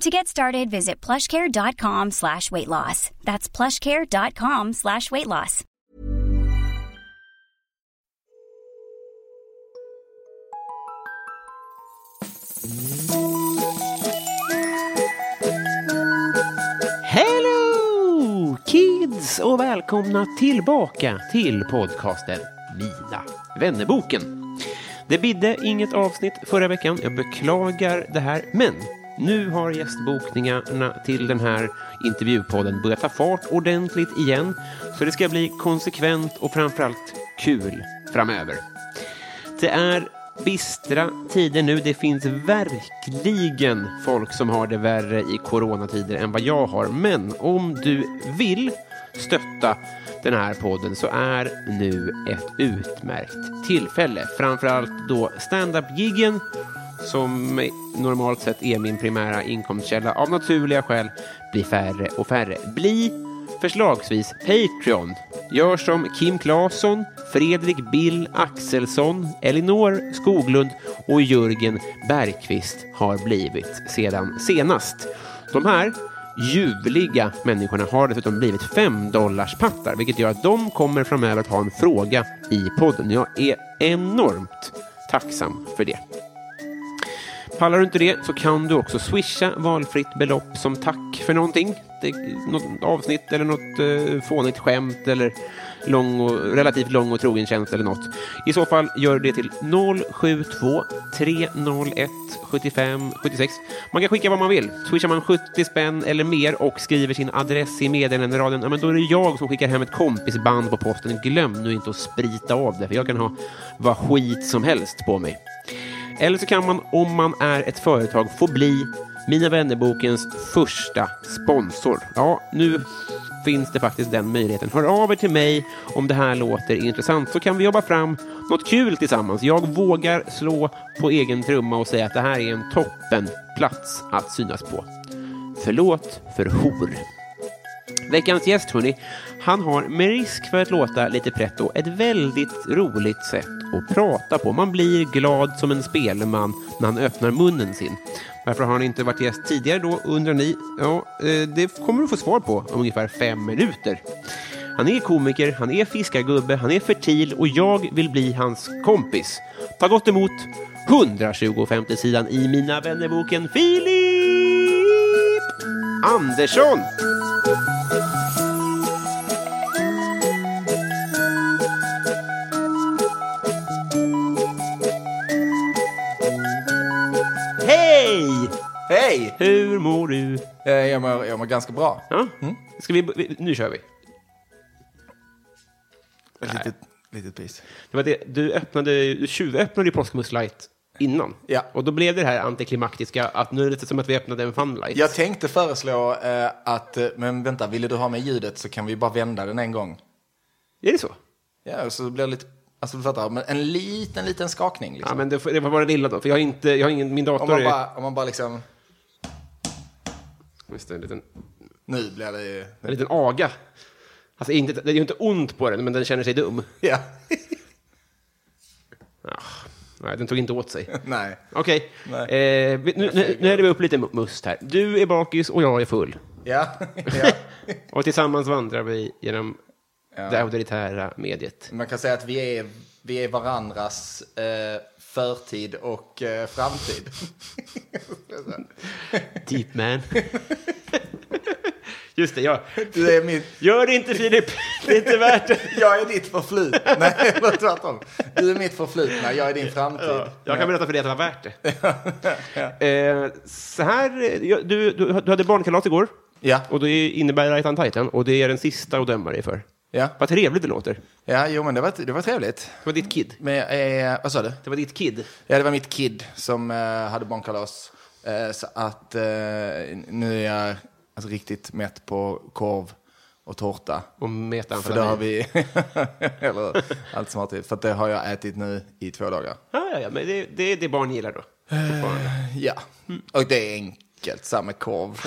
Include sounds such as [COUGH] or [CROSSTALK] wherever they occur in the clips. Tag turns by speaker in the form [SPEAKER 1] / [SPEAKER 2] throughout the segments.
[SPEAKER 1] To get started, visit plushcare.com slash weight loss. That's plushcare.com slash weight loss.
[SPEAKER 2] Hello kids och välkomna tillbaka till podcasten Mina vännerboken. Det bidde inget avsnitt förra veckan. Jag beklagar det här, men nu har gästbokningarna till den här intervjupodden börjat ta fart ordentligt igen. Så det ska bli konsekvent och framförallt kul framöver. Det är bistra tider nu. Det finns verkligen folk som har det värre i coronatider än vad jag har. Men om du vill stötta den här podden så är nu ett utmärkt tillfälle. Framförallt då stand-up-giggen som normalt sett är min primära inkomstkälla av naturliga skäl blir färre och färre. Bli Förslagsvis Patreon. Gör som Kim Claesson, Fredrik Bill Axelsson, Elinor Skoglund och Jörgen Bergqvist har blivit sedan senast. De här ljuvliga människorna har dessutom blivit 5 pattar vilket gör att de kommer framöver att ha en fråga i podden. Jag är enormt tacksam för det. Pallar du inte det så kan du också swisha valfritt belopp som tack för någonting. Det, något avsnitt eller något eh, fånigt skämt eller lång och, relativt lång och trogen tjänst eller något. I så fall gör det till 072 301 75 76. Man kan skicka vad man vill. Swishar man 70 spänn eller mer och skriver sin adress i meddelanderaden, ja, men då är det jag som skickar hem ett kompisband på posten. Glöm nu inte att sprita av det, för jag kan ha vad skit som helst på mig. Eller så kan man, om man är ett företag, få bli Mina vännerbokens första sponsor. Ja, nu finns det faktiskt den möjligheten. Hör av er till mig om det här låter intressant så kan vi jobba fram något kul tillsammans. Jag vågar slå på egen trumma och säga att det här är en toppen plats att synas på. Förlåt för hor. Veckans gäst, hörni, han har med risk för att låta lite pretto ett väldigt roligt sätt att prata på. Man blir glad som en spelman när han öppnar munnen sin. Varför har han inte varit gäst tidigare då, undrar ni? Ja, eh, det kommer du få svar på om ungefär fem minuter. Han är komiker, han är fiskargubbe, han är fertil och jag vill bli hans kompis. Ta gott emot 125 sidan i Mina vännerboken Filip Andersson! Hej!
[SPEAKER 3] Hej!
[SPEAKER 2] Hur mår du?
[SPEAKER 3] Eh, Jag mår, jag mår ganska bra.
[SPEAKER 2] Ja? Ska vi, vi- nu kör vi.
[SPEAKER 3] Ett litet, litet pis.
[SPEAKER 2] Det var det, du öppnade, du tjuvöppnade ju Påskmust Light innan.
[SPEAKER 3] Ja.
[SPEAKER 2] Och då blev det det här antiklimaktiska att nu är det lite som att vi öppnade en funlight.
[SPEAKER 3] Jag tänkte föreslå eh, att, eh, men vänta, ville du ha med ljudet så kan vi bara vända den en gång.
[SPEAKER 2] Är det så?
[SPEAKER 3] Ja, så blir det lite, alltså du fattar, men en liten, liten skakning
[SPEAKER 2] Ja,
[SPEAKER 3] liksom.
[SPEAKER 2] men det, får- det var bara det lilla då, för jag har inte, jag har ingen, min dator
[SPEAKER 3] om, man
[SPEAKER 2] är...
[SPEAKER 3] bara, om man bara liksom,
[SPEAKER 2] Just det, en liten,
[SPEAKER 3] nu blir det ju, [LAUGHS]
[SPEAKER 2] en liten aga. Alltså inte, det är ju inte ont på den, men den känner sig dum.
[SPEAKER 3] ja, [LAUGHS]
[SPEAKER 2] Ah, nej, den tog inte åt sig.
[SPEAKER 3] [LAUGHS] nej.
[SPEAKER 2] Okej,
[SPEAKER 3] Nej.
[SPEAKER 2] eh, vi- nu, nu, nu är vi upp lite must här. Du är bakis och jag är full.
[SPEAKER 3] Ja, [LAUGHS] ja.
[SPEAKER 2] [LAUGHS] Och tillsammans vandrar vi genom
[SPEAKER 3] Ja.
[SPEAKER 2] det auktoritära mediet.
[SPEAKER 3] Man kan säga att vi är, vi är varandras eh, förtid och eh, [LAUGHS] framtid. [LAUGHS]
[SPEAKER 2] Deep man. Just det, jag...
[SPEAKER 3] Du är mitt,
[SPEAKER 2] Gör det inte Filip, det är inte värt
[SPEAKER 3] [LAUGHS]
[SPEAKER 2] det.
[SPEAKER 3] jag är ditt förflutna. [LAUGHS] Nej, det var tvärtom. Du är mitt förflutna, jag är din framtid.
[SPEAKER 2] Ja, jag kan berätta för dig att det var värt
[SPEAKER 3] [LAUGHS]
[SPEAKER 2] det. eh, så här, eh, jag- du, du, du hade barnkalas igår.
[SPEAKER 3] Ja.
[SPEAKER 2] Och det innebär Right on Titan. Och det är den sista att döma dig för.
[SPEAKER 3] Ja.
[SPEAKER 2] Vad trevligt det låter. Det
[SPEAKER 3] ja, jo men det var, det var trevligt.
[SPEAKER 2] var ditt kid.
[SPEAKER 3] Men eh, vad sa du?
[SPEAKER 2] Det var ditt kid.
[SPEAKER 3] Ja, det var mitt kid som eh, hade barnkalas. Eh, så att eh, nu är jag alltså, riktigt mätt på korv och tårta.
[SPEAKER 2] Och metan
[SPEAKER 3] För det har vi, [LAUGHS] eller allt som har till, för att det har jag ätit nu i två dagar.
[SPEAKER 2] Ja, ja, ja, men det, det är det barn gillar då.
[SPEAKER 3] Ja,
[SPEAKER 2] Mm.
[SPEAKER 3] och det är enkelt,
[SPEAKER 2] [LAUGHS]
[SPEAKER 3] samma korv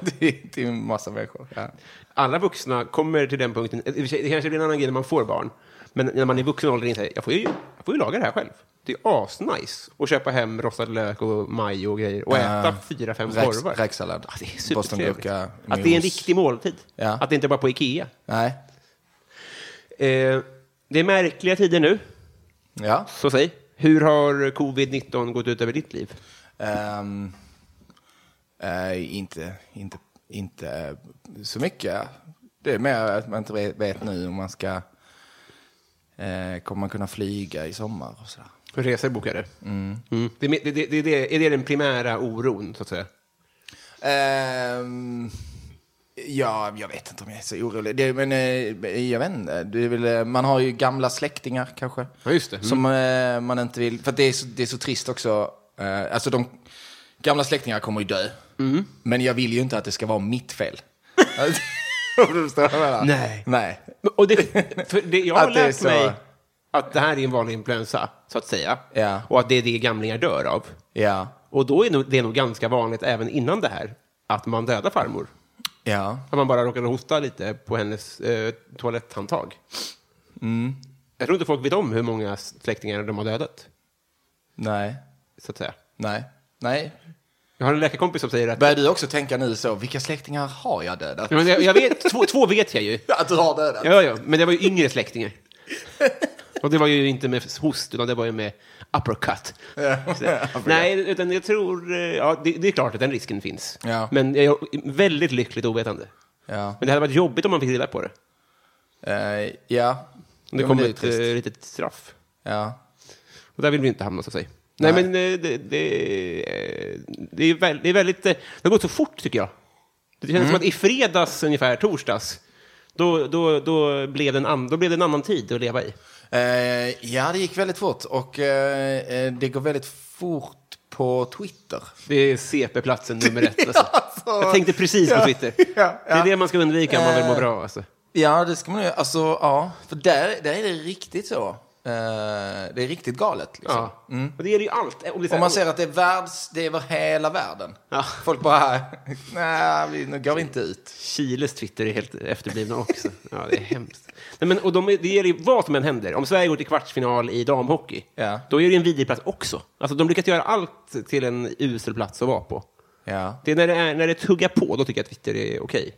[SPEAKER 3] [LAUGHS] till, till en massa människor. Ja.
[SPEAKER 2] Alla vuxna kommer till den punkten. eh, i och för sig, Det kanske blir en annan grej när man får barn. Men när man är vuxen ålder inser jag, jag får ju, jag får ju laga det här själv. Det är asnice att köpa hem rostad lök och majo och grejer och äta fyra, fem
[SPEAKER 3] Eh, Räks-
[SPEAKER 2] korvar.
[SPEAKER 3] räksallad,
[SPEAKER 2] Ja, det är supertrevligt.
[SPEAKER 3] bostongurka,
[SPEAKER 2] Att det är en
[SPEAKER 3] mos.
[SPEAKER 2] riktig måltid.
[SPEAKER 3] Ja.
[SPEAKER 2] Att det inte bara är på Ikea.
[SPEAKER 3] Nej,
[SPEAKER 2] Eh, det är märkliga tider nu,
[SPEAKER 3] ja.
[SPEAKER 2] så säg. Hur har covid-19 gått ut över ditt liv?
[SPEAKER 3] Ehm, eh, inte, inte, inte så mycket. Det är mer att man inte vet- vet nu om man ska... Eh, kommer man kunna flyga i sommar och sådär?
[SPEAKER 2] Resor bokade. Mm. Det, det, det, det, det, är det den primära oron, så att säga?
[SPEAKER 3] Ehm, ja, jag vet inte om jag är så orolig. Det, men eh, jag vet inte. Det är väl, eh, man har ju gamla släktingar kanske.
[SPEAKER 2] Ja, just det. Mm.
[SPEAKER 3] Som eh, man inte vill... För att det är så, det är så trist också. Eh, alltså de gamla släktingar kommer ju dö. Men jag vill ju inte att det ska vara mitt fel. Alltså, [LAUGHS] Om du förstår vad jag menar.
[SPEAKER 2] Nej.
[SPEAKER 3] Nej.
[SPEAKER 2] Och det,
[SPEAKER 3] [LAUGHS]
[SPEAKER 2] för det, jag har
[SPEAKER 3] Att det är
[SPEAKER 2] lärt
[SPEAKER 3] så-
[SPEAKER 2] mig att det här är en vanlig influensa, så att säga.
[SPEAKER 3] Ja.
[SPEAKER 2] Och att det är det gamlingar dör av.
[SPEAKER 3] Ja.
[SPEAKER 2] Och då är nog- det är nog ganska vanligt även innan det här, att man dödar farmor.
[SPEAKER 3] Ja.
[SPEAKER 2] Att man bara råkade hosta lite på hennes eh, toaletthandtag.
[SPEAKER 3] Mm.
[SPEAKER 2] Jag tror inte folk vet om hur många släktingar de har dödat,
[SPEAKER 3] Nej.
[SPEAKER 2] så att säga.
[SPEAKER 3] Nej. Nej.
[SPEAKER 2] Jag har en läkarkompis som säger att...
[SPEAKER 3] Börjar du också tänka nu så, vilka släktingar har jag dödat?
[SPEAKER 2] Ja, men jag, jag vet, två, två vet jag ju.
[SPEAKER 3] [LAUGHS] Att du har dödat?
[SPEAKER 2] Ja, ja, men det var ju yngre släktingar. Och det var ju inte med host, utan det var ju med uppercut.
[SPEAKER 3] [LAUGHS]
[SPEAKER 2] Så- Nej, utan jag tror... eh, Ja, det, det är klart att den risken finns.
[SPEAKER 3] Ja.
[SPEAKER 2] Men jag är väldigt lyckligt ovetande.
[SPEAKER 3] Ja.
[SPEAKER 2] Men det hade varit jobbigt om man fick reda på det.
[SPEAKER 3] Eh, ja.
[SPEAKER 2] Om det
[SPEAKER 3] Jo, men
[SPEAKER 2] kom
[SPEAKER 3] är ju
[SPEAKER 2] ett eh,
[SPEAKER 3] trist.
[SPEAKER 2] litet straff.
[SPEAKER 3] Ja.
[SPEAKER 2] Och där vill vi inte hamna, så att säga. Nej,
[SPEAKER 3] Nej.
[SPEAKER 2] men eh, det, det, eh, det, är väl, det är väldigt... eh, Det har gått så fort, tycker jag. Det känns
[SPEAKER 3] Mm.
[SPEAKER 2] som att i fredags, ungefär, torsdags, då, då, då, blev det en an, då blev det en annan tid att leva i.
[SPEAKER 3] Eh, ja, det gick väldigt fort och eh, eh, det går väldigt fort på Twitter.
[SPEAKER 2] Det är CP-platsen nummer
[SPEAKER 3] [LAUGHS]
[SPEAKER 2] ett. Alltså.
[SPEAKER 3] alltså.
[SPEAKER 2] Jag tänkte precis på
[SPEAKER 3] [LAUGHS] Ja,
[SPEAKER 2] Twitter.
[SPEAKER 3] ja,
[SPEAKER 2] Det är
[SPEAKER 3] ja.
[SPEAKER 2] det man ska undvika om man vill må
[SPEAKER 3] Eh.
[SPEAKER 2] bra. Alltså.
[SPEAKER 3] Ja, det ska man ju. Alltså, ja. För där, där är det riktigt så. Eh, det är riktigt galet. Liksom.
[SPEAKER 2] Ja. Och det är det ju allt. Om, det är så här-
[SPEAKER 3] Om man ser att det är världs, det är över hela världen.
[SPEAKER 2] Ja.
[SPEAKER 3] Folk bara, nej, vi, nu går vi inte ut.
[SPEAKER 2] Chiles Twitter är helt efterblivna också. Ja, det är hemskt. Nej, men, och de, är- det gäller ju vad som än händer. Om Sverige går till kvartsfinal i damhockey,
[SPEAKER 3] Ja.
[SPEAKER 2] då är det ju en vidrig plats också. Alltså, de lyckas göra allt till en usel plats att vara på.
[SPEAKER 3] Ja.
[SPEAKER 2] Det är när det, är, när det tuggar på, då tycker jag att Twitter är okej.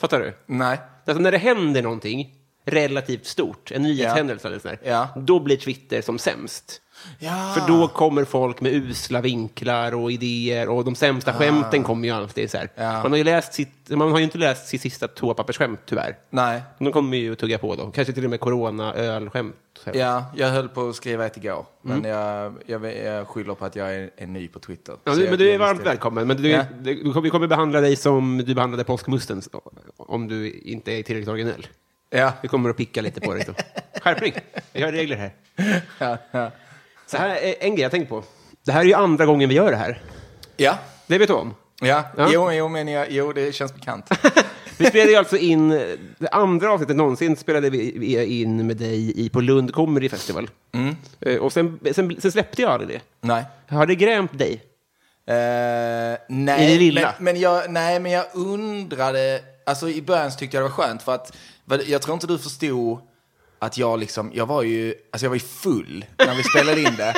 [SPEAKER 2] Fattar du?
[SPEAKER 3] Nej.
[SPEAKER 2] Alltså när det händer någonting relativt stort, en nyhetshändelse eller sådär,
[SPEAKER 3] Ja. Ah.
[SPEAKER 2] då blir Twitter som sämst.
[SPEAKER 3] Ja.
[SPEAKER 2] För då kommer folk med usla vinklar och idéer och de sämsta skämten kommer ju alltid. Så här.
[SPEAKER 3] Ah. Ja.
[SPEAKER 2] Man, har ju läst sitt, man har ju inte läst sitt sista toapappersskämt tyvärr.
[SPEAKER 3] Nej.
[SPEAKER 2] De kommer ju att tugga på då. Kanske till och med corona-ölskämt. så här.
[SPEAKER 3] Ja, jag höll på att skriva ett igår, men
[SPEAKER 2] Mm.
[SPEAKER 3] jag, jag, jag skyller på att jag är, är ny på Twitter.
[SPEAKER 2] Ja,
[SPEAKER 3] Så
[SPEAKER 2] du,
[SPEAKER 3] jag-
[SPEAKER 2] men du
[SPEAKER 3] jag
[SPEAKER 2] är varmt
[SPEAKER 3] visste-
[SPEAKER 2] välkommen. Men du,
[SPEAKER 3] Ja.
[SPEAKER 2] du, du kommer, vi kommer behandla dig som du behandlade påskmusten om du inte är tillräckligt originell.
[SPEAKER 3] Ja. [LAUGHS]
[SPEAKER 2] Vi kommer att picka lite på dig. då. Skärpning! Jag har regler här. Så här är en grej jag tänkt på. Det här är ju andra gången vi gör det här.
[SPEAKER 3] Ja.
[SPEAKER 2] Det vet du om.
[SPEAKER 3] Ja,
[SPEAKER 2] Ja.
[SPEAKER 3] Jo, jo, men jag, jo, det
[SPEAKER 2] [LAUGHS]
[SPEAKER 3] känns bekant.
[SPEAKER 2] Vi spelade ju alltså in, det andra avsnittet någonsin spelade vi vi in med dig i, på Lund Comedy Festival. Eh, Och sen, sen, sen släppte jag aldrig det.
[SPEAKER 3] nej.
[SPEAKER 2] Har det grämt dig?
[SPEAKER 3] Eh, nej,
[SPEAKER 2] I det lilla.
[SPEAKER 3] Men, men jag, nej, men jag undrade, alltså i början så tyckte jag det var skönt för att vad- jag tror inte du förstod att jag liksom, jag var ju, alltså jag var ju full när vi spelade in det.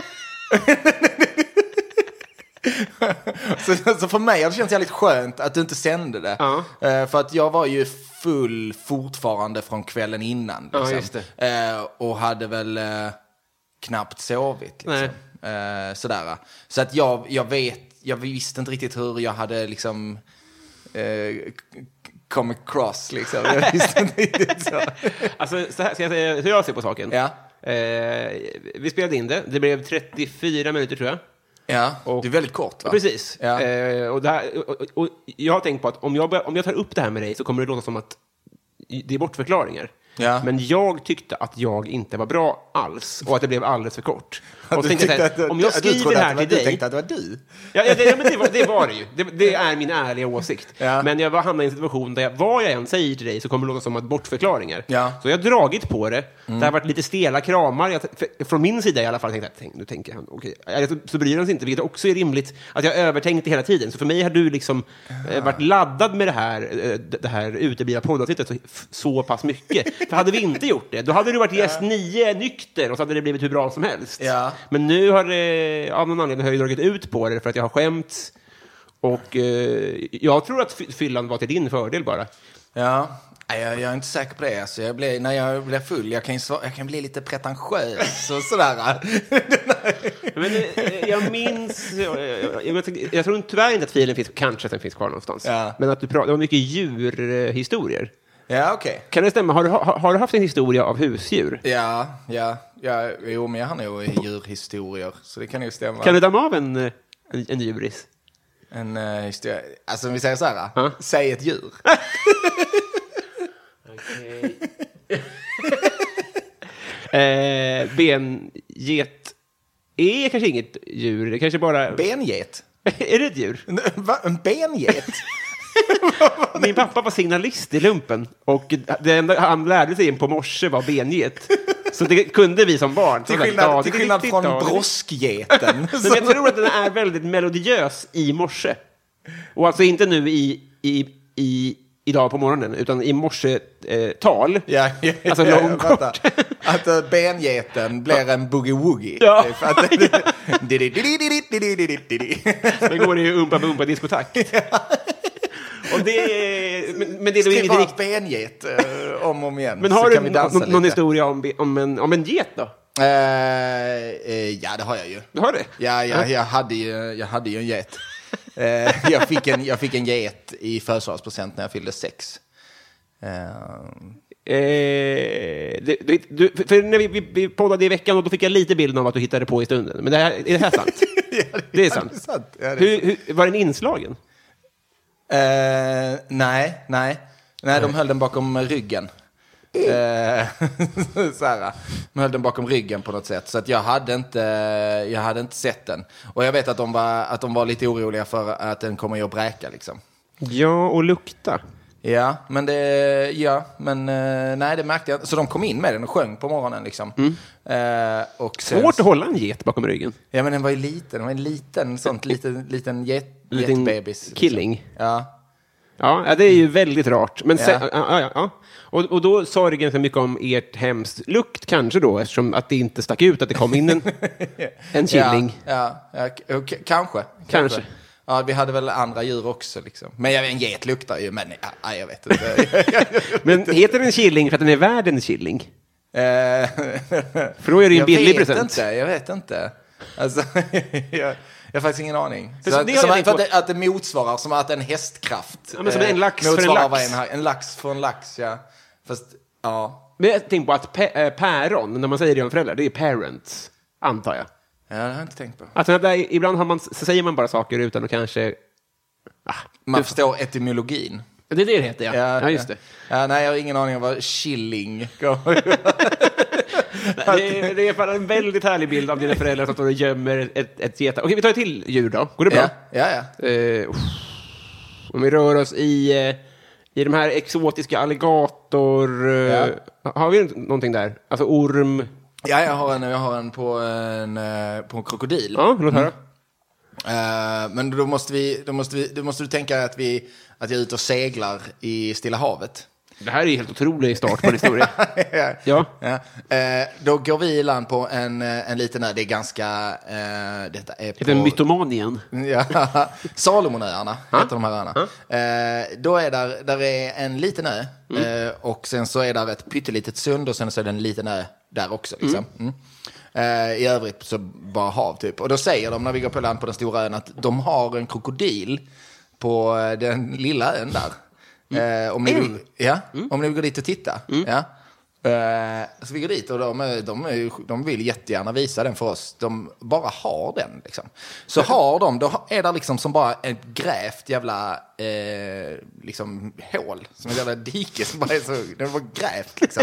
[SPEAKER 3] [LAUGHS] så, så för mig har det känts jävligt skönt att du inte sände det.
[SPEAKER 2] Ja.
[SPEAKER 3] Eh, för att jag var ju full fortfarande från kvällen innan.
[SPEAKER 2] Ja,
[SPEAKER 3] Liksom.
[SPEAKER 2] just det.
[SPEAKER 3] Eh, och hade väl eh, knappt sovit. Liksom. Eh, sådär. Så att jag, jag vet, jag visste inte riktigt hur jag hade liksom eh, k- k- come across liksom. Jag visste inte riktigt
[SPEAKER 2] [LAUGHS]
[SPEAKER 3] så.
[SPEAKER 2] Alltså, så här ska jag säga hur jag ser på saken.
[SPEAKER 3] Ja.
[SPEAKER 2] Eh, vi spelade in det. Det blev 34 minuter, tror jag.
[SPEAKER 3] Ja,
[SPEAKER 2] Och-
[SPEAKER 3] det är väldigt kort va?
[SPEAKER 2] Precis.
[SPEAKER 3] Ja.
[SPEAKER 2] Eh, och, det här, och, och, och jag har tänkt på att om jag, bör, om jag tar upp det här med dig så kommer det låta som att det är bortförklaringar.
[SPEAKER 3] Ja.
[SPEAKER 2] Men jag tyckte att jag inte var bra alls och att det blev alldeles för kort. Och
[SPEAKER 3] [LAUGHS] Du
[SPEAKER 2] så tänkte jag så
[SPEAKER 3] tyckte
[SPEAKER 2] här,
[SPEAKER 3] att du-
[SPEAKER 2] om jag
[SPEAKER 3] du
[SPEAKER 2] skriver
[SPEAKER 3] trodde
[SPEAKER 2] det
[SPEAKER 3] att
[SPEAKER 2] här
[SPEAKER 3] var-
[SPEAKER 2] till dig...
[SPEAKER 3] Du tänkte att det var du?
[SPEAKER 2] Ja, ja, det, ja, men det, var, det var det ju. Det, det är min ärliga åsikt.
[SPEAKER 3] Ja.
[SPEAKER 2] Men jag var- hamnade i en situation där jag, vad jag än säger till dig så kommer det låta som att bortförklaringar.
[SPEAKER 3] Ja. Mm.
[SPEAKER 2] Så jag har dragit på det. Det har varit lite stela kramar. Jag, för, från min sida i alla fall. Tänkte jag, tänk, nu tänker han, okej. Eller Så, så bryr han sig inte, vilket också är rimligt. Att jag övertänkte hela tiden. Så för mig har du liksom eh, varit laddad med det här, eh, d- det här uteblivna poddavsnittet så, f- så pass mycket. för hade vi inte gjort det, då hade du varit gäst nio nykter och så hade det blivit hur bra som helst.
[SPEAKER 3] Ja.
[SPEAKER 2] Men nu har det av någon anledning har jag ju dragit ut på det för att jag har skämt. Och eh, jag tror att fy- fyllan var till din fördel bara.
[SPEAKER 3] Ja. Nej, jag, jag är inte säker på det. Alltså, jag blir, när jag blir full, jag kan, ju svara, jag kan bli lite pretentiös och sådär.
[SPEAKER 2] [LAUGHS] Men eh, jag minns... eh, Jag, jag, jag, jag tror tyvärr inte att filen finns, kanske att den finns kvar någonstans.
[SPEAKER 3] Ja.
[SPEAKER 2] Men att du pratade om mycket djurhistorier.
[SPEAKER 3] Ja, okej.
[SPEAKER 2] Kan det stämma? Har du, ha- har du haft en historia av husdjur?
[SPEAKER 3] Ja, ja, ja. Jo, men jag har nog djurhistorier, så det kan ju stämma.
[SPEAKER 2] Kan du damma av en, eh, en, en djuris?
[SPEAKER 3] En eh, historia. Alltså, om vi säger så här.
[SPEAKER 2] Ja.
[SPEAKER 3] Säg
[SPEAKER 2] [LAUGHS]
[SPEAKER 3] ett djur.
[SPEAKER 2] Eh, benget är kanske inget djur. Det kanske bara...
[SPEAKER 3] Benget.
[SPEAKER 2] [LAUGHS] är det ett djur?
[SPEAKER 3] Va? En
[SPEAKER 2] [LAUGHS]
[SPEAKER 3] benget?
[SPEAKER 2] Min pappa var signalist i lumpen och det enda han lärde sig in på morse var benget. Så det kunde vi som barn.
[SPEAKER 3] Till
[SPEAKER 2] Så
[SPEAKER 3] skillnad,
[SPEAKER 2] ja,
[SPEAKER 3] till
[SPEAKER 2] det är
[SPEAKER 3] skillnad
[SPEAKER 2] riktigt,
[SPEAKER 3] från
[SPEAKER 2] ja, det är-
[SPEAKER 3] broskgeten.
[SPEAKER 2] [LAUGHS] Men jag tror att den är väldigt melodiös i morse. Och alltså inte nu i, i, i, idag på morgonen, utan i morse-tal.
[SPEAKER 3] Ja, ja,
[SPEAKER 2] Alltså
[SPEAKER 3] ja,
[SPEAKER 2] lång,
[SPEAKER 3] vänta.
[SPEAKER 2] kort.
[SPEAKER 3] Att eh, bengeten blir en boogie-woogie.
[SPEAKER 2] Ja.
[SPEAKER 3] Det är för att- [LAUGHS] Didi-didi-didi-didi-didi-didi.
[SPEAKER 2] Sen går det ju umpa-bumpa-diskotakt. Och det är, men, men det är nog
[SPEAKER 3] Skriv
[SPEAKER 2] inte
[SPEAKER 3] bara
[SPEAKER 2] riktigt...
[SPEAKER 3] benget eh, om och om igen.
[SPEAKER 2] Men
[SPEAKER 3] så
[SPEAKER 2] har
[SPEAKER 3] kan vi
[SPEAKER 2] du
[SPEAKER 3] dansa
[SPEAKER 2] någon, någon
[SPEAKER 3] lite.
[SPEAKER 2] historia om, be- om, en, om en get då?
[SPEAKER 3] Eh, eh, ja, det har jag ju.
[SPEAKER 2] Du har det?
[SPEAKER 3] Ja, ja jag, hade ju, jag hade ju en get. Eh, jag, fick en, jag fick en get i födelsedagspresent när jag fyllde sex. Eh,
[SPEAKER 2] Eh, det, du, du, för- för när vi, vi, vi poddade i veckan och då fick jag lite bilden av att du hittade på i stunden. Men det här, är det här
[SPEAKER 3] [LAUGHS]
[SPEAKER 2] sant? det är sant.
[SPEAKER 3] det är sant. Ja, det är
[SPEAKER 2] hur, hur, var den inslagen?
[SPEAKER 3] Eh, nej, nej. Nej, de höll den bakom ryggen. Eh, [LAUGHS] så här, de höll den bakom ryggen på något sätt. Så att jag, hade inte, jag hade inte sett den. Och jag vet att de var, att de var lite oroliga för att den kommer ju att bräka. Liksom.
[SPEAKER 2] Ja, och lukta.
[SPEAKER 3] Ja, men det, ja, men eh, nej, det märkte jag inte. Så de kom in med den och sjöng på morgonen. Liksom. Eh, och sen,
[SPEAKER 2] Mm. Svårt att hålla en get bakom ryggen.
[SPEAKER 3] Ja, men den var ju liten. Den var en liten, sånt, liten, liten get,
[SPEAKER 2] Liten
[SPEAKER 3] getbebis. liksom.
[SPEAKER 2] killing.
[SPEAKER 3] Ja,
[SPEAKER 2] Ja, ja, det är ju väldigt rart. Men sen,
[SPEAKER 3] Ja.
[SPEAKER 2] ja. Ja, ja, Och, och då sa det ganska mycket om ert hemskt lukt kanske då, eftersom att det inte stack ut att det kom in [LAUGHS] en, en killing.
[SPEAKER 3] Ja, ja, ja k- och k- kanske,
[SPEAKER 2] Kanske.
[SPEAKER 3] Ja, vi hade väl andra djur också. Liksom. Men jag, en get luktar ju, men ja, ja, jag vet inte.
[SPEAKER 2] Men heter den killing för att den är värd en killing?
[SPEAKER 3] Eh, [LAUGHS]
[SPEAKER 2] För då är det ju en
[SPEAKER 3] jag
[SPEAKER 2] billig
[SPEAKER 3] vet
[SPEAKER 2] present.
[SPEAKER 3] Inte, jag vet inte. Alltså, [LAUGHS] jag, jag har faktiskt ingen aning.
[SPEAKER 2] För
[SPEAKER 3] Så
[SPEAKER 2] så
[SPEAKER 3] att,
[SPEAKER 2] det har
[SPEAKER 3] som
[SPEAKER 2] jag
[SPEAKER 3] att, för att,
[SPEAKER 2] tänkt
[SPEAKER 3] det, att det motsvarar, som att en hästkraft eh,
[SPEAKER 2] Ja, men som en lax för en
[SPEAKER 3] motsvarar
[SPEAKER 2] lax.
[SPEAKER 3] vad En, ha- en lax för en lax, ja. Fast, ja.
[SPEAKER 2] Men jag tänker på att pe- eh, päron, när man säger det om föräldrar, det är parents, antar jag.
[SPEAKER 3] ja, det har jag inte tänkt på.
[SPEAKER 2] Alltså, där, ibland har man, så säger man bara saker utan att kanske...
[SPEAKER 3] Man förstår etymologin.
[SPEAKER 2] Det är det det heter, ja. Ja, just det.
[SPEAKER 3] Ja, nej, jag har ingen aning om vad chilling
[SPEAKER 2] [LAUGHS]
[SPEAKER 3] kommer
[SPEAKER 2] Det är, det är i alla fall en väldigt härlig bild av dina föräldrar som står och gömmer ett, ett geta. Okej, vi tar ett till djur då. Går det bra?
[SPEAKER 3] Ja, ja, ja.
[SPEAKER 2] Eh, uff. om vi rör oss i, eh, i de här exotiska alligator... eh, Har vi någonting där? Alltså orm...
[SPEAKER 3] Ja, jag har en, jag har en på en, eh, på en krokodil.
[SPEAKER 2] Ja, låt höra.
[SPEAKER 3] Eh, men då måste, vi, då, måste vi, då måste du tänka att, vi, att jag är ute och seglar i Stilla havet.
[SPEAKER 2] Det här är ju helt otrolig start på en historia. [LAUGHS] ja.
[SPEAKER 3] Ja. Eh, då går vi i land på en, eh, en liten ö. Det är ganska... eh, detta är på...
[SPEAKER 2] Heter den mytomanien?
[SPEAKER 3] Ja, [LAUGHS] Salomonöarna heter de här öarna. Eh, då är där, där är en liten ö eh, och sen så är där ett pyttelitet sund och sen så är det en liten ö där också. Liksom. Mm. Eh, I övrigt så bara hav typ. Och då säger de när vi går på land på den stora ön att de har en Mm. krokodil på eh, den lilla ön där. Eh, om, ni går, ja, om ni går dit och tittar. Ja. Eh, så vi går dit och de, är- de, är ju- de vill jättegärna visa den för oss. De bara har den. Liksom. Så har de, då är det liksom som bara ett grävt jävla eh, liksom, hål. Som ett jävla dike som bara är så, den var grävt liksom.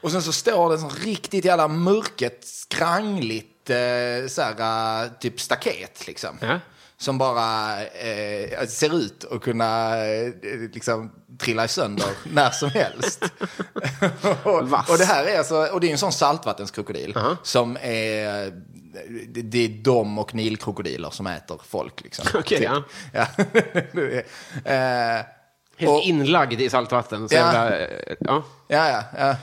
[SPEAKER 3] Och sen så står det så riktigt jävla mörket, skrangligt, eh, så här, eh, typ staket liksom.
[SPEAKER 2] Ja.
[SPEAKER 3] Som bara eh, ser ut att kunna eh, liksom, trilla sönder när som helst.
[SPEAKER 2] [LAUGHS]
[SPEAKER 3] och, och det här är alltså, och det är en sån saltvattenskrokodil som är, det, det är de och nilkrokodiler som äter folk liksom.
[SPEAKER 2] [LAUGHS] Okej, ja.
[SPEAKER 3] ja. [LAUGHS] eh,
[SPEAKER 2] Helt
[SPEAKER 3] och-
[SPEAKER 2] inlagd i saltvatten. Så
[SPEAKER 3] Ja.
[SPEAKER 2] jävla, eh, ja.
[SPEAKER 3] Ja, ja, [LAUGHS] ja.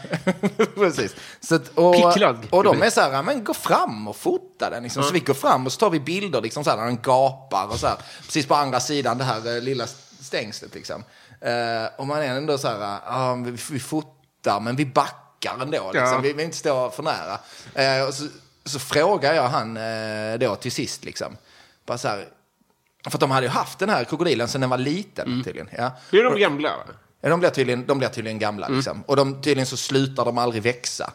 [SPEAKER 3] precis. Så att, och,
[SPEAKER 2] Picklad.
[SPEAKER 3] och de är så här, ja, men gå fram och fota den. Liksom. Så vi går fram och så tar vi bilder liksom, så här, när den gapar och så här, precis på andra sidan det här eh, lilla stängslet. Liksom. Eh, och man är ändå så här, ja, men vi, vi fotar men vi backar ändå. Liksom.
[SPEAKER 2] Ja.
[SPEAKER 3] Vi vill inte stå för nära. Eh, och så, så frågar jag han eh, då till sist, liksom. bara så här, för att de hade ju haft den här krokodilen sedan den var liten tydligen. Ja.
[SPEAKER 2] Det är de gamla, va?
[SPEAKER 3] Ja, de blir tydligen, de blir tydligen gamla. Liksom. Och de, tydligen så slutar de aldrig växa.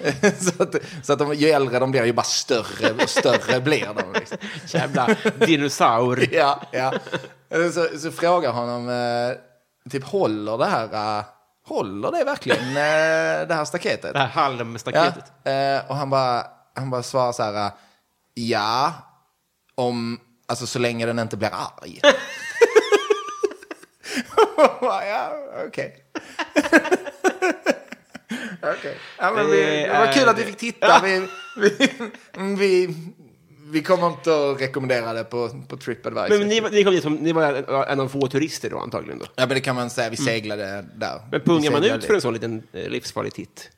[SPEAKER 3] [LAUGHS] så att, så att de, ju äldre de blir, ju bara större och större blir de. Liksom.
[SPEAKER 2] Jävla dinosaur.
[SPEAKER 3] [LAUGHS] Ja, ja. Eller Så, så frågar honom, eh, typ håller det här, eh, håller det verkligen eh, det här staketet?
[SPEAKER 2] Det här halmstaketet.
[SPEAKER 3] Ja, eh, och han bara, han bara svarar så här, eh, ja, om, alltså så länge den inte blir arg. [LAUGHS] ja, okej. [LAUGHS] Okej. Ja, men vi, det var kul att vi fick titta. Vi, vi, vi, [LAUGHS] vi kommer inte att rekommendera det på, på Tripadvisor.
[SPEAKER 2] Men ni, var- ni kom dit som, ni var en, en av få turister då antagligen då.
[SPEAKER 3] Ja, men det kan man säga. Vi seglade där.
[SPEAKER 2] Men
[SPEAKER 3] Vi
[SPEAKER 2] pungar man
[SPEAKER 3] seglade
[SPEAKER 2] ut för en sån liten eh, livsfarlig titt?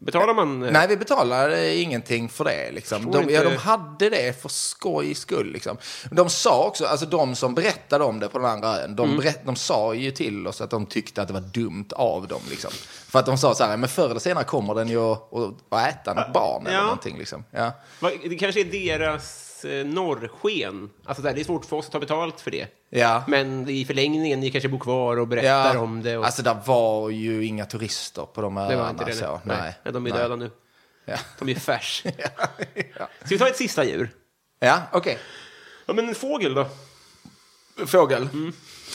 [SPEAKER 2] Betalar man? eh,
[SPEAKER 3] Nej, vi betalar eh, ingenting för det. Liksom.
[SPEAKER 2] Förstår
[SPEAKER 3] De,
[SPEAKER 2] inte.
[SPEAKER 3] ja, de hade det för skojs skull. Liksom. De sa också, alltså de som berättade om det på den andra ön, de,
[SPEAKER 2] Mm.
[SPEAKER 3] berätt, de sa ju till oss att de tyckte att det var dumt av dem. Liksom. För att de sa så här, men förr eller senare kommer den ju att att- att äta något barn eller
[SPEAKER 2] Ja.
[SPEAKER 3] någonting. Liksom. Ja.
[SPEAKER 2] Vad- Det kanske är deras eh, norrsken. Alltså där, det är svårt för oss att ta betalt för det.
[SPEAKER 3] Ja.
[SPEAKER 2] Men i förlängningen, ni kanske bor kvar och berättar om det. Och
[SPEAKER 3] Alltså, det var ju inga turister på de öarna.
[SPEAKER 2] det var inte det.
[SPEAKER 3] Så.
[SPEAKER 2] nej.
[SPEAKER 3] alltså, Nej.
[SPEAKER 2] Ja, de är
[SPEAKER 3] Nej.
[SPEAKER 2] döda nu.
[SPEAKER 3] Ja,
[SPEAKER 2] De är färs. Ska
[SPEAKER 3] [LAUGHS] ja.
[SPEAKER 2] vi ta ett sista djur?
[SPEAKER 3] ja okej.
[SPEAKER 2] Ja, men en fågel då?
[SPEAKER 3] Fågel.
[SPEAKER 2] Mm.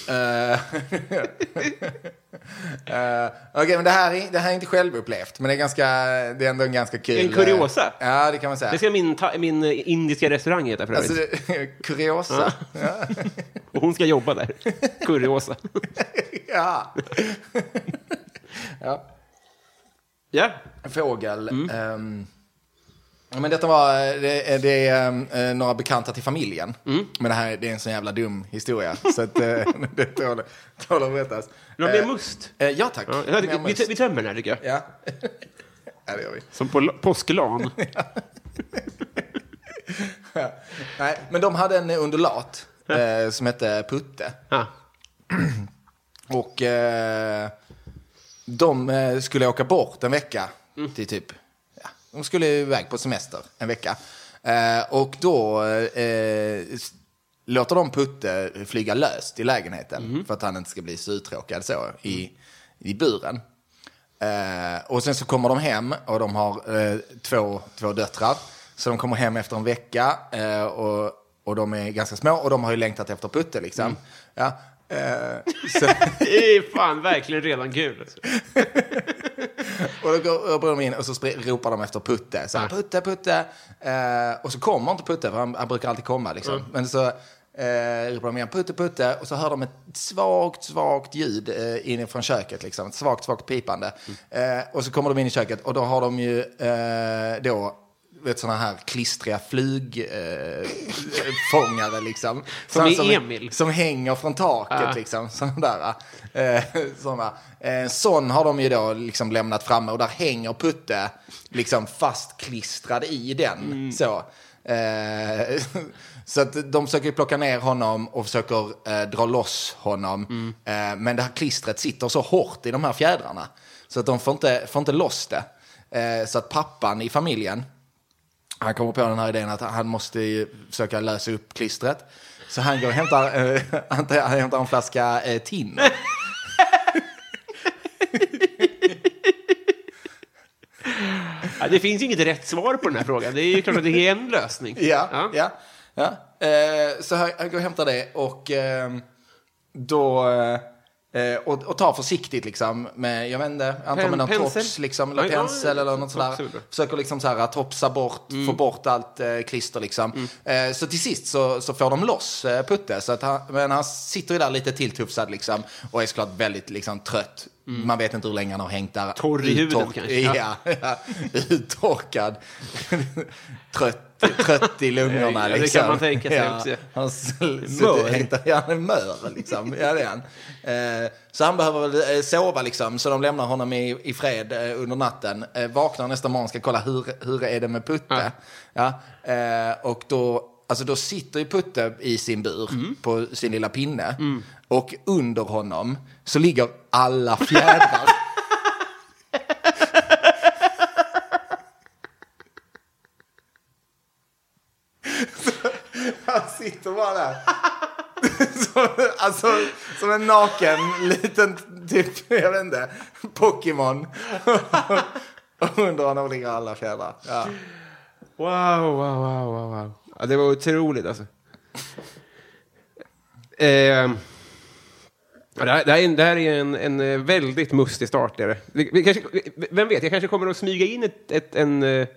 [SPEAKER 3] Eh, [LAUGHS] eh, Okej, men det här, är, det här är inte självupplevt, men det är, ganska, det är ändå en ganska kul...
[SPEAKER 2] En kuriosa.
[SPEAKER 3] eh, Ja, det kan man säga.
[SPEAKER 2] Det ska min, ta- min eh, indiska restaurang heta för övrigt.
[SPEAKER 3] Alltså, det- [LAUGHS] kuriosa.
[SPEAKER 2] Och hon ska jobba
[SPEAKER 3] [LAUGHS]
[SPEAKER 2] där. Kuriosa.
[SPEAKER 3] ja. [LAUGHS] ja.
[SPEAKER 2] ja.
[SPEAKER 3] Fågel.
[SPEAKER 2] Mm.
[SPEAKER 3] ehm, ja, men detta var, det, det är ehm, eh, några bekanta till familjen.
[SPEAKER 2] Mm.
[SPEAKER 3] Men det här det är en sån jävla dum historia. så att, eh, [LAUGHS] det tål, tål att berättas.
[SPEAKER 2] Vill du ha mer
[SPEAKER 3] Eh,
[SPEAKER 2] must?
[SPEAKER 3] eh, ja tack.
[SPEAKER 2] Ja,
[SPEAKER 3] Mer
[SPEAKER 2] vi,
[SPEAKER 3] must.
[SPEAKER 2] vi tömmer den här tycker jag.
[SPEAKER 3] Ja. [LAUGHS] ja, det gör vi.
[SPEAKER 2] Som på la- påsklan.
[SPEAKER 3] Nej, men de hade en undulat eh, som hette Putte.
[SPEAKER 2] Ja.
[SPEAKER 3] Och eh, de eh, skulle åka bort en vecka till typ... Ja, de skulle iväg på semester en vecka. Eh, och då eh, s- låter de Putte flyga löst i lägenheten för att han inte ska bli så uttråkad så i, i buren. Eh, och sen så kommer de hem och de har eh, två, två döttrar. Så de kommer hem efter en vecka eh, och, och de är ganska små och de har ju längtat efter Putte liksom. Ja, eh, så,
[SPEAKER 2] Det är fan verkligen redan kul. Alltså.
[SPEAKER 3] Och då går Örebro in och så spr- ropar de efter Putte. Så här,
[SPEAKER 2] Ja.
[SPEAKER 3] Putte, Putte. Eh, och så kommer inte Putte, för han, han brukar alltid komma. Liksom. Men så eh, ropar de igen Putte, Putte. Och så hör de ett svagt, svagt ljud eh, inifrån köket. Liksom. Ett svagt, svagt pipande. Eh, och så kommer de in i köket och då har de ju eh, då vet sådana här klistriga flugfångare eh, [LAUGHS] fångare, liksom.
[SPEAKER 2] Som i
[SPEAKER 3] Sådana
[SPEAKER 2] Emil.
[SPEAKER 3] som hänger från taket.
[SPEAKER 2] Ja.
[SPEAKER 3] Liksom, [LAUGHS] sådana där. Eh, såna. Eh, sån har de ju då liksom lämnat framme och där hänger Putte liksom fastklistrad i den. Så. Eh, [LAUGHS] så att de försöker ju plocka ner honom och försöker eh, dra loss honom. Eh, men det här klistret sitter så hårt i de här fjädrarna så att de får inte, får inte loss det. Eh, så att pappan i familjen han kommer på den här idén att han måste ju försöka lösa upp klistret. Så han går och hämtar, eh, han tar- han hämtar en flaska eh, thinner.
[SPEAKER 2] Ja, det finns inget rätt svar på den här frågan. Det är ju klart att det är en lösning.
[SPEAKER 3] Ja, ja. ja. Eh, så här, jag går och hämtar det och eh, då... Eh, och, och ta försiktigt liksom med, jag vet inte, antar med någon
[SPEAKER 2] pensel?
[SPEAKER 3] tops liksom, eller
[SPEAKER 2] Ja, ja,
[SPEAKER 3] pensel
[SPEAKER 2] ja,
[SPEAKER 3] eller något
[SPEAKER 2] tops är
[SPEAKER 3] sådär.
[SPEAKER 2] bra.
[SPEAKER 3] Försöker liksom så här topsa bort,
[SPEAKER 2] Mm.
[SPEAKER 3] få bort allt eh, klister liksom. Eh, så till sist så, så får de loss eh, Putte, så att han, men han sitter ju där lite tilltufsad liksom och är såklart väldigt liksom trött. Man vet inte hur länge han har hängt där.
[SPEAKER 2] Mm. Torr i huvudet,
[SPEAKER 3] Uttork-
[SPEAKER 2] kanske.
[SPEAKER 3] [LAUGHS] Ja, ja. uttorkad, [LAUGHS] trött, trött i lungorna.
[SPEAKER 2] Ja, det kan
[SPEAKER 3] liksom.
[SPEAKER 2] man tänka sig också.
[SPEAKER 3] Han s-
[SPEAKER 2] Mör.
[SPEAKER 3] suttit, hängt, ja, han är mör, liksom. Ja, det är han. Eh, så han behöver väl eh, sova, liksom, så de lämnar honom i, i fred eh, under natten. Eh, vaknar nästa morgon, ska kolla hur, hur är det med Putte. Ja. Eh, och då, alltså, då sitter ju Putte i sin bur på sin lilla pinne. Och under honom så ligger alla fjädrar. Han sitter bara där. som, alltså, som en naken liten, typ, jag vet inte, Pokémon. Och under honom ligger alla fjädrar. Ja.
[SPEAKER 2] Wow, wow, wow, wow, wow. Ja, det var otroligt
[SPEAKER 3] [LAUGHS]
[SPEAKER 2] alltså. Ehm, ja, det, här, det, här är en, det här är en, en eh, väldigt mustig start. Är det. Vi, vi kanske, vi- vem vet, jag kanske kommer att smyga in ett, ett, en, eh,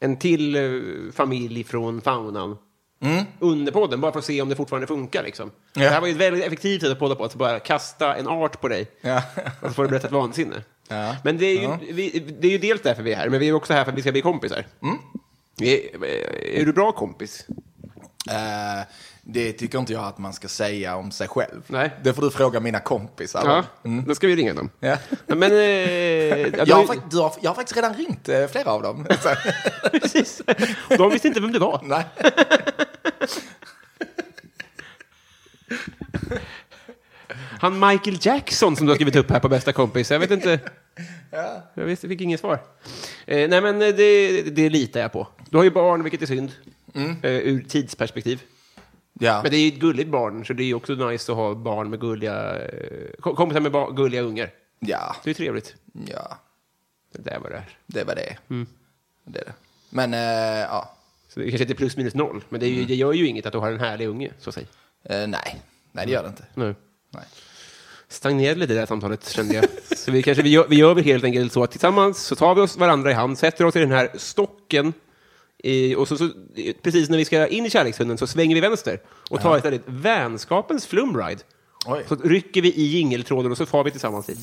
[SPEAKER 2] en till eh, familj från faunan under podden, bara för att se om det fortfarande funkar. Liksom.
[SPEAKER 3] Mm. Ja.
[SPEAKER 2] Det här var ju ett väldigt effektivt sätt att podda på, att bara kasta en art på dig.
[SPEAKER 3] Ja.
[SPEAKER 2] Och så Alltså, får du berätta ett vansinne.
[SPEAKER 3] Ja.
[SPEAKER 2] Men det är, ju,
[SPEAKER 3] Ja.
[SPEAKER 2] vi, det är ju dels därför vi är här, men vi är också här för att vi ska bli kompisar.
[SPEAKER 3] Mm.
[SPEAKER 2] Är, är du bra kompis?
[SPEAKER 3] Eh, det tycker inte jag att man ska säga om sig själv.
[SPEAKER 2] Nej.
[SPEAKER 3] Det får du fråga mina kompisar. Eh,
[SPEAKER 2] Ja, då ska vi ringa dem.
[SPEAKER 3] Mm. Ja.
[SPEAKER 2] Men, eh, ja,
[SPEAKER 3] Jag, har,
[SPEAKER 2] de- [LAUGHS]
[SPEAKER 3] fakt- du har, jag har faktiskt redan ringt eh, flera av dem. Så, [LAUGHS]
[SPEAKER 2] precis. De visste inte vem du var.
[SPEAKER 3] nej.
[SPEAKER 2] Han Michael Jackson som du har skrivit upp här på bästa kompis. Jag vet inte. Jag visste, fick inget svar. Eh, nej, men eh, det, det litar jag på. Du har ju barn, vilket är synd. Eh, ur tidsperspektiv.
[SPEAKER 3] Mm. Ja.
[SPEAKER 2] Men det är ju ett gulligt barn, så det är ju också nice att ha barn med gulliga... eh, kom- Kompisar med ba- gulliga ungar.
[SPEAKER 3] ja.
[SPEAKER 2] Det är ju trevligt.
[SPEAKER 3] Ja.
[SPEAKER 2] Det där var det här.
[SPEAKER 3] Det var det.
[SPEAKER 2] Mm.
[SPEAKER 3] Det är det. Men, eh, ja.
[SPEAKER 2] Så det kanske inte är plus minus noll, men det, är ju, det gör ju inget att du har en härlig unge, så att säga.
[SPEAKER 3] Eh, nej. Nej, det gör det inte.
[SPEAKER 2] Nu.
[SPEAKER 3] Nej.
[SPEAKER 2] Stagnerade lite det här samtalet, kände jag. Så vi, kanske, vi, gör, vi gör väl helt enkelt så att tillsammans så tar vi oss varandra i hand, sätter oss i den här stocken, i, och så, så, precis när vi ska in i kärlekshunden så svänger vi vänster och tar istället vänskapens flumride.
[SPEAKER 3] Oj.
[SPEAKER 2] Så rycker vi i jingeltråden och så far vi tillsammans dit.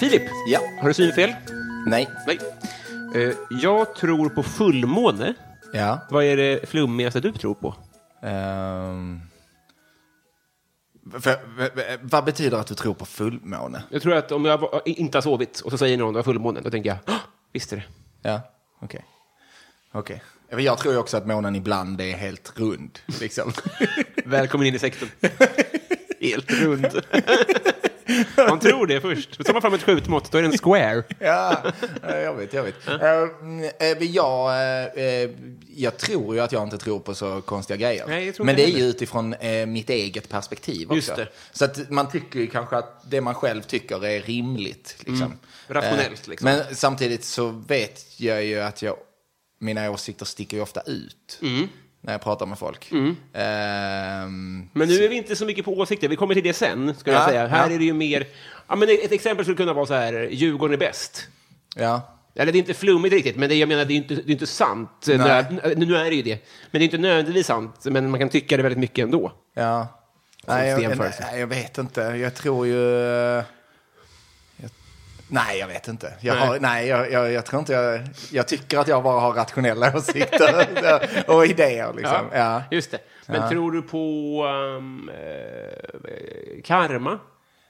[SPEAKER 2] Filip,
[SPEAKER 3] Ja.
[SPEAKER 2] har du synfel?
[SPEAKER 3] Nej.
[SPEAKER 2] Nej. Eh, jag tror på fullmåne.
[SPEAKER 3] Ja.
[SPEAKER 2] Vad är det flummigaste du tror på?
[SPEAKER 3] Ehm, för, v- v- vad betyder att du tror på fullmåne?
[SPEAKER 2] Jag tror att om jag var- inte har sovit och så säger någon det var fullmåne, då tänker jag, "Hå! visst är det.
[SPEAKER 3] [LAUGHS] Ja, okej. Okej. Ja, men Jag tror ju också att månen ibland är helt rund. Liksom. [LAUGHS]
[SPEAKER 2] Välkommen in i sekten. Helt rund. [LAUGHS] Man tror det först. Men tar man fram ett skjutmått, då är det en square.
[SPEAKER 3] ja, eh, jag vet, jag vet. Ehm, eh, men jag, eh, eh, jag tror ju att jag inte tror på så konstiga grejer.
[SPEAKER 2] Nej, jag tror
[SPEAKER 3] men
[SPEAKER 2] inte
[SPEAKER 3] det är ju
[SPEAKER 2] heller.
[SPEAKER 3] utifrån eh, mitt eget perspektiv också.
[SPEAKER 2] Just det.
[SPEAKER 3] Så att man tycker ju kanske att det man själv tycker är rimligt. Liksom.
[SPEAKER 2] Mm. Rationellt,
[SPEAKER 3] Eh,
[SPEAKER 2] liksom.
[SPEAKER 3] Men samtidigt så vet jag ju att jag, mina åsikter sticker ju ofta ut.
[SPEAKER 2] Mm.
[SPEAKER 3] När jag pratar med folk. Ehm,
[SPEAKER 2] Men nu är vi inte så mycket på åsikter, vi kommer till det sen, skulle
[SPEAKER 3] Ja,
[SPEAKER 2] jag säga. Här
[SPEAKER 3] ja.
[SPEAKER 2] är det ju mer... Ja, men ett exempel skulle kunna vara så här, Djurgården är bäst.
[SPEAKER 3] ja.
[SPEAKER 2] Eller det är inte flummigt riktigt, men det, jag menar, det är ju inte, det är inte sant. Nö- Nu, är det ju det. Men det är inte nödvändigtvis sant, men man kan tycka det väldigt mycket ändå.
[SPEAKER 3] Ja. Nej jag,
[SPEAKER 2] jämförelse.
[SPEAKER 3] nej, jag vet inte. Jag tror ju... eh, jag- Nej, jag vet inte. Jag,
[SPEAKER 2] Nej.
[SPEAKER 3] Har, nej, jag, jag, jag tror inte jag... Jag tycker att jag bara har rationella åsikter [LAUGHS] och idéer. Liksom. Ja.
[SPEAKER 2] Just det. Men tror du på ehm, eh, karma?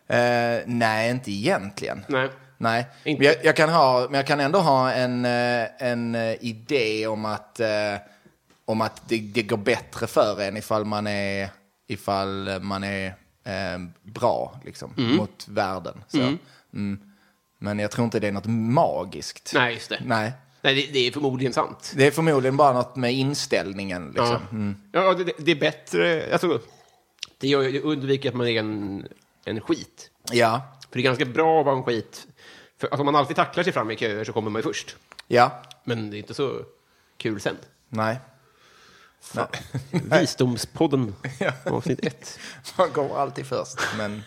[SPEAKER 3] Eh, nej, inte egentligen.
[SPEAKER 2] Nej.
[SPEAKER 3] Nej.
[SPEAKER 2] Inte.
[SPEAKER 3] Men jag, jag, kan ha, men jag kan ändå ha en, eh, en eh, idé om att, eh, om att det, det går bättre för en ifall man är, ifall man är eh, bra liksom, mot
[SPEAKER 2] Mm.
[SPEAKER 3] Mm. världen. Så. Mm. Men jag tror inte det är något magiskt.
[SPEAKER 2] Nej, just det.
[SPEAKER 3] Nej.
[SPEAKER 2] Nej, det, det är förmodligen sant.
[SPEAKER 3] Det är förmodligen bara något med inställningen. Liksom.
[SPEAKER 2] Ja, ja det, det är bättre... Alltså, det, gör, ju- det undviker att man är en, en skit.
[SPEAKER 3] Ja.
[SPEAKER 2] För det är ganska bra att vara en skit. För alltså, om man alltid tacklar sig fram i köer så kommer man ju först.
[SPEAKER 3] ja,
[SPEAKER 2] Men det är inte så kul sen.
[SPEAKER 3] nej. nej.
[SPEAKER 2] Visdomspodden,
[SPEAKER 3] [LAUGHS]
[SPEAKER 2] avsnitt ett.
[SPEAKER 3] Man går alltid först, men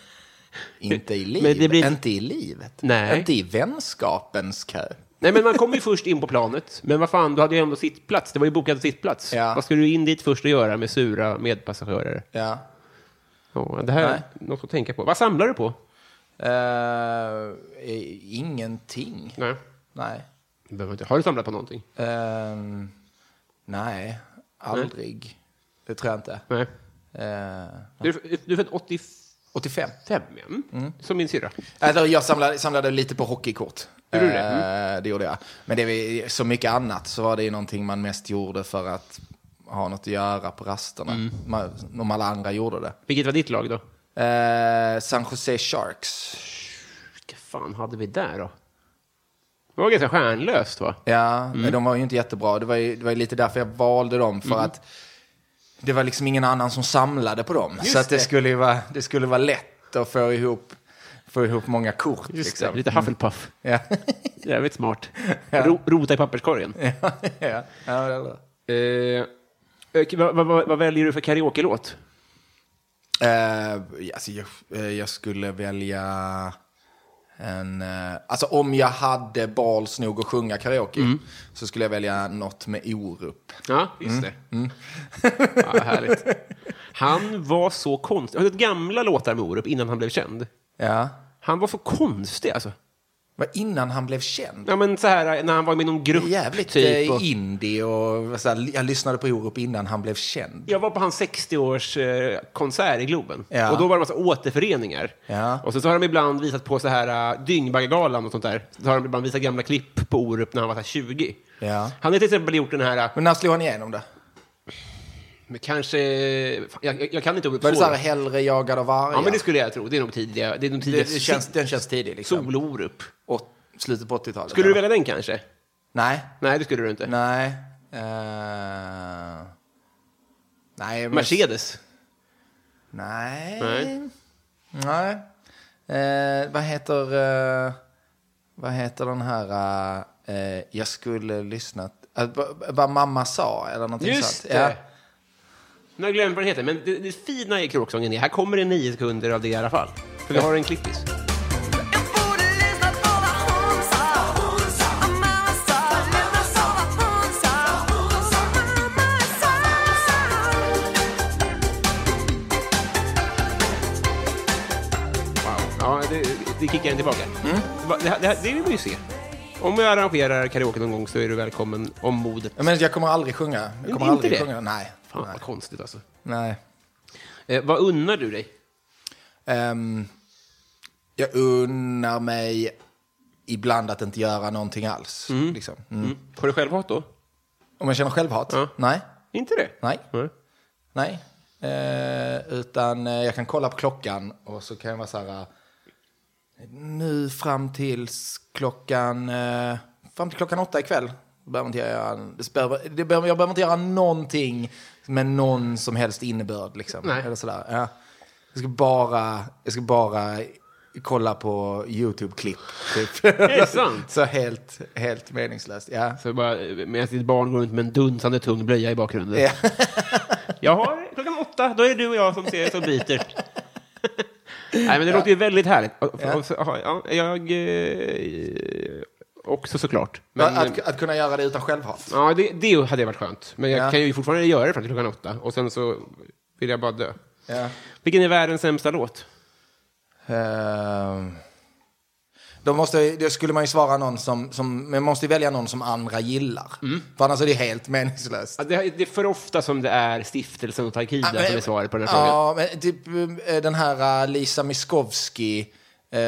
[SPEAKER 3] inte i livet.
[SPEAKER 2] Men det blir-
[SPEAKER 3] Inte i livet.
[SPEAKER 2] Nej.
[SPEAKER 3] Inte i vänskapens kö.
[SPEAKER 2] Nej, men man kom ju först in på planet. Men vad fan, du hade ju ändå sittplats. Det var ju bokad sittplats.
[SPEAKER 3] Ja.
[SPEAKER 2] Vad skulle du in dit först och göra med sura medpassagerare?
[SPEAKER 3] Ja.
[SPEAKER 2] Ja, det här är något att tänka på. Vad samlar du på?
[SPEAKER 3] Eh, eh, ingenting.
[SPEAKER 2] Nej.
[SPEAKER 3] Nej.
[SPEAKER 2] det Behöver inte. Har du samlat på någonting?
[SPEAKER 3] Ehm, nej, aldrig. Det tror jag inte.
[SPEAKER 2] Nej.
[SPEAKER 3] Eh,
[SPEAKER 2] Du, du är född 85,
[SPEAKER 3] 85.
[SPEAKER 2] igen. som min syrra.
[SPEAKER 3] Alltså, jag samlade, samlade lite på hockeykort.
[SPEAKER 2] Gjorde du det?
[SPEAKER 3] Eh, det gjorde jag. Men det var, som mycket annat så var det ju någonting man mest gjorde för att ha något att göra på rasterna.
[SPEAKER 2] Mm.
[SPEAKER 3] Man, om alla andra gjorde det.
[SPEAKER 2] Vilket var ditt lag då?
[SPEAKER 3] Eh, San Jose Sharks.
[SPEAKER 2] Vilka fan hade vi där då? Det var ganska stjärnlöst va?
[SPEAKER 3] Ja, men de var ju inte jättebra. Det var ju, det var ju lite därför jag valde dem. För att det var liksom ingen annan som samlade på dem. så att det,
[SPEAKER 2] det.
[SPEAKER 3] Skulle ju vara, det skulle vara lätt att få ihop, få ihop många kort.
[SPEAKER 2] Just det, Mm.
[SPEAKER 3] liksom.
[SPEAKER 2] lite Hufflepuff.
[SPEAKER 3] Ja.
[SPEAKER 2] Jävligt smart. Ro, rota i papperskorgen.
[SPEAKER 3] [LAUGHS] ja, ja, ja, eller?
[SPEAKER 2] Eh, och vad, vad- vad, vad väljer du för karaoke-låt?
[SPEAKER 3] Eh, alltså, jag, eh, jag skulle välja en... eh, alltså om jag hade balls nog att sjunga karaoke så skulle jag välja något med Orup.
[SPEAKER 2] Ja, just
[SPEAKER 3] Mm.
[SPEAKER 2] det. Ja, härligt. Han var så konstig. Han hade gamla låtar med Orup innan han blev känd.
[SPEAKER 3] Ja.
[SPEAKER 2] Han var för konstig alltså.
[SPEAKER 3] Var innan han blev känd.
[SPEAKER 2] Ja, men så här när han var med i någon grupp.
[SPEAKER 3] Jävligt
[SPEAKER 2] typ,
[SPEAKER 3] eh,
[SPEAKER 2] och...
[SPEAKER 3] indie och så här, jag lyssnade på Orup innan han blev känd.
[SPEAKER 2] Jag var på hans 60-årskonsert i Globen.
[SPEAKER 3] Ja.
[SPEAKER 2] Och då var det massa återföreningar.
[SPEAKER 3] Ja.
[SPEAKER 2] Och så, så har de ibland visat på så här äh, Dyngbaggegalan och sånt där. Så har de ibland visat gamla klipp på Orup när han var så här 20.
[SPEAKER 3] Ja.
[SPEAKER 2] Han har till exempel gjort den här,
[SPEAKER 3] Men när slog han igenom det?
[SPEAKER 2] äh, kanske... fan, Jag, jag, jag kan inte Orup
[SPEAKER 3] Var det så här
[SPEAKER 2] lågt.
[SPEAKER 3] hellre jagad av vargar?
[SPEAKER 2] Ja, men det skulle jag tro. Det är nog tidigare. Det är nog tidigare.
[SPEAKER 3] Det- det känns, den känns tidig liksom.
[SPEAKER 2] Solo-Orup.
[SPEAKER 3] Och slutet på 80-talet.
[SPEAKER 2] Skulle du
[SPEAKER 3] eller?
[SPEAKER 2] välja den kanske?
[SPEAKER 3] Nej.
[SPEAKER 2] Nej, det skulle du inte.
[SPEAKER 3] Nej. Eh, nej. men-
[SPEAKER 2] Mercedes.
[SPEAKER 3] Nej.
[SPEAKER 2] Nej.
[SPEAKER 3] Nej. Eh, vad heter... eh, vad heter den här... eh, jag skulle lyssnat... eh, vad- vad mamma sa eller någonting
[SPEAKER 2] Just
[SPEAKER 3] sånt.
[SPEAKER 2] det. Nu har jag glömt vad den heter, men det, det fina i kråksången är här kommer det nio sekunder av det i alla fall. För vi har en klippis. Ja, det, det kickar den tillbaka.
[SPEAKER 3] Mm.
[SPEAKER 2] Va- Det, här- det, här- det vill vi ju se. Om jag arrangerar karaoke någon gång så är du välkommen om modet.
[SPEAKER 3] Ja, Men jag kommer aldrig sjunga. Jag kommer
[SPEAKER 2] inte
[SPEAKER 3] aldrig
[SPEAKER 2] det?
[SPEAKER 3] sjunga. Nej.
[SPEAKER 2] Fan
[SPEAKER 3] Mm. Nej.
[SPEAKER 2] vad konstigt alltså.
[SPEAKER 3] Nej.
[SPEAKER 2] Eh, vad unnar du dig?
[SPEAKER 3] Ehm, jag unnar mig ibland att inte göra någonting alls. Liksom. Mm.
[SPEAKER 2] Mm. Har du självhat då?
[SPEAKER 3] Om jag känner självhat?
[SPEAKER 2] Ja.
[SPEAKER 3] Nej.
[SPEAKER 2] Inte det?
[SPEAKER 3] Nej.
[SPEAKER 2] Nej.
[SPEAKER 3] Nej. Eh, utan eh, jag kan kolla på klockan och så kan jag vara så här. eh, Nu fram tills klockan, eh, fram till klockan åtta ikväll. Behöver inte jag, göra, det behöver, det behöver, jag behöver inte göra någonting med någon som helst innebörd. Liksom.
[SPEAKER 2] Nej.
[SPEAKER 3] Eller sådär. Ja. Jag, ska bara, jag ska bara kolla på YouTube-klipp. Typ.
[SPEAKER 2] Är [LAUGHS] det sant?
[SPEAKER 3] [LAUGHS] så helt, helt meningslöst. Ja.
[SPEAKER 2] Så bara, eh, medan ditt barn går runt med en dunsande tung blöja i bakgrunden.
[SPEAKER 3] Ja.
[SPEAKER 2] [LAUGHS] Jag har klockan åtta, då är det du och jag som ser som byter. [LAUGHS] Nej, men det låter ju väldigt härligt. Och- och- och så- Ja. Jag eh, också såklart. Men, eh,
[SPEAKER 3] att, att kunna göra det utan självhat.
[SPEAKER 2] ja, det, det hade varit skönt. Men jag
[SPEAKER 3] Ja.
[SPEAKER 2] kan ju fortfarande göra det fram till klockan åtta och sen så vill jag bara dö.
[SPEAKER 3] Ja.
[SPEAKER 2] Vilken är världens sämsta låt?
[SPEAKER 3] Ehm, Då, måste, då skulle man ju svara någon som, som man måste ju välja någon som andra gillar.
[SPEAKER 2] Mm.
[SPEAKER 3] För annars är det helt meningslöst.
[SPEAKER 2] Ja, Det, det är för ofta som det är stiftelsen och Takida
[SPEAKER 3] Ja, men-
[SPEAKER 2] som är svaret på den här frågan.
[SPEAKER 3] Ja, men typ eh, den här eh, Lisa Miskovsky. eh,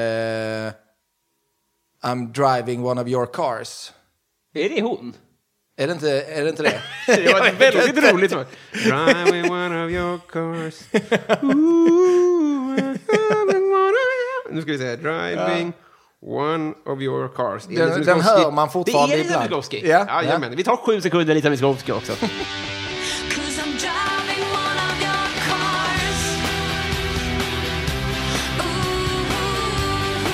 [SPEAKER 3] I'm driving one of your cars.
[SPEAKER 2] Är det hon?
[SPEAKER 3] Är det inte, är det,
[SPEAKER 2] [LAUGHS]
[SPEAKER 3] inte det? [LAUGHS]
[SPEAKER 2] Det var ett väldigt roligt svar. Driving one of your cars. Ooh, driving one of your... Nu ska vi säga driving One of your cars.
[SPEAKER 3] Den-
[SPEAKER 2] Elis
[SPEAKER 3] den
[SPEAKER 2] Miskovsky.
[SPEAKER 3] hör man fortfarande
[SPEAKER 2] Det är Elis
[SPEAKER 3] ibland.
[SPEAKER 2] Miskovsky.
[SPEAKER 3] Ja, ja.
[SPEAKER 2] Jajamän. Vi tar sju sekunder Elis Miskovsky också.
[SPEAKER 4] Cause I'm driving one of your cars. Ooh,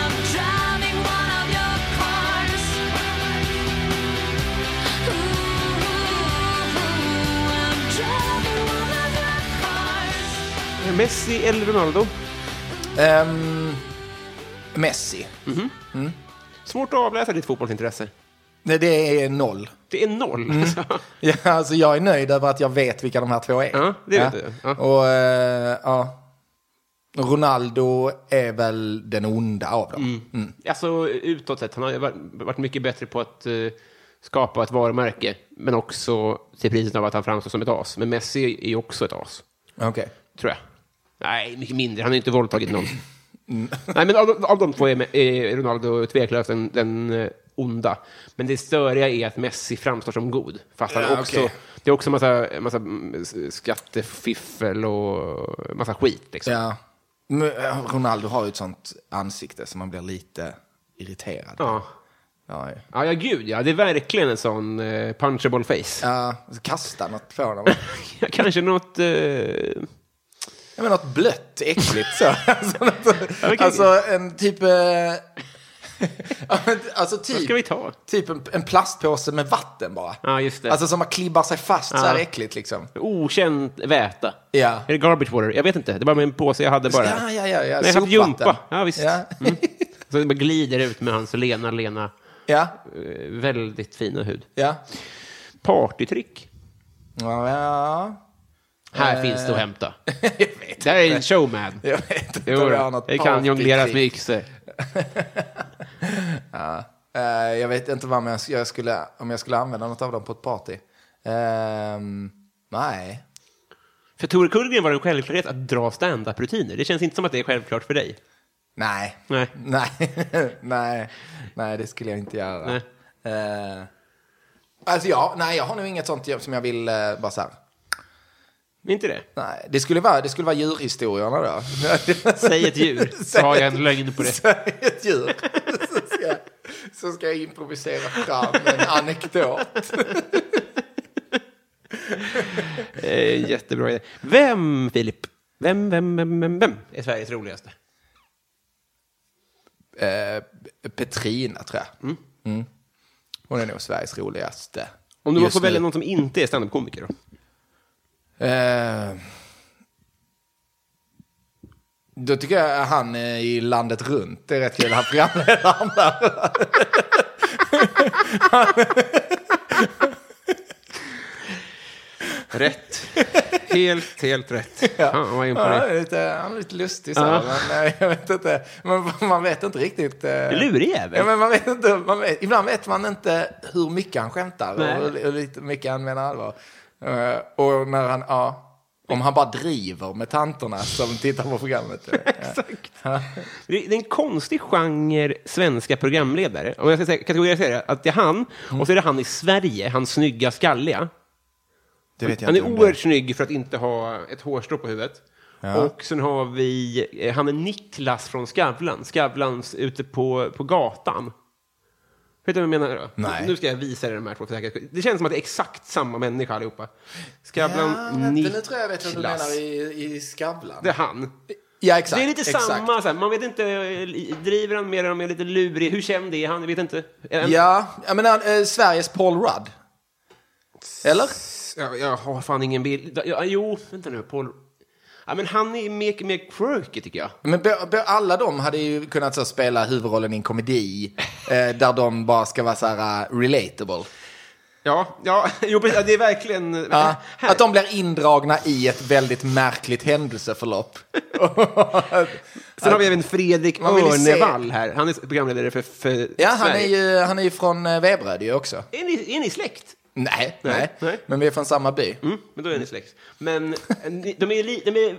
[SPEAKER 4] I'm driving one of your cars. Ooh, I'm driving one of your cars.
[SPEAKER 2] Messi eller Ronaldo?
[SPEAKER 3] Ehm, Messi.
[SPEAKER 2] Svårt att avläsa ditt fotbollsintresse.
[SPEAKER 3] Nej, det är noll.
[SPEAKER 2] Det är noll.
[SPEAKER 3] Mm.
[SPEAKER 2] alltså.
[SPEAKER 3] [LAUGHS] Ja, alltså jag är nöjd över att jag vet vilka de här två är.
[SPEAKER 2] Ja, det vet du. Ja.
[SPEAKER 3] Och, eh, ja. Ronaldo är väl den onda av dem.
[SPEAKER 2] [LAUGHS]
[SPEAKER 3] Mm.
[SPEAKER 2] Alltså utåt sett, han har ju varit- varit mycket bättre på att eh, skapa ett varumärke, men också till priset av att han framstår som ett as. Men Messi är ju också ett as,
[SPEAKER 3] Okej.
[SPEAKER 2] tror jag. Nej, mycket mindre. Han har ju inte våldtagit någon. Nej, men av, de- av de två är, Me- är Ronaldo tveklöst den, den eh, onda. Men det störiga är att Messi framstår som god. Fast han
[SPEAKER 3] Ja,
[SPEAKER 2] också,
[SPEAKER 3] okej.
[SPEAKER 2] det är också massa, massa mm, s- skattefiffel och massa skit. Liksom.
[SPEAKER 3] Ja. Men, eh, Ronaldo har ju ett sånt ansikte som man blir lite irriterad.
[SPEAKER 2] Ja.
[SPEAKER 3] Ja, ja.
[SPEAKER 2] Ja, ja, gud ja. Det är verkligen en sån eh, punchable face.
[SPEAKER 3] Ja, så kasta något
[SPEAKER 2] [LAUGHS]
[SPEAKER 3] på honom.
[SPEAKER 2] Ja, Kanske något... Eh,
[SPEAKER 3] Jag menar något blött, äckligt
[SPEAKER 2] [LAUGHS]
[SPEAKER 3] så. Alltså, något-
[SPEAKER 2] Okej.
[SPEAKER 3] alltså en typ... eh, [LAUGHS] ja, men alltså
[SPEAKER 2] vad
[SPEAKER 3] typ,
[SPEAKER 2] ska vi ta?
[SPEAKER 3] typ en, en plastpåse med vatten bara.
[SPEAKER 2] Ja, just det.
[SPEAKER 3] Alltså som man klibbar sig fast så här
[SPEAKER 2] Ja.
[SPEAKER 3] äckligt liksom.
[SPEAKER 2] Okänd väta.
[SPEAKER 3] Ja.
[SPEAKER 2] Är det garbage water? Jag vet inte. Det var bara en påse jag hade bara.
[SPEAKER 3] Ja, ja, ja. ja.
[SPEAKER 2] Nej, jag har haft
[SPEAKER 3] Sopvatten.
[SPEAKER 2] jumpa. Ja, visst.
[SPEAKER 3] Ja. [LAUGHS]
[SPEAKER 2] Mm. Så det bara glider ut med hans lena, lena,
[SPEAKER 3] ja,
[SPEAKER 2] eh, väldigt fina hud.
[SPEAKER 3] ja.
[SPEAKER 2] Partytrick.
[SPEAKER 3] Ja, ja.
[SPEAKER 2] Här
[SPEAKER 3] Eh.
[SPEAKER 2] finns det att hämta.
[SPEAKER 3] [LAUGHS] Jag vet,
[SPEAKER 2] Där är en showman.
[SPEAKER 3] jag vet inte
[SPEAKER 2] Jo,
[SPEAKER 3] om jag har något
[SPEAKER 2] det kan jongleras
[SPEAKER 3] partytrick.
[SPEAKER 2] med yxor.
[SPEAKER 3] Eh, jag vet inte vad jag, jag skulle, om jag skulle använda något av dem på ett party. Ehm, nej.
[SPEAKER 2] För Tore Kullgren var det en självklarhet att dra stand-up-rutiner. Det känns inte som att det är självklart för dig.
[SPEAKER 3] Nej.
[SPEAKER 2] Nej.
[SPEAKER 3] Nej. [LAUGHS] nej. Nej, det skulle jag inte göra.
[SPEAKER 2] Nej.
[SPEAKER 3] Eh, alltså ja, nej, jag har nog inget sånt jobb som jag vill eh, bara så här.
[SPEAKER 2] Inte det?
[SPEAKER 3] Nej, det skulle vara, det skulle vara djurhistorierna då. [LAUGHS]
[SPEAKER 2] Säg ett djur, så har jag en lögn på det.
[SPEAKER 3] Säg ett djur. Så ska, jag- så ska jag improvisera fram en anekdot.
[SPEAKER 2] Eh, jättebra idé. Vem, Filip? Vem, vem, vem, vem, vem är Sveriges roligaste?
[SPEAKER 3] Eh, Petrina tror jag. Mm. Hon är nog Sveriges roligaste.
[SPEAKER 2] Om du
[SPEAKER 3] just
[SPEAKER 2] får
[SPEAKER 3] nu.
[SPEAKER 2] välja någon som inte är standup-komiker då?
[SPEAKER 3] Eh, då tycker jag han eh, i landet runt det är rätt kul. Han programledaren där.
[SPEAKER 2] Rätt. [LAUGHS] Helt, helt rätt. Ja. Fan, vad jag är
[SPEAKER 3] Ja, han
[SPEAKER 2] imponerad.
[SPEAKER 3] är lite, han är lite lustig så. Men, eh, jag vet inte. Man, man vet inte riktigt. eh,
[SPEAKER 2] Lurig
[SPEAKER 3] Ja,
[SPEAKER 2] jävel.
[SPEAKER 3] men man vet inte, man vet, ibland vet man inte hur mycket han skämtar och
[SPEAKER 2] Nej.
[SPEAKER 3] hur, hur lite mycket han menar allvar. Eh, och när han, ja, om han bara driver med tanterna som tittar
[SPEAKER 2] [LAUGHS]
[SPEAKER 3] på programmet. Exakt. Ja.
[SPEAKER 2] Det det är en konstig genre svenska programledare. Om jag ska säga, kategorisera det, att det är han, och så är det han i Sverige, han snygga, skalliga.
[SPEAKER 3] Det vet jag
[SPEAKER 2] Han är
[SPEAKER 3] inte om det-
[SPEAKER 2] oerhört snygg för att inte ha ett hårstrå på huvudet. Och sen har vi, eh, han är Niklas från Skavlan, Skavlans ute på, på gatan. Vet du vad jag menar? Då?
[SPEAKER 3] Nej.
[SPEAKER 2] Nu ska jag visa dig de här två för säkerhets skull. Det känns som att det är exakt samma människa allihopa. Skavlan,
[SPEAKER 3] Ja, vänta,
[SPEAKER 2] Niklas.
[SPEAKER 3] nu tror jag jag vet vad du menar i, i Skavlan.
[SPEAKER 2] Det är han.
[SPEAKER 3] ja, exakt.
[SPEAKER 2] det är lite
[SPEAKER 3] exakt.
[SPEAKER 2] samma, så här, man vet inte, eh, driver han mer eller om är lite lurig? Hur känd är han? Jag vet inte. Är han-
[SPEAKER 3] Ja, jag menar eh, Sveriges Paul Rudd. Eller?
[SPEAKER 2] Jag, jag har fan ingen bild. Ja, jo, vänta nu, Paul. Ja, men han är mer, mer quirky tycker jag.
[SPEAKER 3] Men be- be- alla de hade ju kunnat så, spela huvudrollen i en komedi eh, där de bara ska vara så här eh, relatable.
[SPEAKER 2] Ja, ja, [LAUGHS] jo, precis, ja, det är verkligen...
[SPEAKER 3] Ja,
[SPEAKER 2] här,
[SPEAKER 3] Eh, att de blir indragna i ett väldigt
[SPEAKER 2] [LAUGHS]
[SPEAKER 3] märkligt händelseförlopp.
[SPEAKER 2] sen har vi även Fredrik
[SPEAKER 3] Man vill ju se-
[SPEAKER 2] Örnevall här. Han är programledare för, för
[SPEAKER 3] ja, han är,
[SPEAKER 2] Sverige.
[SPEAKER 3] ju, han är ju från eh, Veberöd ju också.
[SPEAKER 2] Är ni, är ni släkt?
[SPEAKER 3] Nej,
[SPEAKER 2] Nej,
[SPEAKER 3] nej,
[SPEAKER 2] nej.
[SPEAKER 3] men vi är från samma by.
[SPEAKER 2] Mm, men då är ni släkt. Men eh, ni- de är, li, de är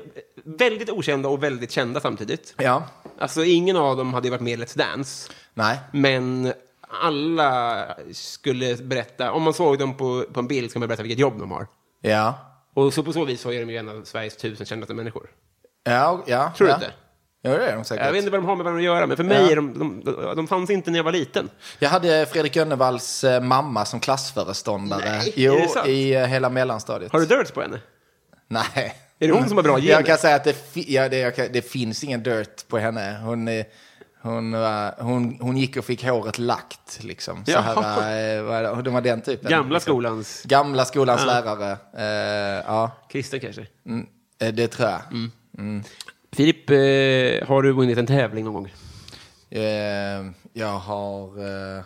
[SPEAKER 2] väldigt okända och väldigt kända samtidigt.
[SPEAKER 3] Ja,
[SPEAKER 2] Alltså, ingen av dem hade ju varit med i Let's Dance.
[SPEAKER 3] nej.
[SPEAKER 2] Men alla skulle berätta, om man såg dem på, på en bild skulle man berätta vilket jobb de har.
[SPEAKER 3] Ja,
[SPEAKER 2] Och så på så vis så är de ju en av Sveriges tusen kändaste människor.
[SPEAKER 3] ja, ja.
[SPEAKER 2] Tror
[SPEAKER 3] ja.
[SPEAKER 2] du inte?
[SPEAKER 3] Ja, det är de säkert.
[SPEAKER 2] Jag vet inte vad de har med varandra att göra, men för mig
[SPEAKER 3] Ja.
[SPEAKER 2] är de, de, de, de fanns inte när jag var liten.
[SPEAKER 3] Jag hade Fredrik Önnevalls eh, mamma som klassföreståndare.
[SPEAKER 2] Nej,
[SPEAKER 3] jo,
[SPEAKER 2] är det sant?
[SPEAKER 3] i eh, hela mellanstadiet.
[SPEAKER 2] Har du dirt på henne?
[SPEAKER 3] Nej.
[SPEAKER 2] Är det hon som har bra gener?
[SPEAKER 3] Jag kan säga att det, fi- ja, det, jag kan, det finns ingen dirt på henne. Hon, eh, hon, var- hon, hon gick och fick håret lagt. Liksom. Så
[SPEAKER 2] Jaha.
[SPEAKER 3] här, eh, vad är det? De var den typen.
[SPEAKER 2] Gamla
[SPEAKER 3] liksom.
[SPEAKER 2] skolans
[SPEAKER 3] Gamla skolans lärare. Eh, ja,
[SPEAKER 2] kristen kanske?
[SPEAKER 3] mm, eh, det tror jag.
[SPEAKER 2] Mm. Filip, eh, har du vunnit en tävling någon gång?
[SPEAKER 3] Eh, jag har... Eh,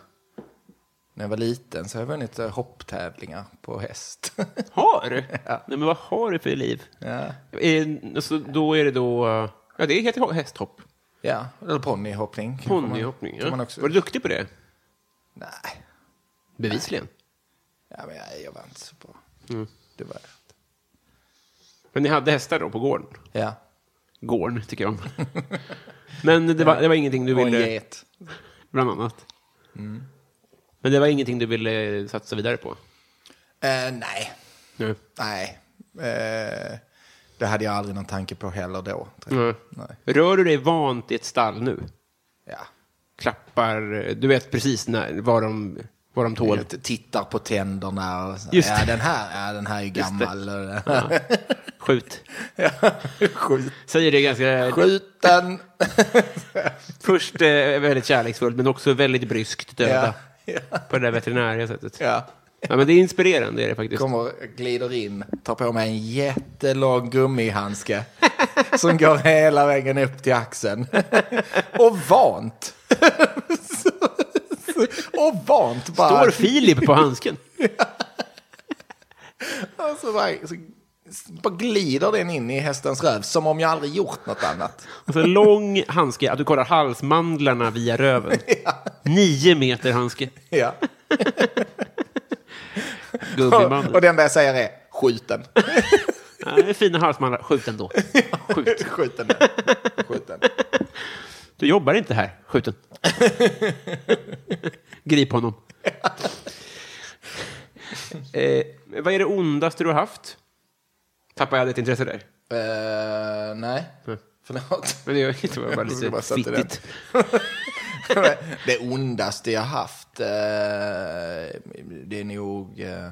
[SPEAKER 3] när jag var liten så har jag vunnit eh, hopptävlingar på häst. [LAUGHS]
[SPEAKER 2] Har du? Nej, men vad har du för liv?
[SPEAKER 3] ja.
[SPEAKER 2] Eh, så då är det då... eh, Ja, det heter hästhopp.
[SPEAKER 3] ja, eller ponnyhoppning. kanske man-
[SPEAKER 2] Ponnyhoppning.
[SPEAKER 3] kan
[SPEAKER 2] Ja.
[SPEAKER 3] man också-
[SPEAKER 2] Var du duktig på det?
[SPEAKER 3] Nej,
[SPEAKER 2] Bevisligen.
[SPEAKER 3] ja, men jag, jag var inte så bra.
[SPEAKER 2] Mm.
[SPEAKER 3] Det var jag inte.
[SPEAKER 2] Men ni hade hästar då på gården?
[SPEAKER 3] Ja.
[SPEAKER 2] Gården, tycker
[SPEAKER 3] [LAUGHS]
[SPEAKER 2] jag om. men det var, det var ingenting du
[SPEAKER 3] Och en
[SPEAKER 2] ville...
[SPEAKER 3] get.
[SPEAKER 2] Bland annat.
[SPEAKER 3] Mm.
[SPEAKER 2] Men det var ingenting du ville satsa vidare på?
[SPEAKER 3] Eh, nej,
[SPEAKER 2] Nej.
[SPEAKER 3] nej. Eh, det hade jag aldrig någon tanke på heller då. tror jag.
[SPEAKER 2] Nej.
[SPEAKER 3] Nej.
[SPEAKER 2] Rör du dig vant i ett stall nu?
[SPEAKER 3] Ja.
[SPEAKER 2] Klappar, eh, du vet precis när, var, de, var de tål?
[SPEAKER 3] Jag t- Tittar på tänderna och så.
[SPEAKER 2] Just
[SPEAKER 3] ja,
[SPEAKER 2] det.
[SPEAKER 3] den här, ja, den här är ju
[SPEAKER 2] Just det.
[SPEAKER 3] gammal. [LAUGHS]
[SPEAKER 2] Skjut.
[SPEAKER 3] Skjut.
[SPEAKER 2] Säger det ganska...
[SPEAKER 3] Skjuten!
[SPEAKER 2] Först eh, väldigt kärleksfullt, men också väldigt bryskt döda.
[SPEAKER 3] Ja.
[SPEAKER 2] På det där veterinära sättet.
[SPEAKER 3] Ja.
[SPEAKER 2] Ja, men det är inspirerande är det faktiskt.
[SPEAKER 3] Kommer, glider in, tar på mig en jättelång gummihandske [LAUGHS] som går hela vägen upp till axeln. [LAUGHS] Och vant! [LAUGHS] Och vant bara.
[SPEAKER 2] Står Filip på handsken?
[SPEAKER 3] Och så Alltså, bara, så, bara glider den in i hästens röv som om jag aldrig gjort något annat.
[SPEAKER 2] Alltså lång handske, att du kollar halsmandlarna via
[SPEAKER 3] [LAUGHS]
[SPEAKER 2] röven. Nio meter handske.
[SPEAKER 3] [LAUGHS] Ja. Och,
[SPEAKER 2] Gummiband.
[SPEAKER 3] och den där jag säger är skjuten. [LAUGHS]
[SPEAKER 2] Ja, det är fina halsmandlar. Skjut ändå. Skjut.
[SPEAKER 3] skjuten. den. skjuten.
[SPEAKER 2] [LAUGHS] Du jobbar inte här. Skjuten. [LAUGHS] Grip honom. eh, vad är det ondaste du har haft? Tappar jag ditt intresse där?
[SPEAKER 3] Eh, nej, förlåt.
[SPEAKER 2] Men det gör inte, det var bara
[SPEAKER 3] Jag skulle
[SPEAKER 2] lite
[SPEAKER 3] bara sätta
[SPEAKER 2] fittigt.
[SPEAKER 3] det ondaste jag haft, eh, det är nog... Eh,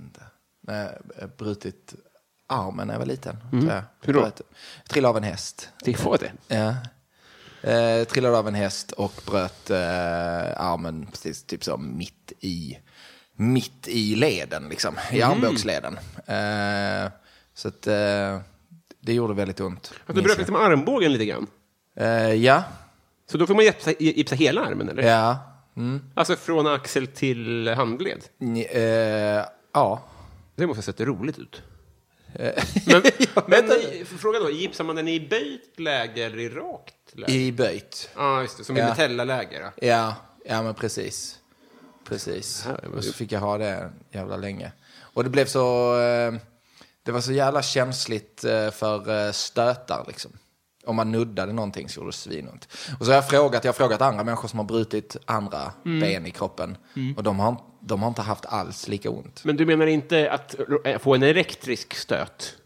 [SPEAKER 3] inte, när jag brutit armen när jag var liten. tror jag.
[SPEAKER 2] Mm. Hur då?
[SPEAKER 3] Bröt- Trillade av en häst.
[SPEAKER 2] Det var det.
[SPEAKER 3] Ja. Eh, trillade av en häst och bröt eh, armen precis typ så mitt i, mitt i leden, liksom,
[SPEAKER 2] Mm.
[SPEAKER 3] i armbågsleden. Eh, så att, eh, det gjorde väldigt ont.
[SPEAKER 2] Att du
[SPEAKER 3] minns
[SPEAKER 2] bröt liksom armbågen lite grann.
[SPEAKER 3] jag. eh, ja,
[SPEAKER 2] Så då får man gipsa, gipsa hela armen, eller?
[SPEAKER 3] ja, Mm.
[SPEAKER 2] Alltså från axel till handled.
[SPEAKER 3] Ni- eh, ja.
[SPEAKER 2] Det måste ha sett roligt ut. [LAUGHS] Men, men eh, fråga då, gipsar man den i böjt läge eller i rakt läge?
[SPEAKER 3] I böjt.
[SPEAKER 2] Ja, just det. Som i
[SPEAKER 3] Ja.
[SPEAKER 2] Metella-läge. då.
[SPEAKER 3] Ja, ja men precis. Precis.
[SPEAKER 2] här var
[SPEAKER 3] Och så
[SPEAKER 2] ju-
[SPEAKER 3] fick jag ha det jävla länge. Och det blev så... eh, Det var så jävla känsligt eh, för eh, stötar liksom. Om man nuddade någonting så gjorde det svinont. Och så har jag frågat, jag har frågat andra människor som har brutit andra
[SPEAKER 2] Mm.
[SPEAKER 3] ben i kroppen. Och de har, de har inte haft alls lika ont.
[SPEAKER 2] Men du menar inte att eh, få en elektrisk stöt?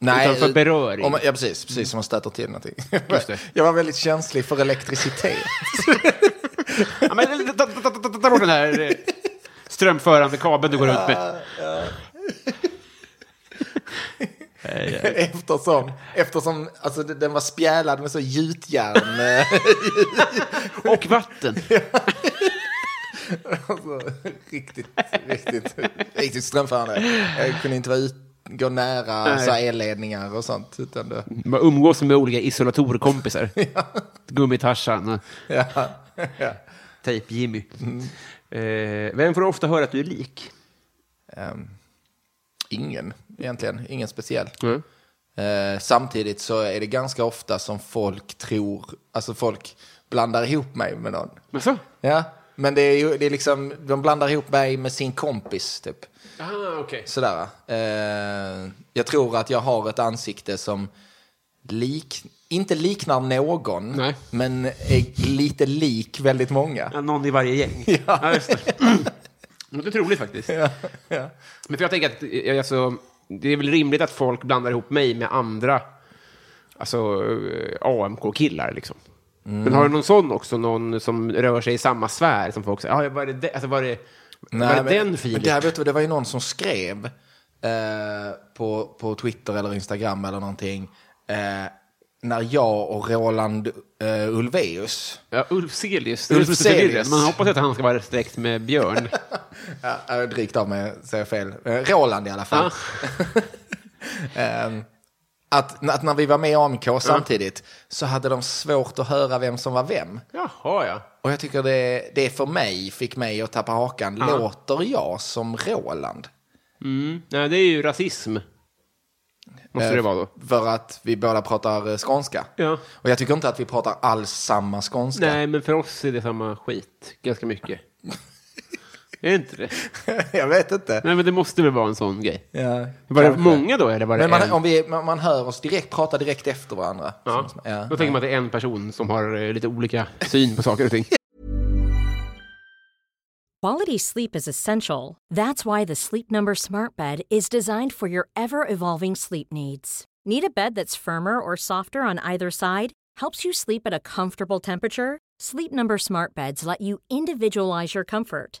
[SPEAKER 2] Utan för
[SPEAKER 3] eh,
[SPEAKER 2] beröring. Mm.
[SPEAKER 3] Om, man- ja, precis. Precis som man stöter till någonting.
[SPEAKER 2] Just det.
[SPEAKER 3] [LAUGHS] Jag var väldigt känslig för elektricitet.
[SPEAKER 2] Ja, men, eh, ta, ta, ta, ta, ta bort den här eh, strömförande kabeln du går ut med.
[SPEAKER 3] [LAUGHS] Eftersom, eftersom alltså, d- den var spjälad med så gjutjärn. eh, [LAUGHS]
[SPEAKER 2] Och vatten.
[SPEAKER 3] alltså, riktigt, riktigt, riktigt strömförande. Jag kunde inte vara ut, gå nära
[SPEAKER 2] Nej.
[SPEAKER 3] så här elledningar och sånt. Utan det, [LAUGHS]
[SPEAKER 2] Man umgås med olika [LAUGHS] isolatorkompisar. Gummitarsan och
[SPEAKER 3] ja, ja.
[SPEAKER 2] Tejp-Jimmy. Eh, vem får du ofta höra att du är lik?
[SPEAKER 3] Ehm, ingen, egentligen. Ingen speciell. Eh, samtidigt så är det ganska ofta som folk tror, alltså folk blandar ihop mig med någon.
[SPEAKER 2] Men så?
[SPEAKER 3] Ja, men det är ju, det är liksom, de blandar ihop mig med sin kompis typ.
[SPEAKER 2] Ah, okej.
[SPEAKER 3] Sådär. Eh, jag tror att jag har ett ansikte som lik, inte liknar någon,
[SPEAKER 2] Nej.
[SPEAKER 3] men är lite lik väldigt många.
[SPEAKER 2] Ja, Äh, någon i varje gäng. [LAUGHS] Ja, just det. [CLEARS THROAT] Något otroligt faktiskt. eh, Men för jag tänker att eh, alltså, det är väl rimligt att folk blandar ihop mig med andra alltså, eh, AMK-killar. Liksom. Men har du någon sån också? Någon som rör sig i samma sfär som folk säger, ah, var det, de-" alltså, var det, var det den
[SPEAKER 3] men
[SPEAKER 2] Filip?
[SPEAKER 3] det, här, vet du, det var ju någon som skrev eh, på, på Twitter eller Instagram eller någonting. Eh, när jag och Roland eh, Ulvaeus
[SPEAKER 2] Ja, Ulf Celius.
[SPEAKER 3] Ulf
[SPEAKER 2] Ulf Celius.
[SPEAKER 3] Celius.
[SPEAKER 2] Man hoppas att han ska vara släkt med [LAUGHS] Björn.
[SPEAKER 3] Ja, jag är Äh, drygt av mig, säger jag fel. Eh, Roland i alla fall. [LAUGHS] Ehm, att, att när vi var med i AMK samtidigt så hade de svårt att höra vem som var vem.
[SPEAKER 2] Jaha, ja.
[SPEAKER 3] Och jag tycker det, det för mig fick mig att tappa hakan. Låter jag som Roland?
[SPEAKER 2] Mm. Nej, det är ju rasism. Måste det vara då.
[SPEAKER 3] För att vi båda pratar eh, skånska.
[SPEAKER 2] Äh, Ja.
[SPEAKER 3] Och jag tycker inte att vi pratar alls samma skånska.
[SPEAKER 2] Nej, men för oss är det samma skit. Ganska mycket. är det inte det?
[SPEAKER 3] [LAUGHS] jag vet inte.
[SPEAKER 2] Nej, men det måste väl vara en sån grej.
[SPEAKER 3] Ja,
[SPEAKER 2] Var det
[SPEAKER 3] kanske.
[SPEAKER 2] många då, eller var det
[SPEAKER 3] Men man,
[SPEAKER 2] en?
[SPEAKER 3] om vi, man, man hör oss direkt prata direkt efter varandra.
[SPEAKER 2] Ja.
[SPEAKER 3] Som- ja.
[SPEAKER 2] Då tänker man att det är en person som har eh, lite olika syn på saker och
[SPEAKER 3] [LAUGHS]
[SPEAKER 2] ting.
[SPEAKER 5] Quality sleep is essential. That's why the Sleep Number Smart Bed is designed for your ever evolving sleep needs. Need a bed that's firmer or softer on either side? Helps you sleep at a comfortable temperature? Sleep Number Smart Beds let you individualize your comfort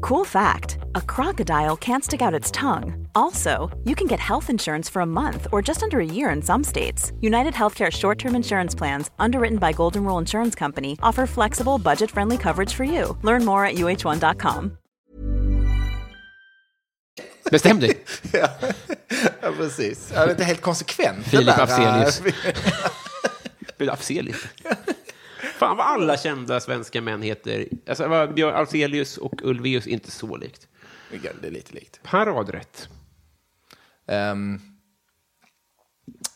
[SPEAKER 6] Cool fact a crocodile can't stick out its tongue. Also, you can get health insurance for a month or just under a year in some states. United Healthcare short term insurance plans, underwritten by Golden Rule Insurance Company, offer flexible, budget friendly coverage for you. Learn more at uh1.com.
[SPEAKER 2] Bestäm dig.
[SPEAKER 3] Ja, ja precis. Ja, det är inte helt konsekvent.
[SPEAKER 2] Filip
[SPEAKER 3] det där.
[SPEAKER 2] Afzelius.
[SPEAKER 3] [LAUGHS]
[SPEAKER 2] Björn Afzelius. Fan vad alla kända svenska män heter. Alltså, vad Björn Afzelius och Ulvaeus är inte så likt.
[SPEAKER 3] Ja, eh, Det är lite likt.
[SPEAKER 2] Paradrätt.
[SPEAKER 3] Ehm,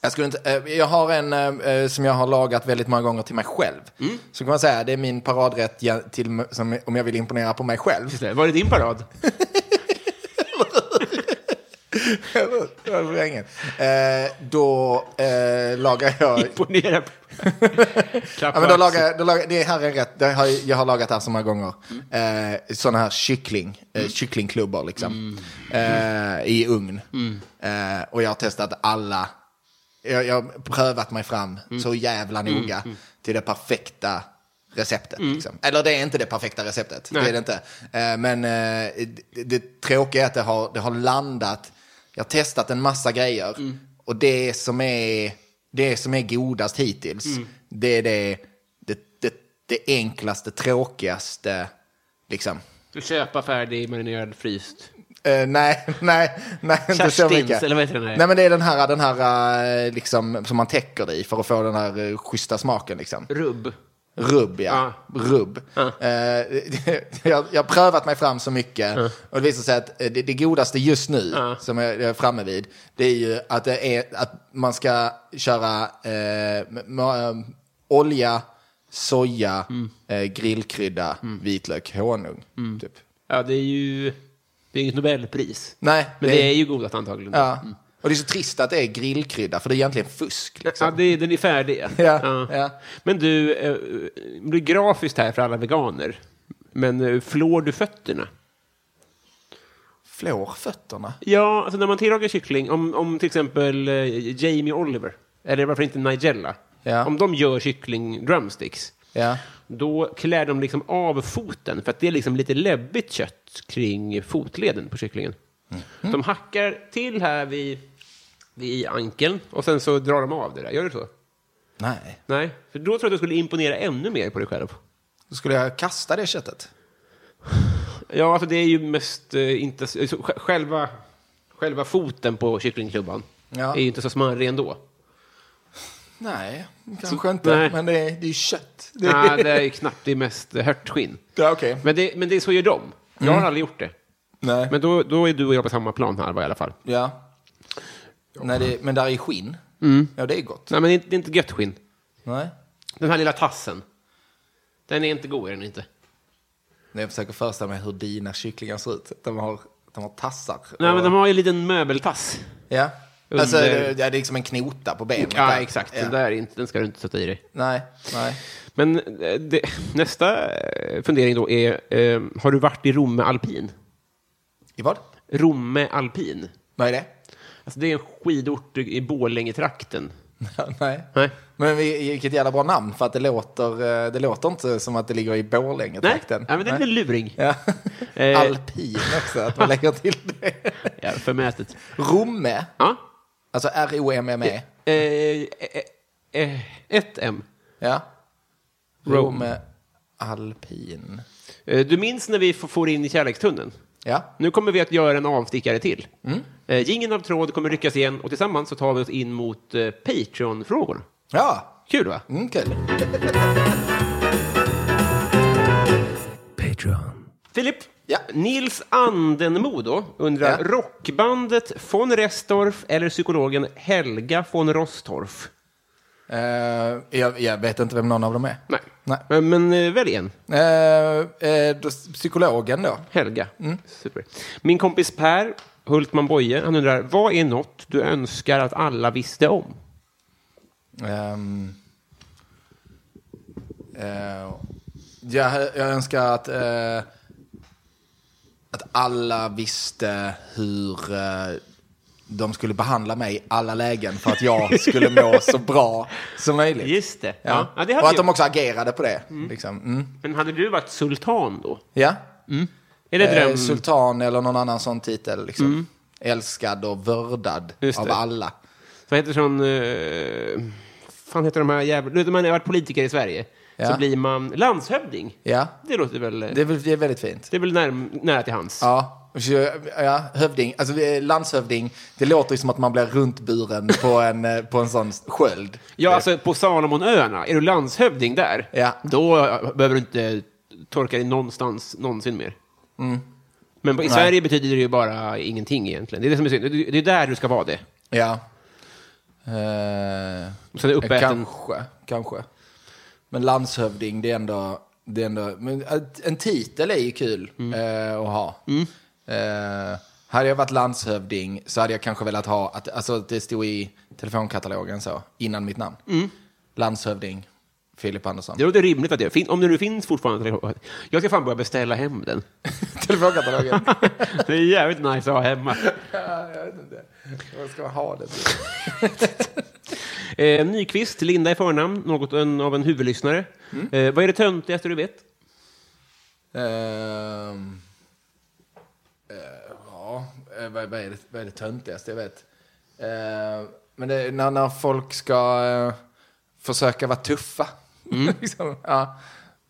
[SPEAKER 3] jag, skulle inte, eh, jag har en eh, som jag har lagat väldigt många gånger till mig själv.
[SPEAKER 2] Mm.
[SPEAKER 3] Så kan man säga, det är min paradrätt ja- till, som, om jag vill imponera på mig
[SPEAKER 2] [LAUGHS]
[SPEAKER 3] själv.
[SPEAKER 2] Just det, Var det din
[SPEAKER 3] [LAUGHS]
[SPEAKER 2] parad?
[SPEAKER 3] [LAUGHS] Det var ingen. Eh, då eh, lagar jag...
[SPEAKER 2] Imponera
[SPEAKER 3] [LAUGHS]
[SPEAKER 2] på... Klapp
[SPEAKER 3] Ja, men
[SPEAKER 2] på
[SPEAKER 3] då
[SPEAKER 2] axeln.
[SPEAKER 3] lagar, jag- då lagar, det här är rätt, det har, jag- jag har lagat det här så många gånger.
[SPEAKER 2] Mm.
[SPEAKER 3] Eh, Sådana här kyckling, eh, kycklingklubbar liksom.
[SPEAKER 2] Mm.
[SPEAKER 3] Eh, I ugn. Eh, och jag har testat alla. Jag, jag har prövat mig fram så jävla noga till det perfekta receptet. Liksom. Eller det är inte det perfekta receptet, det är det inte. Eh, men eh, det, det tråkiga är att det har, det har landat. Jag har testat en massa grejer. Och det som är, det som är godast hittills, det är det, det, det, det enklaste, tråkigaste. Liksom.
[SPEAKER 2] Du köpa färdig, marinerad, fryst.
[SPEAKER 3] Eh, nej, [LAUGHS] nej, nej. Inte så
[SPEAKER 2] Kerstins,
[SPEAKER 3] mycket.
[SPEAKER 2] eller vad heter den här?
[SPEAKER 3] Nej, men det är den här, den här eh, liksom, som man täcker det i för att få den här eh, schyssta smaken. Liksom.
[SPEAKER 2] Rubb.
[SPEAKER 3] Rubb, ja.
[SPEAKER 2] Ja.
[SPEAKER 3] Rubb. Eh, [LAUGHS] jag, jag har prövat mig fram så mycket. Och det visar sig att eh, det, det godaste just nu, som jag jag är framme vid, det är ju att, det är, att man ska köra eh, ma- eh, olja, soja,
[SPEAKER 2] Mm.
[SPEAKER 3] eh, grillkrydda, vitlök, honung. Typ.
[SPEAKER 2] Ja, det är ju... Det är inget Nobelpris.
[SPEAKER 3] Nej,
[SPEAKER 2] Men
[SPEAKER 3] det-
[SPEAKER 2] det är ju godat antagligen.
[SPEAKER 3] Ja. Mm. Och det är så trist att det är grillkrydda, för det är egentligen fusk. Liksom.
[SPEAKER 2] Ja, det, den är färdig.
[SPEAKER 3] Ja, ja.
[SPEAKER 2] Men du, eh, det blir grafiskt här för alla veganer. Men eh, flår du fötterna?
[SPEAKER 3] Flår fötterna.
[SPEAKER 2] Ja, alltså när man tillagar kyckling, om, om till exempel eh, Jamie Oliver, eller varför inte Nigella,
[SPEAKER 3] Ja.
[SPEAKER 2] om de gör kyckling drumsticks,
[SPEAKER 3] Ja.
[SPEAKER 2] då klär de liksom av foten, för att det är liksom lite läbbigt kött kring fotleden på kycklingen. De hackar till här vid, vid ankeln och sen så drar de av det där. Gör du så?
[SPEAKER 3] Nej.
[SPEAKER 2] Nej, för då tror jag att du skulle imponera ännu mer på dig själv.
[SPEAKER 3] Då skulle jag kasta det köttet.
[SPEAKER 2] Ja, alltså det är ju mest eh, inte... så- så sj- Själva, själva foten på kycklingklubban
[SPEAKER 3] Ja.
[SPEAKER 2] är ju inte så smarrig ändå.
[SPEAKER 3] Nej, kanske inte.
[SPEAKER 2] nej.
[SPEAKER 3] Men det är, det är ju kött. Det är,
[SPEAKER 2] Nej, det är ju knappt. Det är mest eh, hörtskinn.
[SPEAKER 3] Ja, okej.
[SPEAKER 2] Men, det, men det är så gör de. Jag
[SPEAKER 3] Mm.
[SPEAKER 2] har aldrig gjort det.
[SPEAKER 3] nej.
[SPEAKER 2] Men då, då är du och jag på samma plan här i alla fall.
[SPEAKER 3] ja. Nej, det, men där är skinn.
[SPEAKER 2] Mm.
[SPEAKER 3] Ja, det är gott.
[SPEAKER 2] Nej, men det är inte- det är inte gött skinn.
[SPEAKER 3] Nej.
[SPEAKER 2] Den här lilla tassen. Den är inte god, är den inte.
[SPEAKER 3] När jag försöker föreställa mig hur dina kycklingar ser ut. De har, de har tassar.
[SPEAKER 2] Nej,
[SPEAKER 3] och-
[SPEAKER 2] men de har ju en liten möbeltass.
[SPEAKER 3] Ja. Alltså,
[SPEAKER 2] Under-
[SPEAKER 3] det, det är liksom en knota på benet.
[SPEAKER 2] Ja,
[SPEAKER 3] där.
[SPEAKER 2] exakt.
[SPEAKER 3] Ja.
[SPEAKER 2] Den, där är inte, den ska du inte sätta i dig.
[SPEAKER 3] Nej, nej.
[SPEAKER 2] Men eh, det, nästa eh, fundering då är, eh, har du varit i Romme alpin?
[SPEAKER 3] I vad?
[SPEAKER 2] Romme alpin?
[SPEAKER 3] Vad är det?
[SPEAKER 2] Alltså det är en skidort i Borlänge-trakten.
[SPEAKER 3] [LAUGHS] nej.
[SPEAKER 2] Nej.
[SPEAKER 3] Men vi- vilket jävla bra namn för att det låter, eh, det låter inte som att det ligger i Borlänge
[SPEAKER 2] Nej,
[SPEAKER 3] trakten.
[SPEAKER 2] ja, men det är en luring.
[SPEAKER 3] Ja.
[SPEAKER 2] [LAUGHS] Eh.
[SPEAKER 3] Alpin också, att man lägger till
[SPEAKER 2] [LAUGHS]
[SPEAKER 3] det.
[SPEAKER 2] Ja, förmätet.
[SPEAKER 3] Romme,
[SPEAKER 2] Ja.
[SPEAKER 3] alltså R-O-M-M-E.
[SPEAKER 2] Eh, eh, eh, eh, ett M.
[SPEAKER 3] Ja.
[SPEAKER 2] Rom.
[SPEAKER 3] Romme alpin.
[SPEAKER 2] Eh, Du minns när vi f- for in i kärlekstunneln?
[SPEAKER 3] Ja,
[SPEAKER 2] Nu kommer vi att göra en avstickare till. Mm. Gingen av tråd kommer ryckas igen och tillsammans så tar vi oss in mot eh, Patreon-frågor.
[SPEAKER 3] ja.
[SPEAKER 2] Kul va?
[SPEAKER 3] Mm, kul.
[SPEAKER 2] Filip,
[SPEAKER 3] Ja.
[SPEAKER 2] Nils Andenmo då, undrar
[SPEAKER 3] Ja.
[SPEAKER 2] rockbandet von Restorff eller psykologen Helga von Rostorff?
[SPEAKER 3] Eh, jag, jag vet inte vem någon av dem är.
[SPEAKER 2] Nej,
[SPEAKER 3] Nej.
[SPEAKER 2] Eh, men eh, välj en.
[SPEAKER 3] Eh, eh, då, psykologen då?
[SPEAKER 2] Helga. Super. Min kompis Per Hultman Boye, han undrar vad är något du önskar att alla visste om?
[SPEAKER 3] Ehm, eh, jag, jag önskar att, eh, att alla visste hur eh, de skulle behandla mig i alla lägen för
[SPEAKER 2] [LAUGHS]
[SPEAKER 3] att jag skulle må så bra som möjligt.
[SPEAKER 2] Just det.
[SPEAKER 3] Ja.
[SPEAKER 2] Ja, det hade
[SPEAKER 3] Och att
[SPEAKER 2] jag.
[SPEAKER 3] de också agerade på det. Liksom. Mm.
[SPEAKER 2] Men hade du varit sultan då?
[SPEAKER 3] Ja.
[SPEAKER 2] Är det
[SPEAKER 3] Eh,
[SPEAKER 2] dröm? Mm.
[SPEAKER 3] Sultan eller någon annan sån titel. Liksom. Älskad och vördad
[SPEAKER 2] Just
[SPEAKER 3] av
[SPEAKER 2] det.
[SPEAKER 3] alla.
[SPEAKER 2] Vad heter sån... Uh, fan heter de här jävla... Du vet, om man har varit politiker i Sverige
[SPEAKER 3] Ja.
[SPEAKER 2] så blir man landshövding.
[SPEAKER 3] Ja,
[SPEAKER 2] Det låter väl...
[SPEAKER 3] det är, väl- det är väldigt fint.
[SPEAKER 2] Det är väl när, nära till hans.
[SPEAKER 3] Ja, och så- ja, hövding. Alltså vi är landshövding, det låter ju som att man blir runtburen på en, eh, på en sån sköld.
[SPEAKER 2] Ja, alltså på Salomonöarna, är du landshövding där,
[SPEAKER 3] Ja.
[SPEAKER 2] då eh, behöver du inte torka dig någonstans någonsin mer.
[SPEAKER 3] Mm.
[SPEAKER 2] Men på, i Sverige betyder det ju bara ingenting egentligen. Det är det som är synd. Det det är där du ska vara det.
[SPEAKER 3] Ja. Eh,
[SPEAKER 2] Så det är uppäten-
[SPEAKER 3] Kanske, kanske. Men landshövding, det är ändå... Det är ändå men att- en titel är ju kul
[SPEAKER 2] Mm.
[SPEAKER 3] eh, att ha. Eh, hade jag varit landshövding så hade jag kanske velat ha, att, alltså att det stod i telefonkatalogen så, innan mitt namn.
[SPEAKER 2] Mm.
[SPEAKER 3] Landshövding Filip Andersson.
[SPEAKER 2] Det låter rimligt att det fin- Om det nu finns fortfarande. Jag ska fan börja beställa hem
[SPEAKER 3] [LAUGHS]
[SPEAKER 2] den.
[SPEAKER 3] telefonkatalogen.
[SPEAKER 2] det är jävligt nice att ha hemma.
[SPEAKER 3] Vad ska man ha det till?
[SPEAKER 2] Eh, Nyqvist, Linda i förnamn, något en, av en huvudlyssnare. Eh, vad är det töntigaste du vet?
[SPEAKER 3] Ehm, eh, ja, eh, vad, vad, är det, vad är det töntigaste jag vet? Ehm, men det är när, när folk ska eh, försöka vara tuffa.
[SPEAKER 2] Mm.
[SPEAKER 3] [LAUGHS] liksom, ja.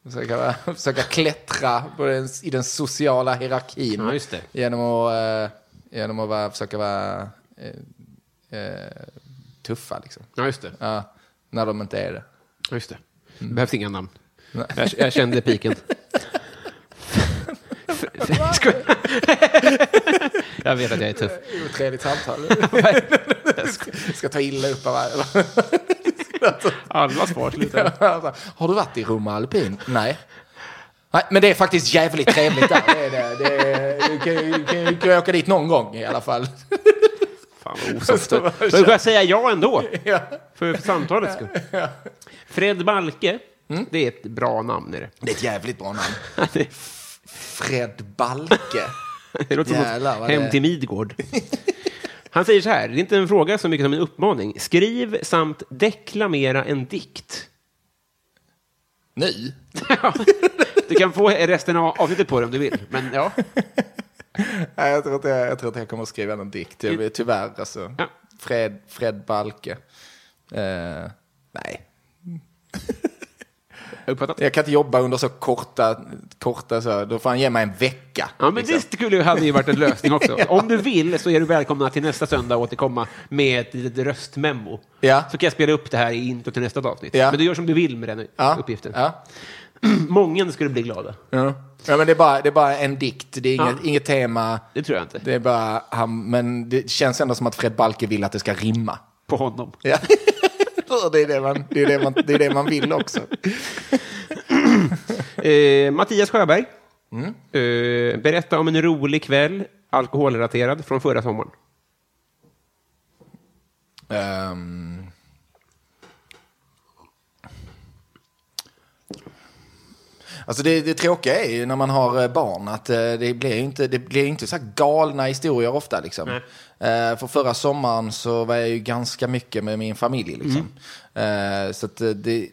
[SPEAKER 3] Försöka, vara- försöka klättra på den, i den sociala hierarkin.
[SPEAKER 2] Ja, just det.
[SPEAKER 3] Genom att, eh, genom att vara, försöka vara eh, eh, tuffa. Liksom.
[SPEAKER 2] Ja, just det.
[SPEAKER 3] Ja, när de inte är det.
[SPEAKER 2] Ja, Just det. Det behövs inga namn. Jag, jag kände [LAUGHS] piken. Skoja. jag vet att jag är tuff.
[SPEAKER 3] Otrevligt [LAUGHS] samtal. ska ta illa upp av alla.
[SPEAKER 2] Alla svar slutar.
[SPEAKER 3] [LAUGHS] Har du varit i Roma Alpin? Nej. Nej, men det är faktiskt jävligt trevligt där. Det är det. Det är, du kan ju- du kan ju du kan ju åka dit någon gång i alla fall.
[SPEAKER 2] Fan vad osoft. Då får jag säga ja ändå. För, för samtalets skull. Fred Balke. Det är ett bra namn. [LAUGHS] Är det.
[SPEAKER 3] Det är ett jävligt bra namn.
[SPEAKER 2] Det,
[SPEAKER 3] Fred Balke.
[SPEAKER 2] det låter som
[SPEAKER 3] Jävlar,
[SPEAKER 2] något
[SPEAKER 3] vad
[SPEAKER 2] hem
[SPEAKER 3] det-
[SPEAKER 2] till Midgård. Han säger så här, det är inte en fråga så mycket som en uppmaning. Skriv samt deklamera en dikt.
[SPEAKER 3] Nu?
[SPEAKER 2] Ja. Du kan få resten av avsnittet på det om du vill. Men ja.
[SPEAKER 3] Nej, jag tror att jag, jag, tror att jag kommer att skriva en dikt. Jag- Tyvärr alltså.
[SPEAKER 2] Ja.
[SPEAKER 3] Fred, Fred Balke. Eh, nej.
[SPEAKER 2] Uppfattat.
[SPEAKER 3] Jag kan inte jobba under så korta, korta så. Då får han ge mig en vecka.
[SPEAKER 2] Ja, men
[SPEAKER 3] liksom.
[SPEAKER 2] det skulle hade ju varit en lösning också. Om du vill så är du välkomna till nästa söndag och återkomma med ett litet röstmemo.
[SPEAKER 3] Ja.
[SPEAKER 2] Så kan jag spela upp det här i intro till nästa avsnitt.
[SPEAKER 3] Ja.
[SPEAKER 2] Men du gör som du vill med den
[SPEAKER 3] Ja,
[SPEAKER 2] uppgiften.
[SPEAKER 3] Ja.
[SPEAKER 2] Många skulle bli glada.
[SPEAKER 3] Ja. ja, men det är, bara, det är bara en dikt. Det är inget,
[SPEAKER 2] Ja.
[SPEAKER 3] inget tema.
[SPEAKER 2] Det tror jag inte.
[SPEAKER 3] Det är bara han, men det känns ändå som att Fred Balke vill att det ska rimma.
[SPEAKER 2] [LAUGHS] På honom.
[SPEAKER 3] Ja. [LAUGHS] det, är det, man, det, är det, man, det är det man vill också.
[SPEAKER 2] Eh, Mattias Sjöberg. Eh, berätta om en rolig kväll, alkoholrelaterad, från förra sommaren.
[SPEAKER 3] Ehm. Alltså det, det tråkiga är ju när man har eh, barn att eh, det blir ju inte, det blir ju inte så här galna historier ofta. Liksom. Eh, För förra sommaren så var jag ju ganska mycket med min familj. Liksom. Eh, Så att eh, det,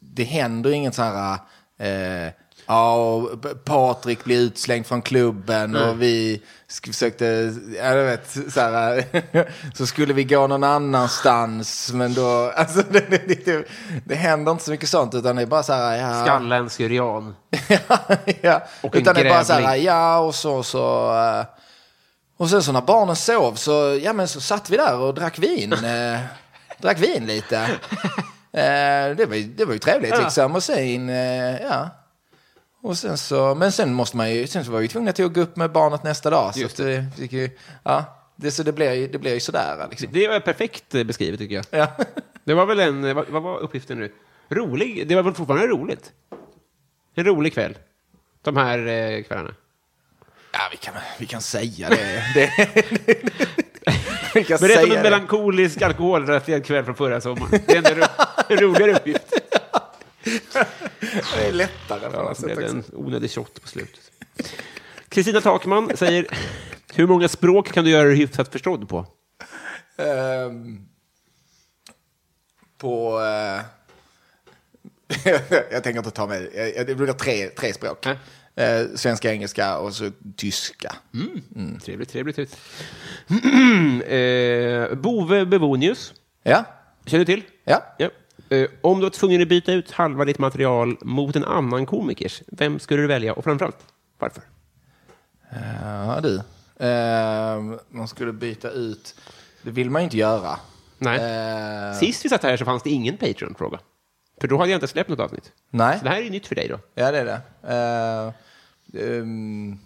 [SPEAKER 3] det händer inget så här... Eh, Ja, och P- Patrik blir utslängd från klubben och vi sk- försökte, ja du vet, så här, eh, [LAUGHS] så skulle vi gå någon annanstans, men då, [LAUGHS] alltså det, det, det, det, det händer inte så mycket sånt, utan det är bara så här, ja.
[SPEAKER 2] Skalla en syrian.
[SPEAKER 3] [LAUGHS] ja.
[SPEAKER 2] Och en
[SPEAKER 3] Utan det är bara så här,
[SPEAKER 2] grävling.
[SPEAKER 3] ja och så så. eh, Och sen så när barnen sov så, ja men så satt vi där och
[SPEAKER 2] [LAUGHS]
[SPEAKER 3] drack vin. eh, drack vin lite. Eh, det, var ju, det var ju trevligt liksom. Och sen, eh, ja. Och sen så, men sen måste man ju, sen så var vi tvungna till att gå upp med barnet nästa dag. Så
[SPEAKER 2] Just
[SPEAKER 3] att det, fick ju, ja. Det, så det blir ju, det blir ju sådär liksom.
[SPEAKER 2] Det var perfekt eh, beskrivet, tycker jag. [LAUGHS]
[SPEAKER 3] Ja.
[SPEAKER 2] Det var väl en... eh, Vad, vad var uppgiften nu? Rolig. Det var väl fortfarande roligt? En rolig kväll. De här eh, kvällarna.
[SPEAKER 3] ja, vi kan, vi kan
[SPEAKER 2] [LAUGHS]
[SPEAKER 3] säga det. [LAUGHS] det, vi kan
[SPEAKER 2] Berätta om
[SPEAKER 3] säga
[SPEAKER 2] en
[SPEAKER 3] det.
[SPEAKER 2] melankolisk alkoholrelaterad kväll från förra sommaren. Det är ändå en ro- en roligare uppgift.
[SPEAKER 3] Det är lättare. på
[SPEAKER 2] Ja,
[SPEAKER 3] något
[SPEAKER 2] alltså, så blev
[SPEAKER 3] sätt
[SPEAKER 2] det
[SPEAKER 3] också.
[SPEAKER 2] en onödig shot på slutet. Kristina Takman säger, hur många språk kan du göra dig hyfsat förstådd på?
[SPEAKER 3] Ehm, på... eh, [LAUGHS] jag tänker inte ta mig... jag- jag- Det brukar tre, tre språk.
[SPEAKER 2] Nej.
[SPEAKER 3] Eh, svenska, engelska och så tyska.
[SPEAKER 2] Trevligt, trevligt. trevligt. [CLEARS THROAT] eh, Bove Bevonius,
[SPEAKER 3] Ja,
[SPEAKER 2] känner du till?
[SPEAKER 3] ja.
[SPEAKER 2] Ja. Eh, om du var tvungen att byta ut halva ditt material mot en annan komikers, vem skulle du välja och framförallt varför?
[SPEAKER 3] Ja, Eh, du. Ehm, man skulle byta ut... Det vill man ju inte göra.
[SPEAKER 2] Nej.
[SPEAKER 3] Ehm,
[SPEAKER 2] Sist vi satt här så fanns det ingen Patreon-fråga. För då hade jag inte släppt något avsnitt.
[SPEAKER 3] Nej.
[SPEAKER 2] Så det här är nytt för dig då.
[SPEAKER 3] Ja, det är det. Eh, ehm,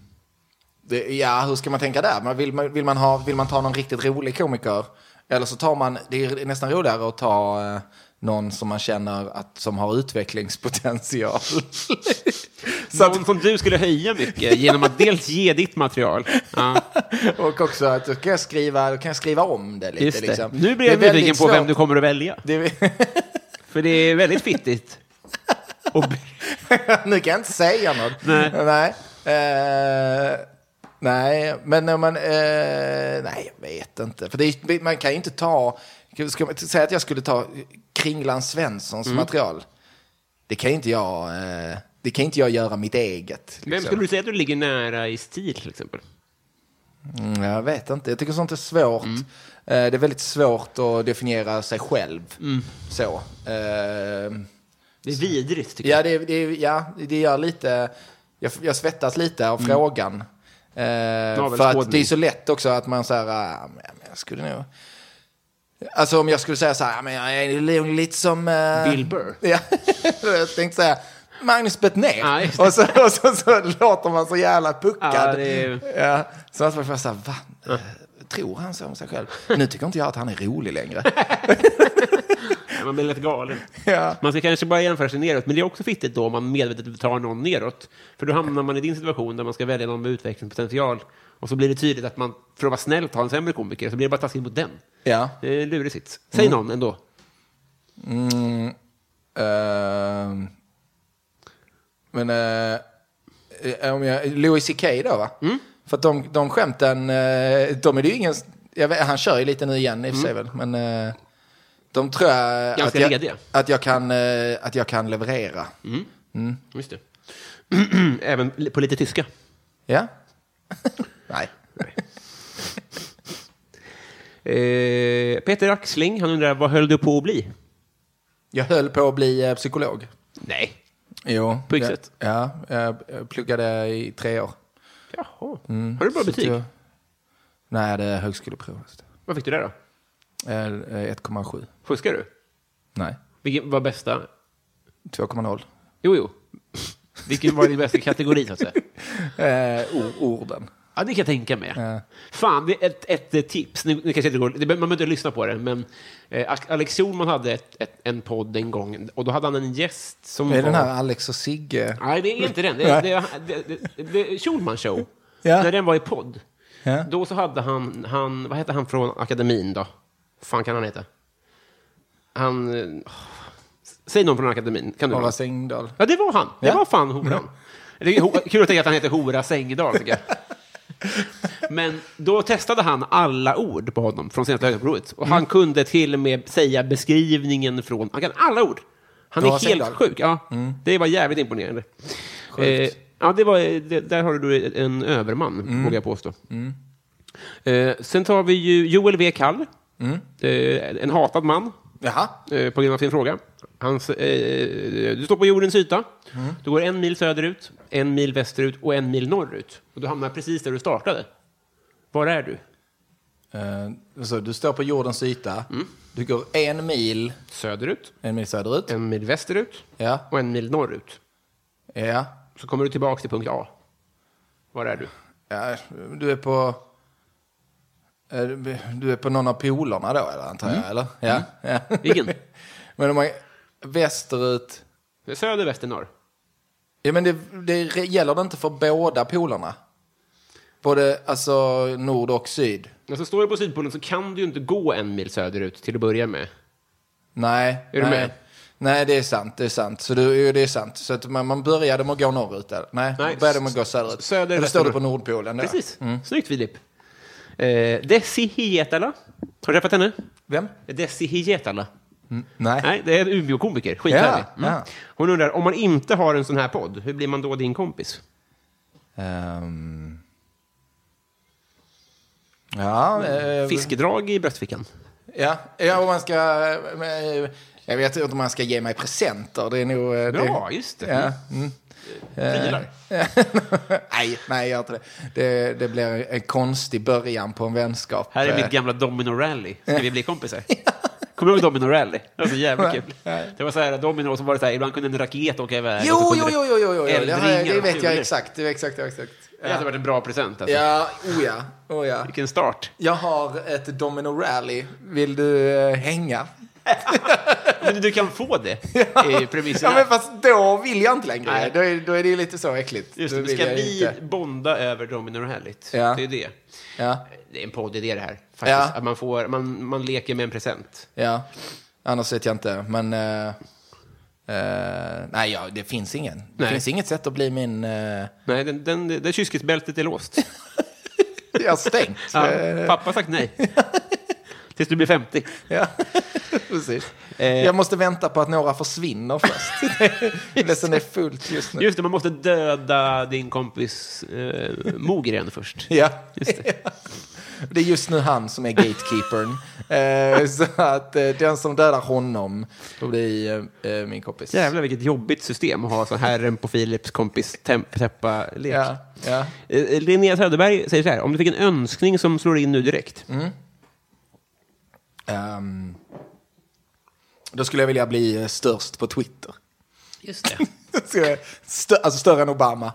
[SPEAKER 3] det. Ja, hur ska man tänka där? Man vill, man, vill, man ha, vill man ta någon riktigt rolig komiker? Eller så tar man, det är nästan roligare att ta eh, någon som man känner att, som har utvecklingspotential. [LAUGHS] så att,
[SPEAKER 2] Någon som du skulle höja mycket genom att dels ge ditt material.
[SPEAKER 3] [LAUGHS]
[SPEAKER 2] Ja.
[SPEAKER 3] och också att då kan jag skriva, då kan jag skriva om det lite.
[SPEAKER 2] Just det.
[SPEAKER 3] Liksom.
[SPEAKER 2] Nu blir
[SPEAKER 3] Det är
[SPEAKER 2] jag
[SPEAKER 3] väldigt
[SPEAKER 2] nyfiken på
[SPEAKER 3] svårt.
[SPEAKER 2] vem du kommer att välja.
[SPEAKER 3] Det är-
[SPEAKER 2] För det är väldigt
[SPEAKER 3] [LAUGHS]
[SPEAKER 2] fittigt. Och,
[SPEAKER 3] nu kan jag inte säga något. Nej. Nej, Eh, nej. men när man... eh, nej, jag vet inte. För det är, man kan ju inte ta... Ska man säga att jag skulle ta Kringland Svenssons
[SPEAKER 2] Mm.
[SPEAKER 3] material? Det kan ju inte jag... eh, det kan inte jag göra mitt eget. liksom.
[SPEAKER 2] vem skulle du säga att du ligger nära i stil till exempel?
[SPEAKER 3] Mm, jag vet inte. Jag tycker sånt är svårt.
[SPEAKER 2] Mm.
[SPEAKER 3] Eh, det är väldigt svårt att definiera sig själv.
[SPEAKER 2] Mm.
[SPEAKER 3] Så. Eh,
[SPEAKER 2] Det är vidrigt tycker
[SPEAKER 3] Ja, det, det, ja, det gör lite... Jag, jag svettas lite
[SPEAKER 2] Mm.
[SPEAKER 3] av frågan. Eh, för att det är så lätt också att man så här... ah, men jag skulle nog... Alltså om jag skulle säga så här, ah, men jag är nog lite som... eh,
[SPEAKER 2] jag. Bill Burr.
[SPEAKER 3] [LAUGHS] Ja, jag tänkte säga Magnus Bettner.
[SPEAKER 2] Ja, just det.
[SPEAKER 3] [LAUGHS] och så, och så, så låter man så jävla puckad.
[SPEAKER 2] Ja, det är-
[SPEAKER 3] ja, så att man får så här, va? Eh, Tror han så om sig själv? Nu tycker inte jag att han är rolig längre. [LAUGHS]
[SPEAKER 2] Man blir lätt galen.
[SPEAKER 3] ja.
[SPEAKER 2] Man ska kanske bara jämföra sig neråt, men det är också fittigt då om man medvetet tar någon neråt. För då hamnar man i din situation där man ska välja någon med utvecklingspotential. Och så blir det tydligt att man, för att vara snäll, tar en sämre komiker. Så blir det bara taskigt mot den.
[SPEAKER 3] ja.
[SPEAKER 2] Det är en lurig sits. Säg
[SPEAKER 3] Mm.
[SPEAKER 2] någon ändå.
[SPEAKER 3] Ehm, men eh, eh, om jag, Louis CK då va?
[SPEAKER 2] Mm.
[SPEAKER 3] För att de, de skämten, eh, de är det ju ingen, jag vet, han kör ju lite nu igen i och för sig väl, men eh, de tror jag att
[SPEAKER 2] Mm. Ganska Mm.
[SPEAKER 3] jag,
[SPEAKER 2] lediga.
[SPEAKER 3] att, jag kan, eh, att jag kan leverera.
[SPEAKER 2] Just det. [CLEARS THROAT] Även li- på lite tyska.
[SPEAKER 3] Ja? [LAUGHS] Nej.
[SPEAKER 2] Eh, Peter Axling, han undrar, vad höll du på att bli?
[SPEAKER 3] Jag höll på att bli eh, psykolog.
[SPEAKER 2] Nej.
[SPEAKER 3] Jo.
[SPEAKER 2] På vilket
[SPEAKER 3] jag,
[SPEAKER 2] sätt?
[SPEAKER 3] Ja, jag jag pluggade i tre år.
[SPEAKER 2] Jaha. Har du bra
[SPEAKER 3] Så att
[SPEAKER 2] betyg?
[SPEAKER 3] Mm. jag- Nej, det är högskoleprovet.
[SPEAKER 2] Vad fick du där då?
[SPEAKER 3] Eh, eh, 1,7.
[SPEAKER 2] Fuskar du?
[SPEAKER 3] Nej.
[SPEAKER 2] Vilken var bästa?
[SPEAKER 3] 2,0.
[SPEAKER 2] Jo, jo. Vilken var din bästa kategori, så att säga?
[SPEAKER 3] Eh, or- orden.
[SPEAKER 2] Ja, det kan jag tänka mig. Fan, det är ett, ett eh, tips. Nu, nu kanske inte går, det, behöver- man behöver inte lyssna på det, men eh, Alex- Alex Schulman hade ett, ett, en podd en gång och då hade han en gäst som
[SPEAKER 3] Är
[SPEAKER 2] var...
[SPEAKER 3] den här Alex och Sigge?
[SPEAKER 2] Nej, det är inte den. Det är, det är, det, det, det är Schulman show.
[SPEAKER 3] Ja.
[SPEAKER 2] När den var i podd.
[SPEAKER 3] Ja.
[SPEAKER 2] Då så hade han, han, vad hette han från akademin då? fan kan han heta? Han... eh, åh. säg någon från akademin. Kan du?
[SPEAKER 3] Lars Engdahl.
[SPEAKER 2] Ja, det var han. Det
[SPEAKER 3] Ja. Mm.
[SPEAKER 2] var fan horan. [LAUGHS] Det är ho- kul att tänka att han heter Hora Sängdahl,
[SPEAKER 3] [LAUGHS]
[SPEAKER 2] tycker jag. Men då testade han alla ord på honom från senaste högskoleprovet. Och
[SPEAKER 3] Mm.
[SPEAKER 2] han kunde till och med säga beskrivningen från... Han kan alla ord. Han är
[SPEAKER 3] Ja,
[SPEAKER 2] helt
[SPEAKER 3] Sängdahl. Mm.
[SPEAKER 2] sjuk. Ja, Det var jävligt imponerande. Eh, ja, det var, det, där har du då en överman,
[SPEAKER 3] Mm.
[SPEAKER 2] vågar jag påstå. Eh, sen tar vi ju Joel W. Kall.
[SPEAKER 3] Mm.
[SPEAKER 2] Eh, en hatad man
[SPEAKER 3] Jaha.
[SPEAKER 2] eh, på grund av sin fråga. Hans, eh, du står på jordens yta. Du går en mil söderut, en mil västerut och en mil norrut. Och du hamnar precis där du startade. Var är du?
[SPEAKER 3] Eh, så du står på jordens yta. Du går en mil,
[SPEAKER 2] Mm. Söderut, Mm.
[SPEAKER 3] en mil söderut.
[SPEAKER 2] en mil västerut
[SPEAKER 3] Ja.
[SPEAKER 2] och en mil norrut.
[SPEAKER 3] Ja.
[SPEAKER 2] Så kommer du tillbaka till punkt A. Var är du?
[SPEAKER 3] ja. Du är på... eh, Du är på någon av polerna då, eller, antar jag? Eller? Ja. ja.
[SPEAKER 2] Mm. Vilken?
[SPEAKER 3] [LAUGHS] Men om man... Västerut...
[SPEAKER 2] Söder, väster, norr.
[SPEAKER 3] Ja, men det, det gäller det inte för båda polerna? Både alltså nord och syd?
[SPEAKER 2] Alltså, står du på Sydpolen så kan du ju inte gå en mil söderut till att börja med.
[SPEAKER 3] Nej.
[SPEAKER 2] Är du
[SPEAKER 3] nej.
[SPEAKER 2] med?
[SPEAKER 3] Nej, det är sant. Det är sant. Så du, jo, det är sant. Så att man, man började med att gå norrut? Eller? Nej,
[SPEAKER 2] Nej,
[SPEAKER 3] man började med
[SPEAKER 2] s-
[SPEAKER 3] att gå söderut.
[SPEAKER 2] söder,
[SPEAKER 3] eller står du på
[SPEAKER 2] väster, norr.
[SPEAKER 3] nordpolen? Då? Mm.
[SPEAKER 2] Precis. Snyggt, Filip. Eh, Desi Hietala. Har du träffat henne?
[SPEAKER 3] Vem?
[SPEAKER 2] Desi Hietala.
[SPEAKER 3] Nej.
[SPEAKER 2] Nej, det är en Umeå-komiker. Skithärlig. Mm.
[SPEAKER 3] Ja, ja.
[SPEAKER 2] Hon undrar, om man inte har en sån här podd, hur blir man då din kompis?
[SPEAKER 3] Ehm. Ja, eh,
[SPEAKER 2] Fiskedrag i bröstfickan.
[SPEAKER 3] ja, ja, om man ska... eh, Jag vet inte om man ska ge mig presenter. Det är nog... eh,
[SPEAKER 2] Bra,
[SPEAKER 3] det, Mm.
[SPEAKER 2] just det.
[SPEAKER 3] Ja,
[SPEAKER 2] Prylar.
[SPEAKER 3] nej, nej, jag gör inte det. det. Det blir en konstig början på en vänskap.
[SPEAKER 2] Här är
[SPEAKER 3] Eh,
[SPEAKER 2] mitt gamla Domino Rally. Ska vi bli
[SPEAKER 3] [LAUGHS]
[SPEAKER 2] kompisar? Kommer du ihåg Domino Rally? Det var så jävla kul. Det var så här, Domino, och så var det så här, ibland kunde en raket åka iväg. och så
[SPEAKER 3] Jo,
[SPEAKER 2] kunde
[SPEAKER 3] jo, jo, jo, jo, jo. Det,
[SPEAKER 2] eldringar
[SPEAKER 3] här, det
[SPEAKER 2] och
[SPEAKER 3] vet jag
[SPEAKER 2] kulor.
[SPEAKER 3] exakt. Det, är exakt, det, är exakt.
[SPEAKER 2] Det hade varit en bra present. Alltså.
[SPEAKER 3] Ja, oh ja, oh ja.
[SPEAKER 2] Vilken
[SPEAKER 3] [LAUGHS]
[SPEAKER 2] start.
[SPEAKER 3] Jag har ett domino rally. Vill du eh, hänga?
[SPEAKER 2] Men du kan få det i premisserna.
[SPEAKER 3] [LAUGHS] Ja, men fast då vill jag inte längre.
[SPEAKER 2] Nej.
[SPEAKER 3] Då, är, då är det ju lite så äckligt.
[SPEAKER 2] Just
[SPEAKER 3] Då
[SPEAKER 2] det,
[SPEAKER 3] vill
[SPEAKER 2] ska
[SPEAKER 3] jag
[SPEAKER 2] vi
[SPEAKER 3] inte.
[SPEAKER 2] bonda över Domino Rallyt?
[SPEAKER 3] Ja.
[SPEAKER 2] Det är det.
[SPEAKER 3] Ja,
[SPEAKER 2] Det är en poddidé det här. Faktiskt.
[SPEAKER 3] Ja.
[SPEAKER 2] Att man, får, man, man leker med en present.
[SPEAKER 3] ja. Annars vet jag inte. Men... eh, eh, nej, ja, det finns ingen. Det
[SPEAKER 2] Nej.
[SPEAKER 3] finns inget sätt att bli min... eh,
[SPEAKER 2] Nej, den, den, det kyskhetsbältet är låst.
[SPEAKER 3] jag har stängt.
[SPEAKER 2] [LAUGHS] Ja,
[SPEAKER 3] Eh,
[SPEAKER 2] pappa har sagt [LAUGHS] nej. Tills du blir 50.
[SPEAKER 3] Ja, [LAUGHS] precis.
[SPEAKER 2] Eh.
[SPEAKER 3] Jag måste vänta på att några
[SPEAKER 2] [LAUGHS]
[SPEAKER 3] försvinner först. Ledsen är fullt just nu.
[SPEAKER 2] Just det, man måste döda din kompis eh, Mogren först.
[SPEAKER 3] Ja.
[SPEAKER 2] Just det.
[SPEAKER 3] [LAUGHS] Det är just nu han som är
[SPEAKER 2] [LAUGHS]
[SPEAKER 3] gatekeepern. Eh, så att eh, den som dödar honom, då blir eh, eh, min kompis.
[SPEAKER 2] Jävlar vilket jobbigt system att ha så herren på Philips kompis täppa-lek.
[SPEAKER 3] Ja, ja.
[SPEAKER 2] Eh, Linnea Söderberg säger så här, om du fick en önskning som slår in nu direkt.
[SPEAKER 3] Ehm, då skulle jag vilja bli eh, störst på Twitter. [LAUGHS]
[SPEAKER 2] Just det.
[SPEAKER 3] Ska jag- Stö- alltså större än Obama.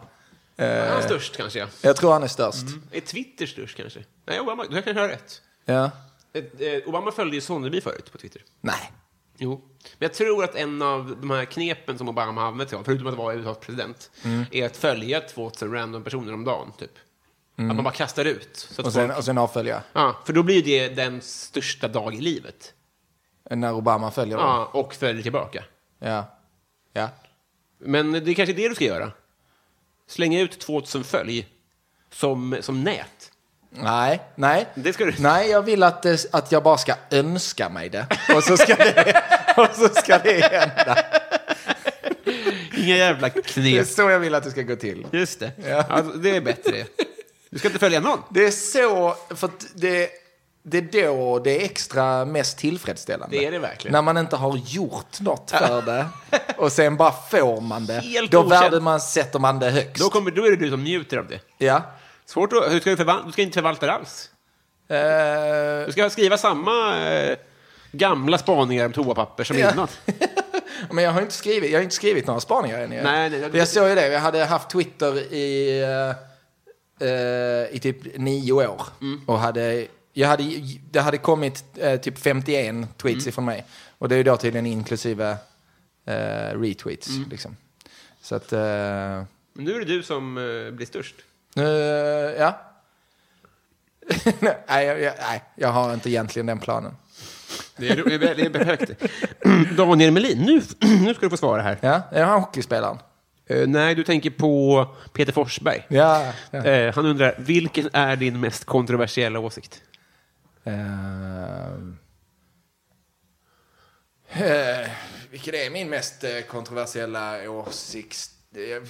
[SPEAKER 2] Han är störst kanske, ja.
[SPEAKER 3] Jag tror han är störst.
[SPEAKER 2] Eh, Är Twitter störst kanske? Nej, Obama, du kanske har rätt.
[SPEAKER 3] Ja.
[SPEAKER 2] Eh, eh, Obama följde ju Sonneby förut på Twitter.
[SPEAKER 3] Nej.
[SPEAKER 2] Jo. Men jag tror att en av de här knepen som Obama har använt sig av, förutom att vara USAs president,
[SPEAKER 3] Mm.
[SPEAKER 2] är att följa 2000 random personer om dagen, typ. Att man bara kastar ut. Så
[SPEAKER 3] Mm. Och
[SPEAKER 2] att
[SPEAKER 3] sen,
[SPEAKER 2] folk,
[SPEAKER 3] och sen avfölja.
[SPEAKER 2] ja, för då blir ju det den största dag i livet.
[SPEAKER 3] När Obama följer dem.
[SPEAKER 2] Ja, och följer tillbaka.
[SPEAKER 3] Ja. Ja.
[SPEAKER 2] Men det är kanske det du ska göra. Slänga ut 2000 följ som, som nät.
[SPEAKER 3] Nej, nej.
[SPEAKER 2] Det ska du-
[SPEAKER 3] Nej, jag vill att, det- att jag bara ska önska mig det. Och så ska det, [LAUGHS] och så ska det hända.
[SPEAKER 2] Inga jävla
[SPEAKER 3] Det är
[SPEAKER 2] knep.
[SPEAKER 3] så jag vill att det ska gå till.
[SPEAKER 2] Just det. Alltså, det är bättre. Du ska inte följa någon.
[SPEAKER 3] Det är så, för att det, det är då det är extra mest tillfredsställande.
[SPEAKER 2] Det är det verkligen.
[SPEAKER 3] När man inte har gjort något
[SPEAKER 2] [LAUGHS]
[SPEAKER 3] för det och sen bara får man det.
[SPEAKER 2] Helt
[SPEAKER 3] då
[SPEAKER 2] okänt.
[SPEAKER 3] värde man, sätter man det högst.
[SPEAKER 2] Då, kommer, då är det du som njuter av det.
[SPEAKER 3] Ja.
[SPEAKER 2] Svårt att, hur ska du, förval- du ska inte förvalta det alls.
[SPEAKER 3] Eh,
[SPEAKER 2] Du ska skriva samma eh, gamla spaningar om toapapper som
[SPEAKER 3] Ja. [LAUGHS]
[SPEAKER 2] innan.
[SPEAKER 3] men jag har inte skrivit, jag har inte skrivit några spaningar än. ju.
[SPEAKER 2] Nej, nej,
[SPEAKER 3] jag såg ju det, jag hade haft Twitter i... eh, eh, i typ nio år. Och hade, jag hade, det hade kommit eh, typ 51 tweets ifrån mig. Och det är ju då tydligen inklusive eh, retweets. Liksom. Så att, eh,
[SPEAKER 2] Men nu är det du som eh, blir störst.
[SPEAKER 3] nu, eh, ja. [LAUGHS] nej, jag, jag, nej, jag har inte egentligen den planen.
[SPEAKER 2] Det är, det är, det är högt. [CLEARS THROAT] Daniel Melin, nu, nu ska du få svara här.
[SPEAKER 3] Ja, är han hockeyspelaren?
[SPEAKER 2] Eh, nej, du tänker på Peter Forsberg.
[SPEAKER 3] Ja. ja.
[SPEAKER 2] Eh, han undrar, vilken är din mest kontroversiella åsikt?
[SPEAKER 3] Ehm. Eh, vilken är min mest eh, kontroversiella åsikt? Jag,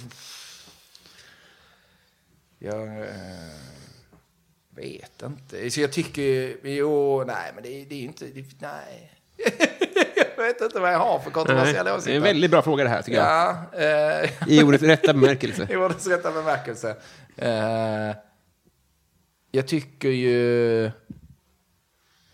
[SPEAKER 3] jag eh, vet inte. Så jag tycker ju- jo, nej, men det, är- det är ju inte, det, nej. [LAUGHS] jag vet inte vad jag har för
[SPEAKER 2] Nej,
[SPEAKER 3] kontroversiella
[SPEAKER 2] det
[SPEAKER 3] åsikter.
[SPEAKER 2] är en väldigt bra fråga det här, tycker jag.
[SPEAKER 3] Ja, eh,
[SPEAKER 2] I ordets rätta
[SPEAKER 3] [LAUGHS]
[SPEAKER 2] bemärkelse.
[SPEAKER 3] i ordets rätta bemärkelse. Eh, jag tycker ju...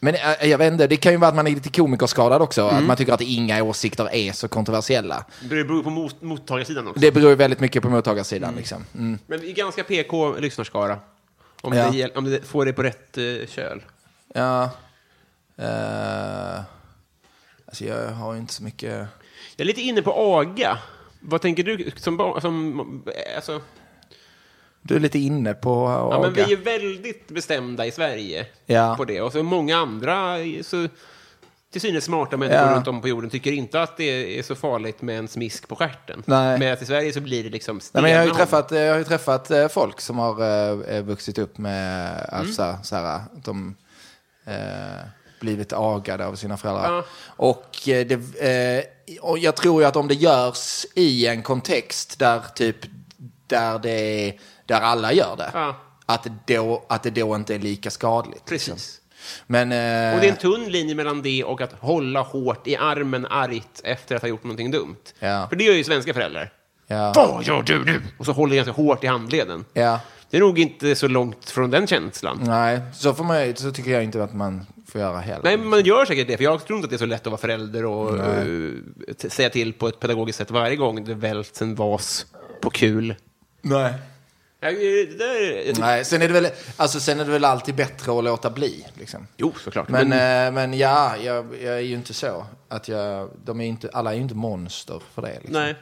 [SPEAKER 3] Men eh, jag vet inte, det kan ju vara att man är lite komikerskadad också.
[SPEAKER 2] Mm.
[SPEAKER 3] Att man tycker att inga åsikter är så kontroversiella.
[SPEAKER 2] [LAUGHS] Det beror på mot, mottagarsidan också.
[SPEAKER 3] Det beror ju väldigt mycket på mottagarsidan. Liksom. Mm.
[SPEAKER 2] Men vi är ganska PK lyssnarskara. Om,
[SPEAKER 3] Ja.
[SPEAKER 2] det, gäll- om det får det på rätt eh, köl.
[SPEAKER 3] Ja. Eh, alltså jag har ju inte så mycket...
[SPEAKER 2] Jag är lite inne på aga. Vad tänker du som barn? Som, eh, alltså,
[SPEAKER 3] Du är lite inne på att
[SPEAKER 2] ja, men
[SPEAKER 3] aga.
[SPEAKER 2] vi är väldigt bestämda i Sverige
[SPEAKER 3] Ja.
[SPEAKER 2] på det. Och så många andra eh, så, till synes smarta människor
[SPEAKER 3] Ja.
[SPEAKER 2] runt om på jorden tycker inte att det är så farligt med en smisk på stjärten.
[SPEAKER 3] Nej.
[SPEAKER 2] Men att i Sverige så blir det liksom
[SPEAKER 3] Nej, men jag har ju
[SPEAKER 2] stenhårt.
[SPEAKER 3] träffat, jag har ju träffat eh, folk som har eh, eh, vuxit upp med,
[SPEAKER 2] Mm.
[SPEAKER 3] alltså, så här, att de eh, blivit agade av sina föräldrar.
[SPEAKER 2] Ja.
[SPEAKER 3] Och, eh, det, eh, och jag tror ju att om det görs i en kontext där typ, där, det, är- där alla gör det,
[SPEAKER 2] Ja.
[SPEAKER 3] att, det då, att det då inte är lika skadligt.
[SPEAKER 2] Precis.
[SPEAKER 3] Men, eh,
[SPEAKER 2] Och det är en tunn linje mellan det och att hålla hårt i armen argt efter att ha gjort någonting dumt.
[SPEAKER 3] Ja.
[SPEAKER 2] För det gör ju svenska föräldrar.
[SPEAKER 3] ja,
[SPEAKER 2] Vad gör du nu? Och så håller jag ganska hårt i handleden.
[SPEAKER 3] ja.
[SPEAKER 2] Det är nog inte så långt från den känslan.
[SPEAKER 3] Nej, så, får man, ju- så tycker jag inte att man får göra heller.
[SPEAKER 2] Nej, men man gör säkert det, för jag tror inte att det är så lätt att vara förälder och eh, t- säga till på ett pedagogiskt sätt varje gång det välts en vas på kul.
[SPEAKER 3] Nej.
[SPEAKER 2] Ja, eh, det där, jag tycker,
[SPEAKER 3] Nej, sen är, det väl, alltså, sen är det väl alltid bättre att låta bli. Liksom.
[SPEAKER 2] Jo, såklart.
[SPEAKER 3] Men,
[SPEAKER 2] Men,
[SPEAKER 3] eh, men ja, jag, jag är ju inte så. Att jag, de är ju inte, alla är ju inte monster för det. Liksom.
[SPEAKER 2] nej.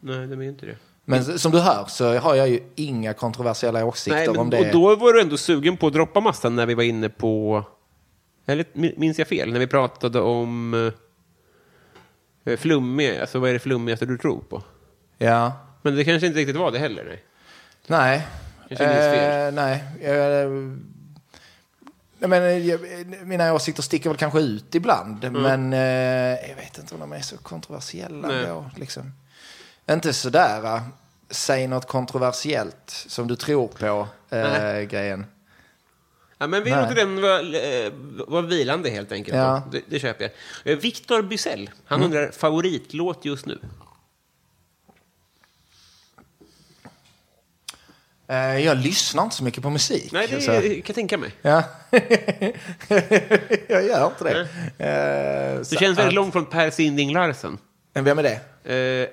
[SPEAKER 2] Nej, det är inte det.
[SPEAKER 3] Men s- som du hör så har jag ju inga kontroversiella åsikter
[SPEAKER 2] Nej, men,
[SPEAKER 3] om det.
[SPEAKER 2] Och då var du ändå sugen på att droppa massan när vi var inne på... Eller min- minns jag fel? När vi pratade om eh, flummiga, alltså vad är det flummigaste du tror på?
[SPEAKER 3] Ja.
[SPEAKER 2] Men det kanske inte riktigt var det heller? Nej.
[SPEAKER 3] Nej.
[SPEAKER 2] Kanske minns fel.
[SPEAKER 3] Eh, nej. Jag, eh, nej, men, eh, jag, eh, mina åsikter sticker väl kanske ut ibland.
[SPEAKER 2] Mm.
[SPEAKER 3] Men eh, jag vet inte om de är så kontroversiella.
[SPEAKER 2] Nej.
[SPEAKER 3] Då, liksom. Inte sådär, eh, säg något kontroversiellt som du tror på, eh, grejen.
[SPEAKER 2] Ja, men vi
[SPEAKER 3] Nej.
[SPEAKER 2] låter den vara, eh, vara vilande helt enkelt.
[SPEAKER 3] Ja. Mm.
[SPEAKER 2] då. Det, det köper jag. Eh, Viktor Bysell, han undrar favoritlåt just nu.
[SPEAKER 3] Eh, jag lyssnar inte så mycket på musik.
[SPEAKER 2] Nej, det
[SPEAKER 3] så-
[SPEAKER 2] kan jag tänka mig.
[SPEAKER 3] Ja. [LAUGHS] jag gör inte det. Eh,
[SPEAKER 2] Du
[SPEAKER 3] så
[SPEAKER 2] känns
[SPEAKER 3] att-
[SPEAKER 2] väldigt långt från Per Sinding Larsen.
[SPEAKER 3] Men Vem är det?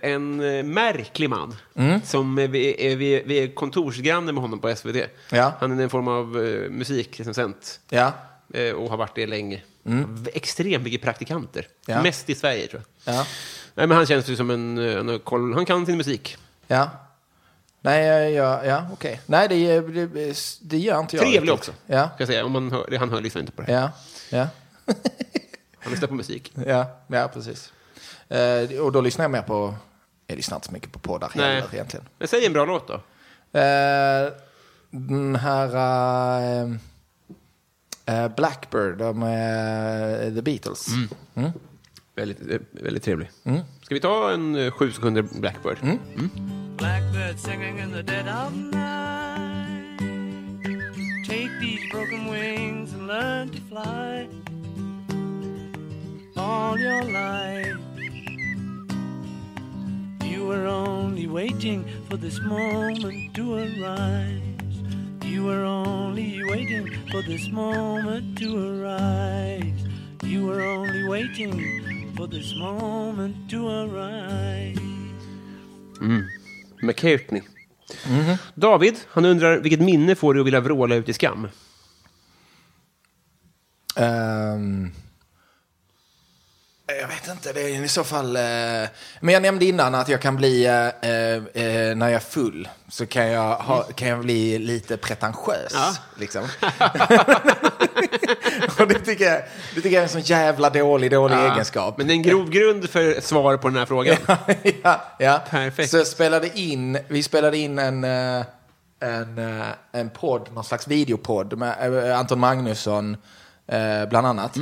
[SPEAKER 2] Eh, en eh, märklig man.
[SPEAKER 3] Mm.
[SPEAKER 2] Som eh, vi, är, vi, är- vi är kontorsgranne med honom på SVT.
[SPEAKER 3] Ja.
[SPEAKER 2] Han är en form av eh, musikrecensent
[SPEAKER 3] Ja.
[SPEAKER 2] eh, och har varit det länge. V- Extremt mycket praktikanter.
[SPEAKER 3] Mm. Ja.
[SPEAKER 2] Mest i Sverige, tror jag.
[SPEAKER 3] Ja.
[SPEAKER 2] Nej, men han känns ju som en... eh, Han, har koll, han kan sin musik.
[SPEAKER 3] Ja. Nej, ja, ja, ja okej. Nej, det, det, det gör inte jag.
[SPEAKER 2] Trevlig
[SPEAKER 3] riktigt.
[SPEAKER 2] också,
[SPEAKER 3] Ja,
[SPEAKER 2] ska jag säga. Om man hör, det- han hör liksom inte på det. här.
[SPEAKER 3] ja, ja,
[SPEAKER 2] Han lyssnar på musik.
[SPEAKER 3] ja, ja precis. Eh, och då lyssnar jag mer på... Jag lyssnar inte så mycket på poddar
[SPEAKER 2] Nej.
[SPEAKER 3] heller egentligen.
[SPEAKER 2] Men säg en bra låt då.
[SPEAKER 3] Eh, den här... eh, eh, Blackbird, de, eh, The Beatles.
[SPEAKER 2] Väldigt, eh, väldigt trevlig.
[SPEAKER 3] Mm.
[SPEAKER 2] Ska vi ta en eh, sju sekunder Blackbird?
[SPEAKER 7] Blackbird singing in the dead of night. Take these broken wings and learn to fly all your life. You were only waiting for this moment to arise. You were only waiting for this moment to arise. You were only waiting for this moment to arise.
[SPEAKER 2] McCartney.
[SPEAKER 3] Mm-hmm.
[SPEAKER 2] David, han undrar vilket minne får du att vilja vråla ut i skam?
[SPEAKER 3] Ehm, jag vet inte, det är i så fall... eh, men jag nämnde innan att jag kan bli, eh, eh, eh, när jag är full, så kan jag, ha,
[SPEAKER 2] Mm.
[SPEAKER 3] kan jag bli lite pretentiös. Liksom. [LAUGHS] Och det tycker, jag, det tycker jag är en sån jävla dålig, dålig egenskap.
[SPEAKER 2] Men det är en grov grund för ett svar på den här frågan.
[SPEAKER 3] [LAUGHS] ja, ja.
[SPEAKER 2] Perfekt.
[SPEAKER 3] Så jag spelade in, vi spelade in en, eh, en, eh, en podd, någon slags videopodd med eh, Anton Magnusson eh, bland annat.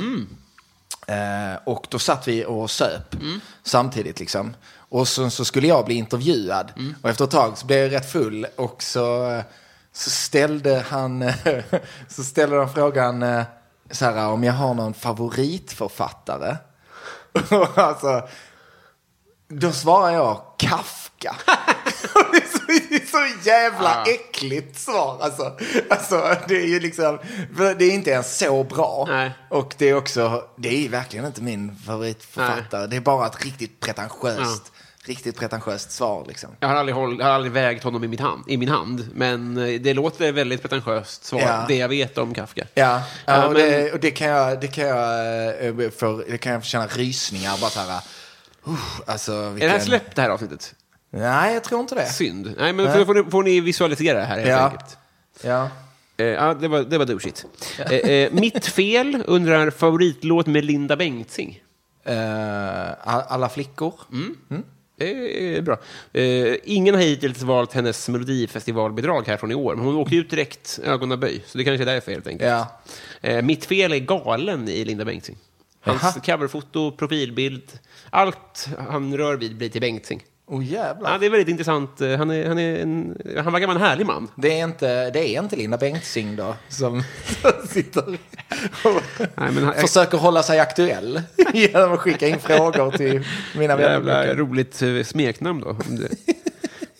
[SPEAKER 3] Eh, Och då satt vi och söp samtidigt liksom. Och så, så skulle jag bli intervjuad. Och efter ett tag så blev jag rätt full och så, eh, så ställde han, [LAUGHS] så ställde han frågan eh, så här, om jag har någon favoritförfattare. Och [LAUGHS] alltså, då svarar jag Kafka. [LAUGHS] det, är så, det är så
[SPEAKER 2] Ah.
[SPEAKER 3] jävla äckligt svar. Alltså, alltså, det är ju liksom, för det är inte ens så bra.
[SPEAKER 2] Nej.
[SPEAKER 3] Och det är också, det är ju verkligen inte min favoritförfattare. Det är bara ett riktigt pretentiöst, riktigt pretentiöst svar liksom.
[SPEAKER 2] Jag har aldrig, håll, jag har aldrig vägt honom i, mitt hand, i min hand, men eh, det låter väldigt pretentiöst, svar,
[SPEAKER 3] Ja.
[SPEAKER 2] det jag vet om Kafka.
[SPEAKER 3] Ja,
[SPEAKER 2] Ja,
[SPEAKER 3] ja, och,
[SPEAKER 2] men-
[SPEAKER 3] det, och det kan jag, det kan jag, eh, för, det kan jag känna rysningar bara så här. Uh, alltså,
[SPEAKER 2] Är
[SPEAKER 3] vilken...
[SPEAKER 2] det här släppt, det här avsnittet?
[SPEAKER 3] Nej, jag tror inte det.
[SPEAKER 2] Synd. Nej, men
[SPEAKER 3] Nej.
[SPEAKER 2] då får ni, får ni visualisera det här helt
[SPEAKER 3] Ja.
[SPEAKER 2] enkelt.
[SPEAKER 3] Ja.
[SPEAKER 2] Eh, ja, det var, det var douchigt. Eh, eh, mitt fel undrar favoritlåt med Linda Bengtzing.
[SPEAKER 3] Eh, a- alla flickor.
[SPEAKER 2] Mm.
[SPEAKER 3] Mm.
[SPEAKER 2] Det är bra. Eh, ingen har hittills valt hennes melodifestivalbidrag här från i år, men hon åker ut direkt ögonaböj, så det kanske är därför helt enkelt.
[SPEAKER 3] Ja.
[SPEAKER 2] Eh, mitt fel är galen i Linda Bengtzing. Hans
[SPEAKER 3] Jaha.
[SPEAKER 2] coverfoto, profilbild, allt han rör vid blir till Bengtzing.
[SPEAKER 3] Oh jävlar.
[SPEAKER 2] Ja, det är väldigt intressant. Eh, Han, är, han, är en, han verkar vara en härlig man.
[SPEAKER 3] Det är inte, det är inte Linda Bengtzing då som [LAUGHS] som
[SPEAKER 2] [LAUGHS]
[SPEAKER 3] sitter och
[SPEAKER 2] Nej, men han-
[SPEAKER 3] försöker hålla
[SPEAKER 2] [LAUGHS]
[SPEAKER 3] sig aktuell genom att skicka in frågor till mina vänner.
[SPEAKER 2] Jävla roligt eh, smeknamn då. om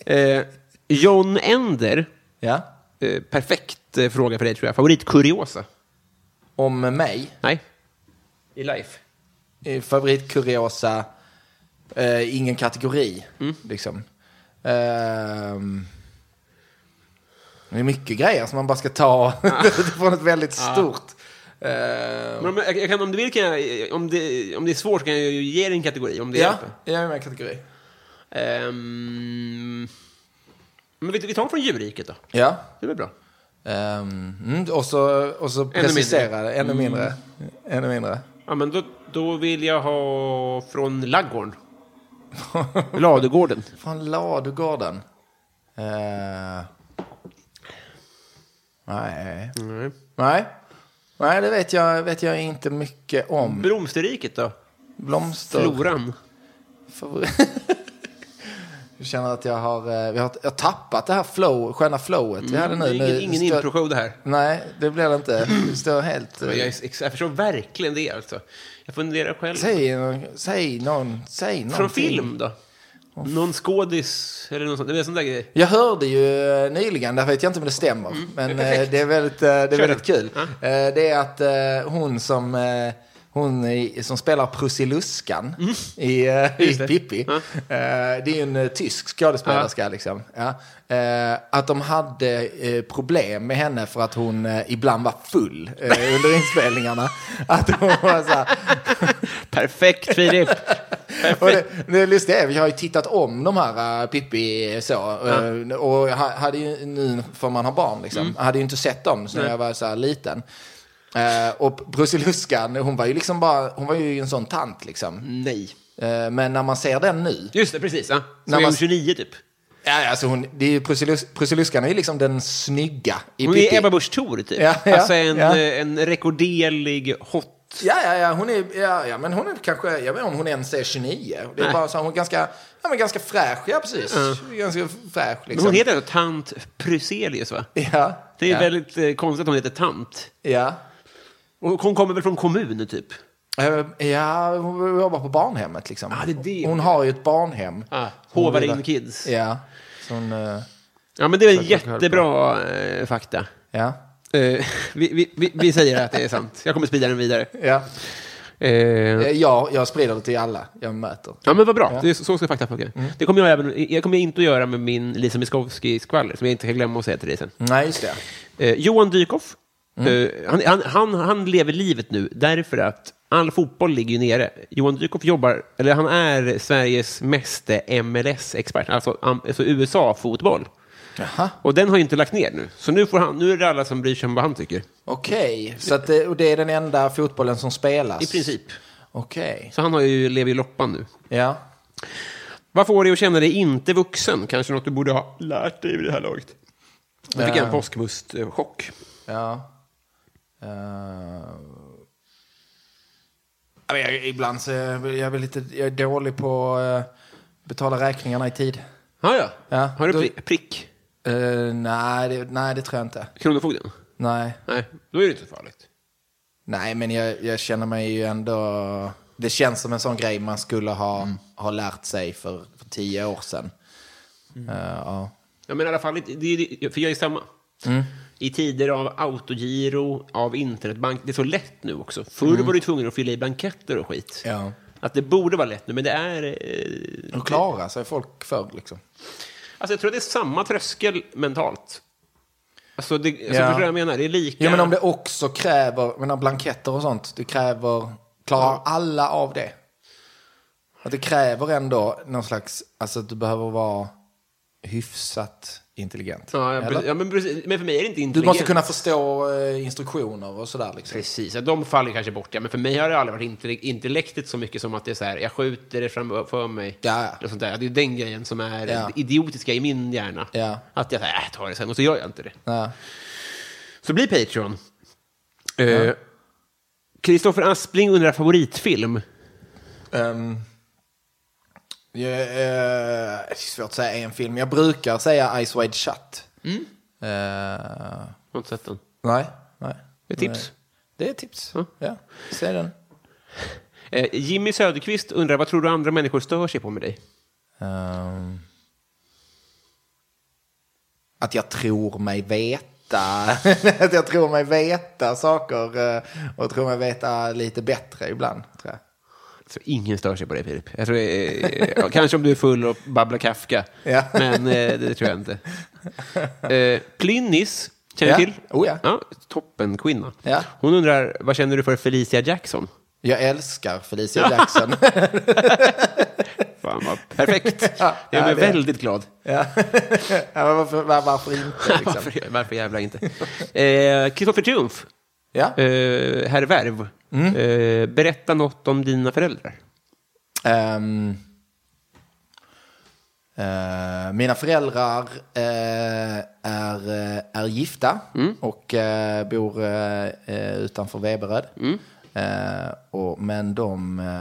[SPEAKER 2] det- [LAUGHS] eh, John Ender,
[SPEAKER 3] Ja.
[SPEAKER 2] eh, perfekt eh, fråga för dig tror jag. Favoritkuriosa?
[SPEAKER 3] Om mig,
[SPEAKER 2] Nej. I life?
[SPEAKER 3] eh, favoritkuriosa, eh, ingen kategori
[SPEAKER 2] Mm.
[SPEAKER 3] liksom. Ehm, det är mycket grejer som man bara
[SPEAKER 2] [LAUGHS]
[SPEAKER 3] ska ta [LAUGHS] från ett väldigt stort. Ehm,
[SPEAKER 2] Men om, jag, jag kan, om du vill kan jag, om det, om det är svårt kan jag ju ge dig en kategori om det
[SPEAKER 3] ja,
[SPEAKER 2] hjälper.
[SPEAKER 3] jag är med i kategori.
[SPEAKER 2] Ehm, men vi, vi tar från djurriket då.
[SPEAKER 3] Ja.
[SPEAKER 2] Det blir bra.
[SPEAKER 3] Ehm, mm, och så, och så precisera det ännu mindre.
[SPEAKER 2] Mm.
[SPEAKER 3] Ännu mindre.
[SPEAKER 2] Ja, men då, då vill jag ha från
[SPEAKER 3] [LAUGHS]
[SPEAKER 2] laggården. Ladugården.
[SPEAKER 3] Från Ladugården. Eh, nej.
[SPEAKER 2] Nej.
[SPEAKER 3] Nej. Nej, det vet jag, vet jag inte mycket om.
[SPEAKER 2] Blomsterriket då?
[SPEAKER 3] Blomster.
[SPEAKER 2] Floran.
[SPEAKER 3] Favor- [LAUGHS] jag känner att jag har, eh, jag har, jag har tappat det här flow, sköna flowet vi hade
[SPEAKER 2] Mm, det
[SPEAKER 3] nu.
[SPEAKER 2] är ingen,
[SPEAKER 3] nu
[SPEAKER 2] ingen
[SPEAKER 3] står-
[SPEAKER 2] improshow det här.
[SPEAKER 3] Nej, det blir det inte. Det står helt... eh,
[SPEAKER 2] Men Jag, är- ex- jag förstår verkligen det alltså. Jag funderar själv.
[SPEAKER 3] Säg, någon- säg någon, säg
[SPEAKER 2] Från
[SPEAKER 3] någonting.
[SPEAKER 2] film då? Någon skådis eller något sånt. Det är en sån där grej.
[SPEAKER 3] Jag hörde ju eh, nyligen, där vet jag inte om det stämmer, men eh, det är väldigt, eh, det är
[SPEAKER 2] Mm. Kör
[SPEAKER 3] väldigt
[SPEAKER 2] den.
[SPEAKER 3] kul. Eh, Det är att eh, hon som, eh, hon i- som spelar Prussiluskan i, eh, i
[SPEAKER 2] Mm. Just det.
[SPEAKER 3] Pippi, eh, det är ju en eh, tysk skådespelerska liksom. Ja. Eh, Att de hade eh, problem med henne för att hon eh, ibland var full eh, under inspelningarna. [LAUGHS] Att hon var så här,
[SPEAKER 2] Perfekt, Filip!
[SPEAKER 3] och det, det lustiga är, vi har ju tittat om de här äh, Pippi så. eh, och jag ha- hade ju, nu för man har barn liksom,
[SPEAKER 2] Mm.
[SPEAKER 3] jag hade ju inte sett dem så när jag var så här liten. Eh, och Brusseluskan, hon var ju liksom bara, hon var ju en sån tant liksom.
[SPEAKER 2] [LAUGHS] Nej.
[SPEAKER 3] Eh, men när man ser den nu,
[SPEAKER 2] Just det, precis. Ja.
[SPEAKER 3] När
[SPEAKER 2] Som
[SPEAKER 3] man-
[SPEAKER 2] man... 29 typ.
[SPEAKER 3] ja, alltså hon, det är ju Brusselus, Brusseluskan är ju liksom den snygga i
[SPEAKER 2] Hon
[SPEAKER 3] Pippi.
[SPEAKER 2] är Ebba Busch Thor typ.
[SPEAKER 3] Ja, ja,
[SPEAKER 2] alltså en,
[SPEAKER 3] ja.
[SPEAKER 2] eh, en rekorderlig hot.
[SPEAKER 3] Ja, ja, ja, hon är, ja, ja, men hon är kanske, jag vet inte om hon ens är 29. Det är bara så, här, hon är ganska, ja men ganska fräsch, ja precis. Ganska fräsch
[SPEAKER 2] Men
[SPEAKER 3] liksom.
[SPEAKER 2] hon heter alltså Tant Pruselius va?
[SPEAKER 3] Ja.
[SPEAKER 2] Det är
[SPEAKER 3] ja.
[SPEAKER 2] väldigt eh, konstigt att hon heter Tant.
[SPEAKER 3] Ja.
[SPEAKER 2] Och hon kommer väl från kommun typ?
[SPEAKER 3] Eh, Ja, hon jobbar på barnhemmet liksom.
[SPEAKER 2] Ah, det är det.
[SPEAKER 3] Hon har ju ett barnhem.
[SPEAKER 2] Ah,
[SPEAKER 3] Hon
[SPEAKER 2] Håvar
[SPEAKER 3] vill-
[SPEAKER 2] in kids.
[SPEAKER 3] Ja. Så hon, eh,
[SPEAKER 2] Ja men det är en
[SPEAKER 3] jag höll på.
[SPEAKER 2] jättebra eh, fakta.
[SPEAKER 3] ja.
[SPEAKER 2] Eh, vi, vi, vi, vi säger att det är sant. Jag kommer sprida den vidare.
[SPEAKER 3] Ja.
[SPEAKER 2] Eh,
[SPEAKER 3] Eh, Ja, jag sprider det till alla jag möter.
[SPEAKER 2] Ja, men vad bra.
[SPEAKER 3] Ja. Mm.
[SPEAKER 2] Det är så så ska fakta funka. Det kommer jag, även, jag kommer inte att göra med min Lisa Miskovsky-skvaller, som jag inte kan glömma att säga till dig sen.
[SPEAKER 3] Nej, just det.
[SPEAKER 2] Eh, Johan Dykhoff,
[SPEAKER 3] Mm.
[SPEAKER 2] eh, han, han, han, han lever livet nu därför att all fotboll ligger ju nere. Johan Dykhoff jobbar, eller han är Sveriges meste MLS-expert, alltså, am- alltså USA-fotboll.
[SPEAKER 3] Jaha.
[SPEAKER 2] Och den har ju inte lagt ner nu. Så nu, får han, nu är det alla som bryr sig om vad han tycker.
[SPEAKER 3] Okej, så att det, och det är den enda fotbollen som spelas?
[SPEAKER 2] I princip.
[SPEAKER 3] Okej,
[SPEAKER 2] Så han har ju, lever ju loppan nu.
[SPEAKER 3] ja.
[SPEAKER 2] Vad får dig att känna dig inte vuxen? Kanske något du borde ha lärt dig vid det här laget. Jag
[SPEAKER 3] Eh.
[SPEAKER 2] fick en påskmustchock.
[SPEAKER 3] ja. Eh, ja, men jag, ibland så är jag, jag, är väl lite, jag är dålig på att betala räkningarna i tid.
[SPEAKER 2] Ah, ja.
[SPEAKER 3] Ja,
[SPEAKER 2] Har du
[SPEAKER 3] då-
[SPEAKER 2] pri- prick?
[SPEAKER 3] Eh, nej, det, nej, det tror jag inte.
[SPEAKER 2] Kronofogden?
[SPEAKER 3] Nej,
[SPEAKER 2] Nej, då är det inte så farligt.
[SPEAKER 3] nej men jag, jag känner mig ju ändå... Det känns som en sån grej man skulle ha,
[SPEAKER 2] Mm.
[SPEAKER 3] ha lärt sig för, för tio år sedan.
[SPEAKER 2] Mm.
[SPEAKER 3] Eh, ja.
[SPEAKER 2] Ja, men i alla fall, det, det, det- för jag är samma.
[SPEAKER 3] Mm.
[SPEAKER 2] I tider av autogiro, av internetbank, det är så lätt nu också. Förr var du tvungen att fylla i blanketter och skit.
[SPEAKER 3] Mm. Ja.
[SPEAKER 2] Att det borde vara lätt nu, men det är... Eh,
[SPEAKER 3] Och klara sig folk förr liksom.
[SPEAKER 2] alltså jag tror att det är samma tröskel mentalt. Alltså, det, alltså
[SPEAKER 3] Ja.
[SPEAKER 2] förstår du vad jag menar? Det är lika...
[SPEAKER 3] Ja, men om det också kräver, men blanketter och sånt, det kräver, klarar alla av det? Att det kräver ändå någon slags, alltså att du behöver vara hyfsat intelligent.
[SPEAKER 2] Ja, ja,
[SPEAKER 3] eller?
[SPEAKER 2] precis, ja, men, precis, men för mig är det inte
[SPEAKER 3] du
[SPEAKER 2] intelligent.
[SPEAKER 3] måste kunna förstå eh, instruktioner och sådär liksom.
[SPEAKER 2] Precis, ja, de faller kanske bort. Ja, men för mig har det aldrig varit intell- intellektet så mycket som att det är så här, jag skjuter det framför mig.
[SPEAKER 3] Ja, ja.
[SPEAKER 2] Och sånt där. Det är den grejen som är
[SPEAKER 3] Ja.
[SPEAKER 2] idiotiska i min hjärna.
[SPEAKER 3] Ja.
[SPEAKER 2] Att jag säger, äh, tar det sen, och så gör jag inte det.
[SPEAKER 3] Ja.
[SPEAKER 2] Så bli Patreon. Eh, Kristoffer Aspling undrar favoritfilm.
[SPEAKER 3] Ehm, ja, eh, det är svårt att säga en film. Jag brukar säga Ice Wide Shut.
[SPEAKER 2] Mm.
[SPEAKER 3] Eh,
[SPEAKER 2] Har inte sett den.
[SPEAKER 3] nej, nej.
[SPEAKER 2] Ett tips.
[SPEAKER 3] Det är tips.
[SPEAKER 2] Ja.
[SPEAKER 3] Ja, säg den.
[SPEAKER 2] Eh, Jimmy Söderqvist undrar, vad tror du andra människor stör sig på med dig?
[SPEAKER 3] Ehm, att jag tror mig veta. [LAUGHS] att jag tror mig veta saker eh, och tror mig veta lite bättre ibland. Tror jag.
[SPEAKER 2] Så ingen stör sig på dig, Filip. Jag tror, eh, eh, ja, kanske om du är full och babblar Kafka,
[SPEAKER 3] Ja.
[SPEAKER 2] men eh, det tror jag inte. Eh, Plinnis, känner du
[SPEAKER 3] Ja.
[SPEAKER 2] till?
[SPEAKER 3] Oh, ja.
[SPEAKER 2] toppen kvinna.
[SPEAKER 3] Ja.
[SPEAKER 2] Hon undrar, vad känner du för Felicia Jackson?
[SPEAKER 3] jag älskar
[SPEAKER 2] [LAUGHS]
[SPEAKER 3] Felicia Jackson. [LAUGHS]
[SPEAKER 2] Fan vad perfekt.
[SPEAKER 3] Ja,
[SPEAKER 2] jag
[SPEAKER 3] ja,
[SPEAKER 2] är
[SPEAKER 3] det-
[SPEAKER 2] väldigt glad.
[SPEAKER 3] ja. Ja, men varför, var, varför inte?
[SPEAKER 2] [LAUGHS]
[SPEAKER 3] Liksom?
[SPEAKER 2] varför, varför jävla inte? Eh, Kristoffer Triumf,
[SPEAKER 3] Ja.
[SPEAKER 2] eh, herr Värv,
[SPEAKER 3] Mm.
[SPEAKER 2] eh, berätta något om dina föräldrar.
[SPEAKER 3] Ehm, eh, mina föräldrar eh, är, eh, är gifta
[SPEAKER 2] Mm.
[SPEAKER 3] och eh, bor eh, eh, utanför Veberöd.
[SPEAKER 2] Mm.
[SPEAKER 3] Eh, och, men de, eh,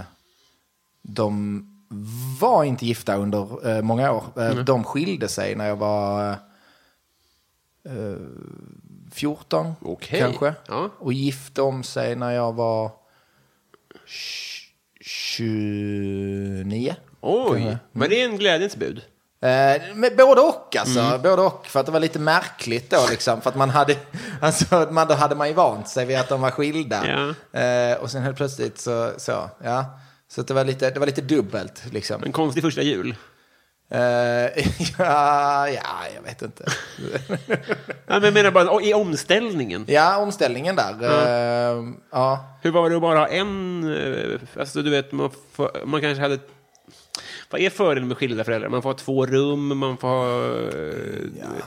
[SPEAKER 3] de var inte gifta under eh, många år. Eh,
[SPEAKER 2] Mm.
[SPEAKER 3] De skilde sig när jag var eh, eh, 14
[SPEAKER 2] Okej.
[SPEAKER 3] kanske.
[SPEAKER 2] Ja.
[SPEAKER 3] Och gifte om sig när jag var 29.
[SPEAKER 2] Oj, var Mm. det en glädjens bud?
[SPEAKER 3] Eh, men både och alltså, både och. För att det var lite märkligt då liksom. För att man hade, [LAUGHS] alltså, att man, då hade man ju vant sig vid att de var skilda. Eh, och sen helt plötsligt så, så ja. Så att det var lite, det var lite dubbelt liksom.
[SPEAKER 2] En konstig första jul.
[SPEAKER 3] Eh, [LAUGHS] ja, ja, jag vet inte. [LAUGHS]
[SPEAKER 2] Ja, men jag menar bara i omställningen.
[SPEAKER 3] ja, omställningen där. Eh, ja.
[SPEAKER 2] Hur var det att bara ha en... eh, Alltså, du vet, man, får, man kanske hade... Vad är fördelen med skilda föräldrar? Man får ha två rum, man får ha... eh,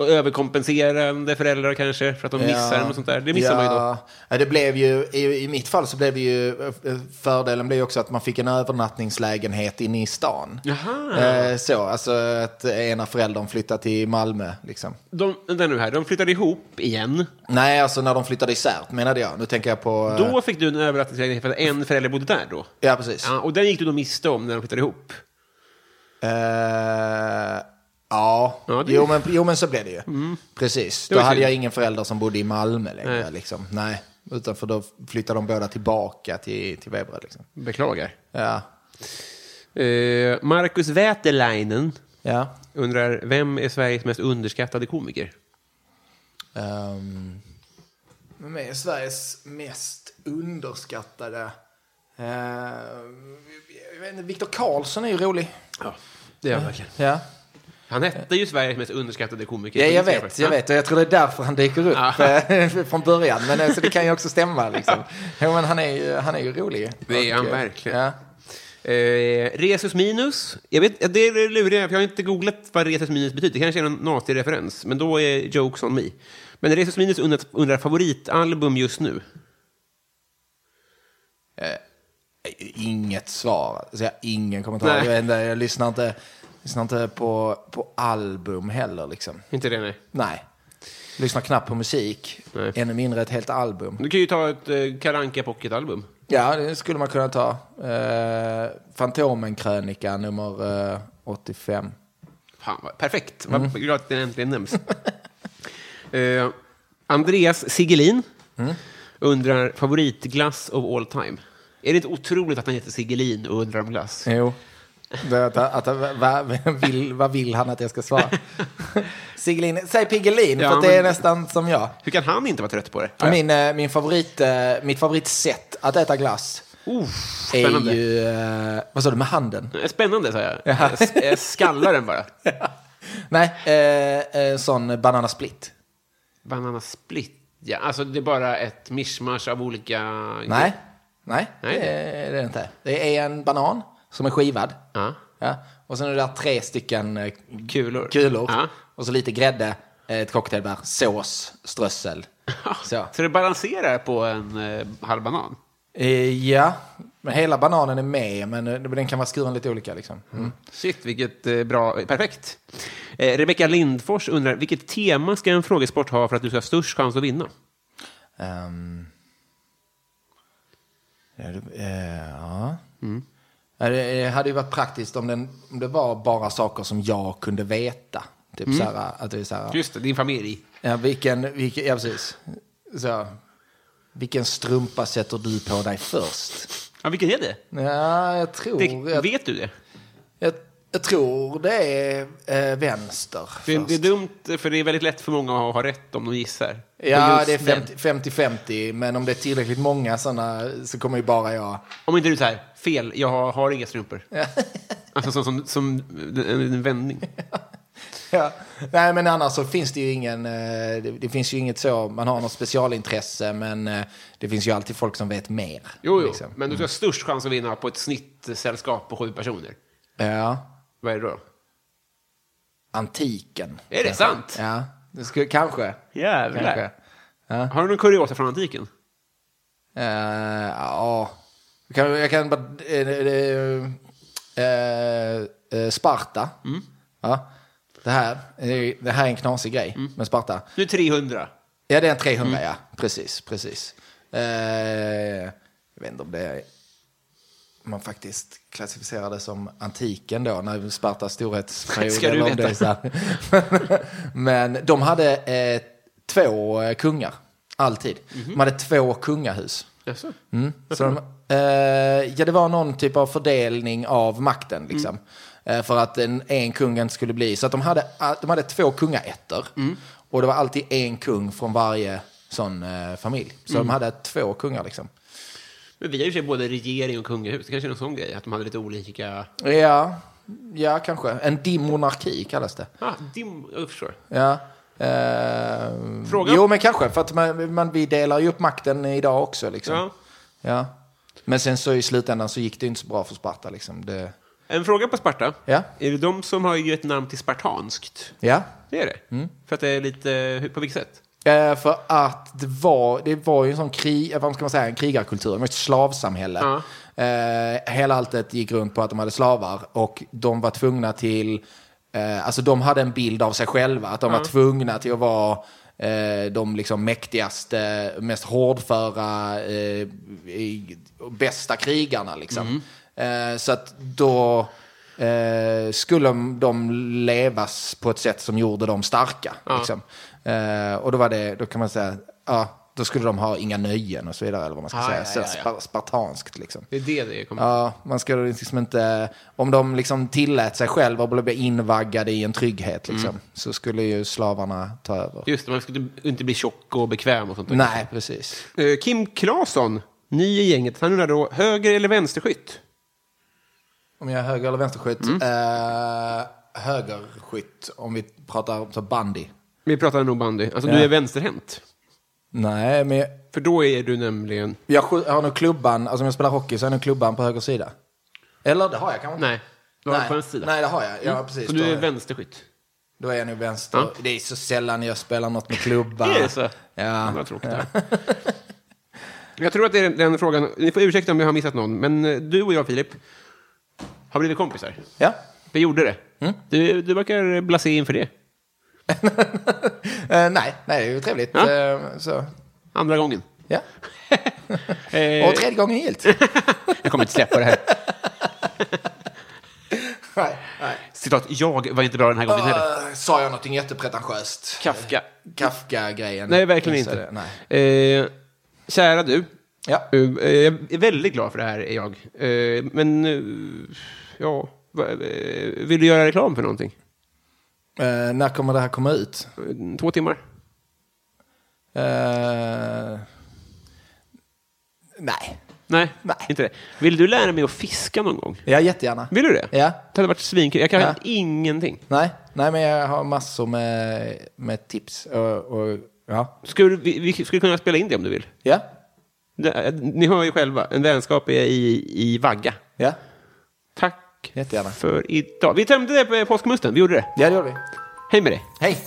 [SPEAKER 2] Överkompenserande föräldrar kanske, för att de missar en och sånt där. Det missar man ju då.
[SPEAKER 3] Ja, det blev ju, i, i mitt fall så blev det ju, eh, fördelen blev ju också att man fick en övernattningslägenhet inne i stan.
[SPEAKER 2] Jaha.
[SPEAKER 3] Eh, så, alltså att ena föräldern flyttade till Malmö liksom.
[SPEAKER 2] De, vänta nu här, de flyttade ihop igen.
[SPEAKER 3] Nej, alltså när de flyttade isär menade jag. Nu tänker jag på... eh,
[SPEAKER 2] Då fick du en överraskningslägenhet för att en förälder bodde där då.
[SPEAKER 3] Ja, precis.
[SPEAKER 2] Ja, och den gick du då miste om när de flyttade ihop.
[SPEAKER 3] Eh, ja,
[SPEAKER 2] Ja, det- Mm.
[SPEAKER 3] jo, men, jo men så blev det ju. Precis, då
[SPEAKER 2] var
[SPEAKER 3] hade
[SPEAKER 2] synd.
[SPEAKER 3] jag ingen förälder som bodde i Malmö längre.
[SPEAKER 2] Nej.
[SPEAKER 3] Nej. Liksom. Nej, utan för då flyttade de båda tillbaka till, till Veberöd. Liksom.
[SPEAKER 2] Beklagar.
[SPEAKER 3] Ja.
[SPEAKER 2] Eh, Marcus Wäterleinen
[SPEAKER 3] ja.
[SPEAKER 2] undrar, vem är Sveriges mest underskattade komiker?
[SPEAKER 3] Ehm, Vem är Sveriges mest underskattade Eh, jag vet inte, Viktor Karlsson är ju rolig.
[SPEAKER 2] Ja, det gör han verkligen.
[SPEAKER 3] Ja.
[SPEAKER 2] Han hette ju Sveriges mest underskattade komiker.
[SPEAKER 3] Ja,
[SPEAKER 2] Det
[SPEAKER 3] jag
[SPEAKER 2] ser
[SPEAKER 3] vet,
[SPEAKER 2] faktiskt.
[SPEAKER 3] jag vet. Och jag tror det är därför han dyker upp eh, [LAUGHS] från början. Men eh, så det kan ju
[SPEAKER 2] [LAUGHS]
[SPEAKER 3] också stämma. Liksom. Jo, men han är ju, han är ju rolig.
[SPEAKER 2] Det är
[SPEAKER 3] Och,
[SPEAKER 2] han
[SPEAKER 3] eh,
[SPEAKER 2] verkligen.
[SPEAKER 3] Ja.
[SPEAKER 2] Eh, resus minus. Jag vet, det är lurigt, för jag har inte googlat vad resus minus betyder. Det kanske är en nazireferens, men då är jokes on me. Men resus minus undrar, undrar favoritalbum just nu.
[SPEAKER 3] Inget svar. Alltså, jag har ingen kommentar.
[SPEAKER 2] Nej.
[SPEAKER 3] Jag, vet inte, jag lyssnar inte, lyssnar inte på, på album heller. Liksom.
[SPEAKER 2] Inte det, nej.
[SPEAKER 3] Nej. Lyssnar knappt på musik.
[SPEAKER 2] Nej.
[SPEAKER 3] Ännu mindre ett helt album.
[SPEAKER 2] Du kan ju ta ett eh, Karanka Pocket-album.
[SPEAKER 3] Ja, det skulle man kunna ta. Eh, Fantomen-krönika nummer eh, 85.
[SPEAKER 2] Fan, vad, perfekt.
[SPEAKER 3] Mm.
[SPEAKER 2] Vad glad att den äntligen nämns. [LAUGHS] eh, Andreas Sigelin
[SPEAKER 3] Mm.
[SPEAKER 2] undrar favoritglass of all time. Är det inte otroligt att han heter Sigelin och undrar om glass?
[SPEAKER 3] Jo. Det, att, att, vad, vill, vad vill han att jag ska svara? Sigelin, säg Piggelin,
[SPEAKER 2] Ja,
[SPEAKER 3] för att det är
[SPEAKER 2] men-
[SPEAKER 3] nästan som jag.
[SPEAKER 2] Hur kan han inte vara trött på det?
[SPEAKER 3] Och Min, eh, min favorit, eh, mitt favoritsätt att äta glass
[SPEAKER 2] Oh,
[SPEAKER 3] är
[SPEAKER 2] spännande. Eh,
[SPEAKER 3] ju... eh, Vad sa du, med handen? [LAUGHS]
[SPEAKER 2] Spännande, sa jag. Jag s- Jag skallar den bara.
[SPEAKER 3] Nej, eh, en sån banana split.
[SPEAKER 2] Banana split. Ja, alltså det är bara ett mischmasch av olika...
[SPEAKER 3] Nej, nej,
[SPEAKER 2] Nej.
[SPEAKER 3] Det, är det inte. Det är en banan som är skivad.
[SPEAKER 2] Ja.
[SPEAKER 3] Ja. Och sen är det där tre stycken eh,
[SPEAKER 2] Kulor.
[SPEAKER 3] kulor.
[SPEAKER 2] Ja.
[SPEAKER 3] Och så lite grädde, eh, ett cocktailbär, sås, strössel. Så.
[SPEAKER 2] Så det balanserar på en eh, halv banan.
[SPEAKER 3] Eh, ja, men hela bananen är med, men eh, den kan vara skuren lite olika. Liksom. Mm.
[SPEAKER 2] Shit, vilket eh, bra... Perfekt. Eh, Rebecka Lindfors undrar, vilket tema ska en frågesport ha för att du ska ha störst chans att vinna?
[SPEAKER 3] Ehm. Ja, det, eh, ja.
[SPEAKER 2] Mm.
[SPEAKER 3] Ja, det, det hade ju varit praktiskt om, den, om det var bara saker som jag kunde veta. Typ
[SPEAKER 2] Mm.
[SPEAKER 3] så här, att det är så här,
[SPEAKER 2] Just det, din familj.
[SPEAKER 3] Ja, vilken, vilken, ja precis. Så, vilken strumpa sätter du på dig först?
[SPEAKER 2] Ja, vilken är det?
[SPEAKER 3] Ja, jag tror,
[SPEAKER 2] det
[SPEAKER 3] jag,
[SPEAKER 2] vet du det?
[SPEAKER 3] jag, jag tror det är eh, vänster.
[SPEAKER 2] Det,
[SPEAKER 3] först.
[SPEAKER 2] det är dumt, för det är väldigt lätt för många att ha rätt om de gissar.
[SPEAKER 3] ja,
[SPEAKER 2] Just
[SPEAKER 3] det är
[SPEAKER 2] den-
[SPEAKER 3] 50 50-50, men om det är tillräckligt många sådana så kommer ju bara jag.
[SPEAKER 2] Om inte du säger fel, jag har, har inga strumpor. [LAUGHS] alltså som, som, som en, en vändning.
[SPEAKER 3] Ja. Nej, men annars så finns det ju ingen, eh, det, det finns ju inget så, man har något specialintresse, men eh, det finns ju alltid folk som vet mer.
[SPEAKER 2] Jo, jo.
[SPEAKER 3] liksom.
[SPEAKER 2] men du ska ha störst chans att vinna på ett snittsällskap på sju personer.
[SPEAKER 3] Ja,
[SPEAKER 2] Vad är det då?
[SPEAKER 3] antiken.
[SPEAKER 2] Är det sant?
[SPEAKER 3] Ja, det skulle, kanske.
[SPEAKER 2] Jävlar.
[SPEAKER 3] Kanske.
[SPEAKER 2] Har du någon kuriosa från antiken?
[SPEAKER 3] Eh, ja, jag kan, jag kan bara... eh, eh, eh, eh, Sparta.
[SPEAKER 2] Mm.
[SPEAKER 3] Ja. Det, här, eh, det här är en knasig grej
[SPEAKER 2] Mm.
[SPEAKER 3] med Sparta.
[SPEAKER 2] Nu är 300.
[SPEAKER 3] Ja, det är en 300, ja. Precis, precis. Eh, jag vet inte om det är... Man faktiskt klassificerar det som antiken då, när Spartas storhetsperiod.
[SPEAKER 2] Ska du
[SPEAKER 3] eller om
[SPEAKER 2] veta?
[SPEAKER 3] det är så här. [LAUGHS] Men de hade eh, två eh, kungar, alltid.
[SPEAKER 2] Mhm.
[SPEAKER 3] De hade två kungahus.
[SPEAKER 2] Jaså?
[SPEAKER 3] Mm. Så de, eh, ja, det var någon typ av fördelning av makten. Liksom. Eh, för att en, en kung inte skulle bli... Så att de hade, a- de hade två kungaätter. Och det var alltid en kung från varje sån eh, familj. Så de hade två kungar. Liksom.
[SPEAKER 2] Men vi har ju i och för sig både regering och kungahus. Det kanske är någon sån grej, att de hade lite olika...
[SPEAKER 3] Ja, ja, kanske. En dimonarki kallas det.
[SPEAKER 2] Ah, dim... Jag förstår.
[SPEAKER 3] Ja. Eh,
[SPEAKER 2] Fråga?
[SPEAKER 3] Jo, men kanske. För att man, man, vi delar ju upp makten idag också. Liksom.
[SPEAKER 2] Ja.
[SPEAKER 3] Ja. Men sen så i slutändan så gick det inte så bra för Sparta. Liksom. Det,
[SPEAKER 2] En fråga på Sparta.
[SPEAKER 3] Ja.
[SPEAKER 2] Är det de som har gett namn till spartanskt?
[SPEAKER 3] ja.
[SPEAKER 2] Det är det.
[SPEAKER 3] Mm.
[SPEAKER 2] För att det är lite... hur- På vilket sätt?
[SPEAKER 3] Eh, för att det var, det var ju en sån krig, eh, vad ska man säga, en krigarkultur, det var ett slavsamhälle.
[SPEAKER 2] Ja.
[SPEAKER 3] Eh, hela alltet gick runt på att de hade slavar och de var tvungna till, eh, alltså de hade en bild av sig själva, att de var tvungna till att vara eh, de liksom mäktigaste, mest hårdföra, eh, i- bästa krigarna liksom.
[SPEAKER 2] Mm.
[SPEAKER 3] Eh, så att då eh, skulle de levas på ett sätt som gjorde dem starka. Liksom. Eh, och då var det, då kan man säga, ja, då skulle de ha inga nöjen och så vidare, eller vad man ska
[SPEAKER 2] Ah,
[SPEAKER 3] säga.
[SPEAKER 2] ja,
[SPEAKER 3] så
[SPEAKER 2] ja, ja.
[SPEAKER 3] Spar- spartanskt liksom.
[SPEAKER 2] Det är det det kommer...
[SPEAKER 3] Ja, man skulle liksom inte, om de liksom tillät sig själva och blev invaggade i en trygghet liksom,
[SPEAKER 2] Mm.
[SPEAKER 3] så skulle ju slavarna ta över.
[SPEAKER 2] Just det, man skulle inte bli tjock och bekväm och sånt.
[SPEAKER 3] Nej, precis.
[SPEAKER 2] Eh, Kim Claesson Ny i gänget. Han undrar då, höger eller vänsterskytt?
[SPEAKER 3] Om jag är höger eller vänsterskytt?
[SPEAKER 2] Mm.
[SPEAKER 3] Eh, högerskytt, om vi pratar om så bandy.
[SPEAKER 2] Vi pratar nog bandy. Alltså, du
[SPEAKER 3] Ja.
[SPEAKER 2] är vänsterhänt.
[SPEAKER 3] Nej, men jag,
[SPEAKER 2] För då är du nämligen...
[SPEAKER 3] jag skj- har nog klubban, alltså om jag spelar hockey så har jag nog klubban på höger sida. Eller det har jag kanske inte.
[SPEAKER 2] Nej, du har på en sida. Mm.
[SPEAKER 3] Nej, det har jag. Ja, precis.
[SPEAKER 2] Så du
[SPEAKER 3] Då-
[SPEAKER 2] är vänsterskytt.
[SPEAKER 3] Då är jag nog vänster.
[SPEAKER 2] Ja.
[SPEAKER 3] Det är så sällan jag spelar något med klubba.
[SPEAKER 2] Är det så?
[SPEAKER 3] Ja.
[SPEAKER 2] Vad tråkigt
[SPEAKER 3] [LAUGHS]
[SPEAKER 2] det här. Jag tror att det är den frågan. Ni får ursäkta om jag har missat någon, men eh, du och jag, Filip, har blivit kompisar.
[SPEAKER 3] Ja.
[SPEAKER 2] Vi gjorde det.
[SPEAKER 3] Mm.
[SPEAKER 2] Du, du verkar blasé inför det.
[SPEAKER 3] Eh, nej, nej, det är ju trevligt.
[SPEAKER 2] Ja.
[SPEAKER 3] Eh, så.
[SPEAKER 2] Andra gången.
[SPEAKER 3] Ja.
[SPEAKER 2] Eh,
[SPEAKER 3] Och tredje gången gillt.
[SPEAKER 2] [LAUGHS] jag kommer inte släppa det här.
[SPEAKER 3] nej, nej.
[SPEAKER 2] Citat, jag var inte bra den här gången heller.
[SPEAKER 3] Eh, sa jag någonting jättepretentiöst? Eh,
[SPEAKER 2] Kafka.
[SPEAKER 3] Kafka-grejen.
[SPEAKER 2] Nej, verkligen
[SPEAKER 3] Missade
[SPEAKER 2] inte.
[SPEAKER 3] det, Nej.
[SPEAKER 2] Eh, kära du,
[SPEAKER 3] Ja.
[SPEAKER 2] eh, jag är väldigt glad för det här, är jag. Eh, men, eh, ja, va- eh, vill du göra reklam för någonting?
[SPEAKER 3] Eh, när kommer det här komma ut?
[SPEAKER 2] Eh, Två timmar?
[SPEAKER 3] Eh, nej.
[SPEAKER 2] Nej,
[SPEAKER 3] Nej.
[SPEAKER 2] inte det. Vill du lära mig att fiska någon gång?
[SPEAKER 3] Ja, jättegärna.
[SPEAKER 2] Vill du det?
[SPEAKER 3] Ja.
[SPEAKER 2] Det hade varit svinkul. Jag kan
[SPEAKER 3] Ja.
[SPEAKER 2] ingenting.
[SPEAKER 3] Nej, nej, men jag har massor med, med tips. Och, och, ja.
[SPEAKER 2] Skulle, vi, vi skulle kunna spela in det om du vill.
[SPEAKER 3] ja,
[SPEAKER 2] Det, eh, ni hör ju själva, en vänskap är i, i vagga.
[SPEAKER 3] ja,
[SPEAKER 2] Tack
[SPEAKER 3] jättegärna.
[SPEAKER 2] för idag. Vi tömde det på påskmusten, vi gjorde det.
[SPEAKER 3] Ja, det gör vi.
[SPEAKER 2] Hej med dig.
[SPEAKER 3] Hej!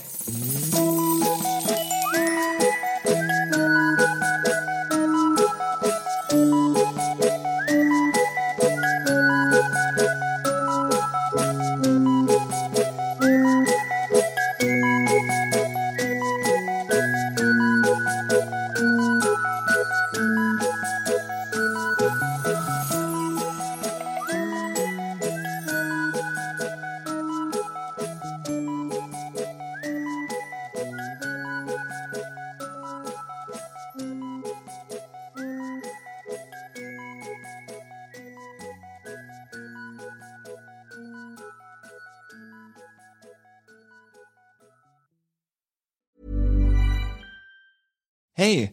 [SPEAKER 8] Hey,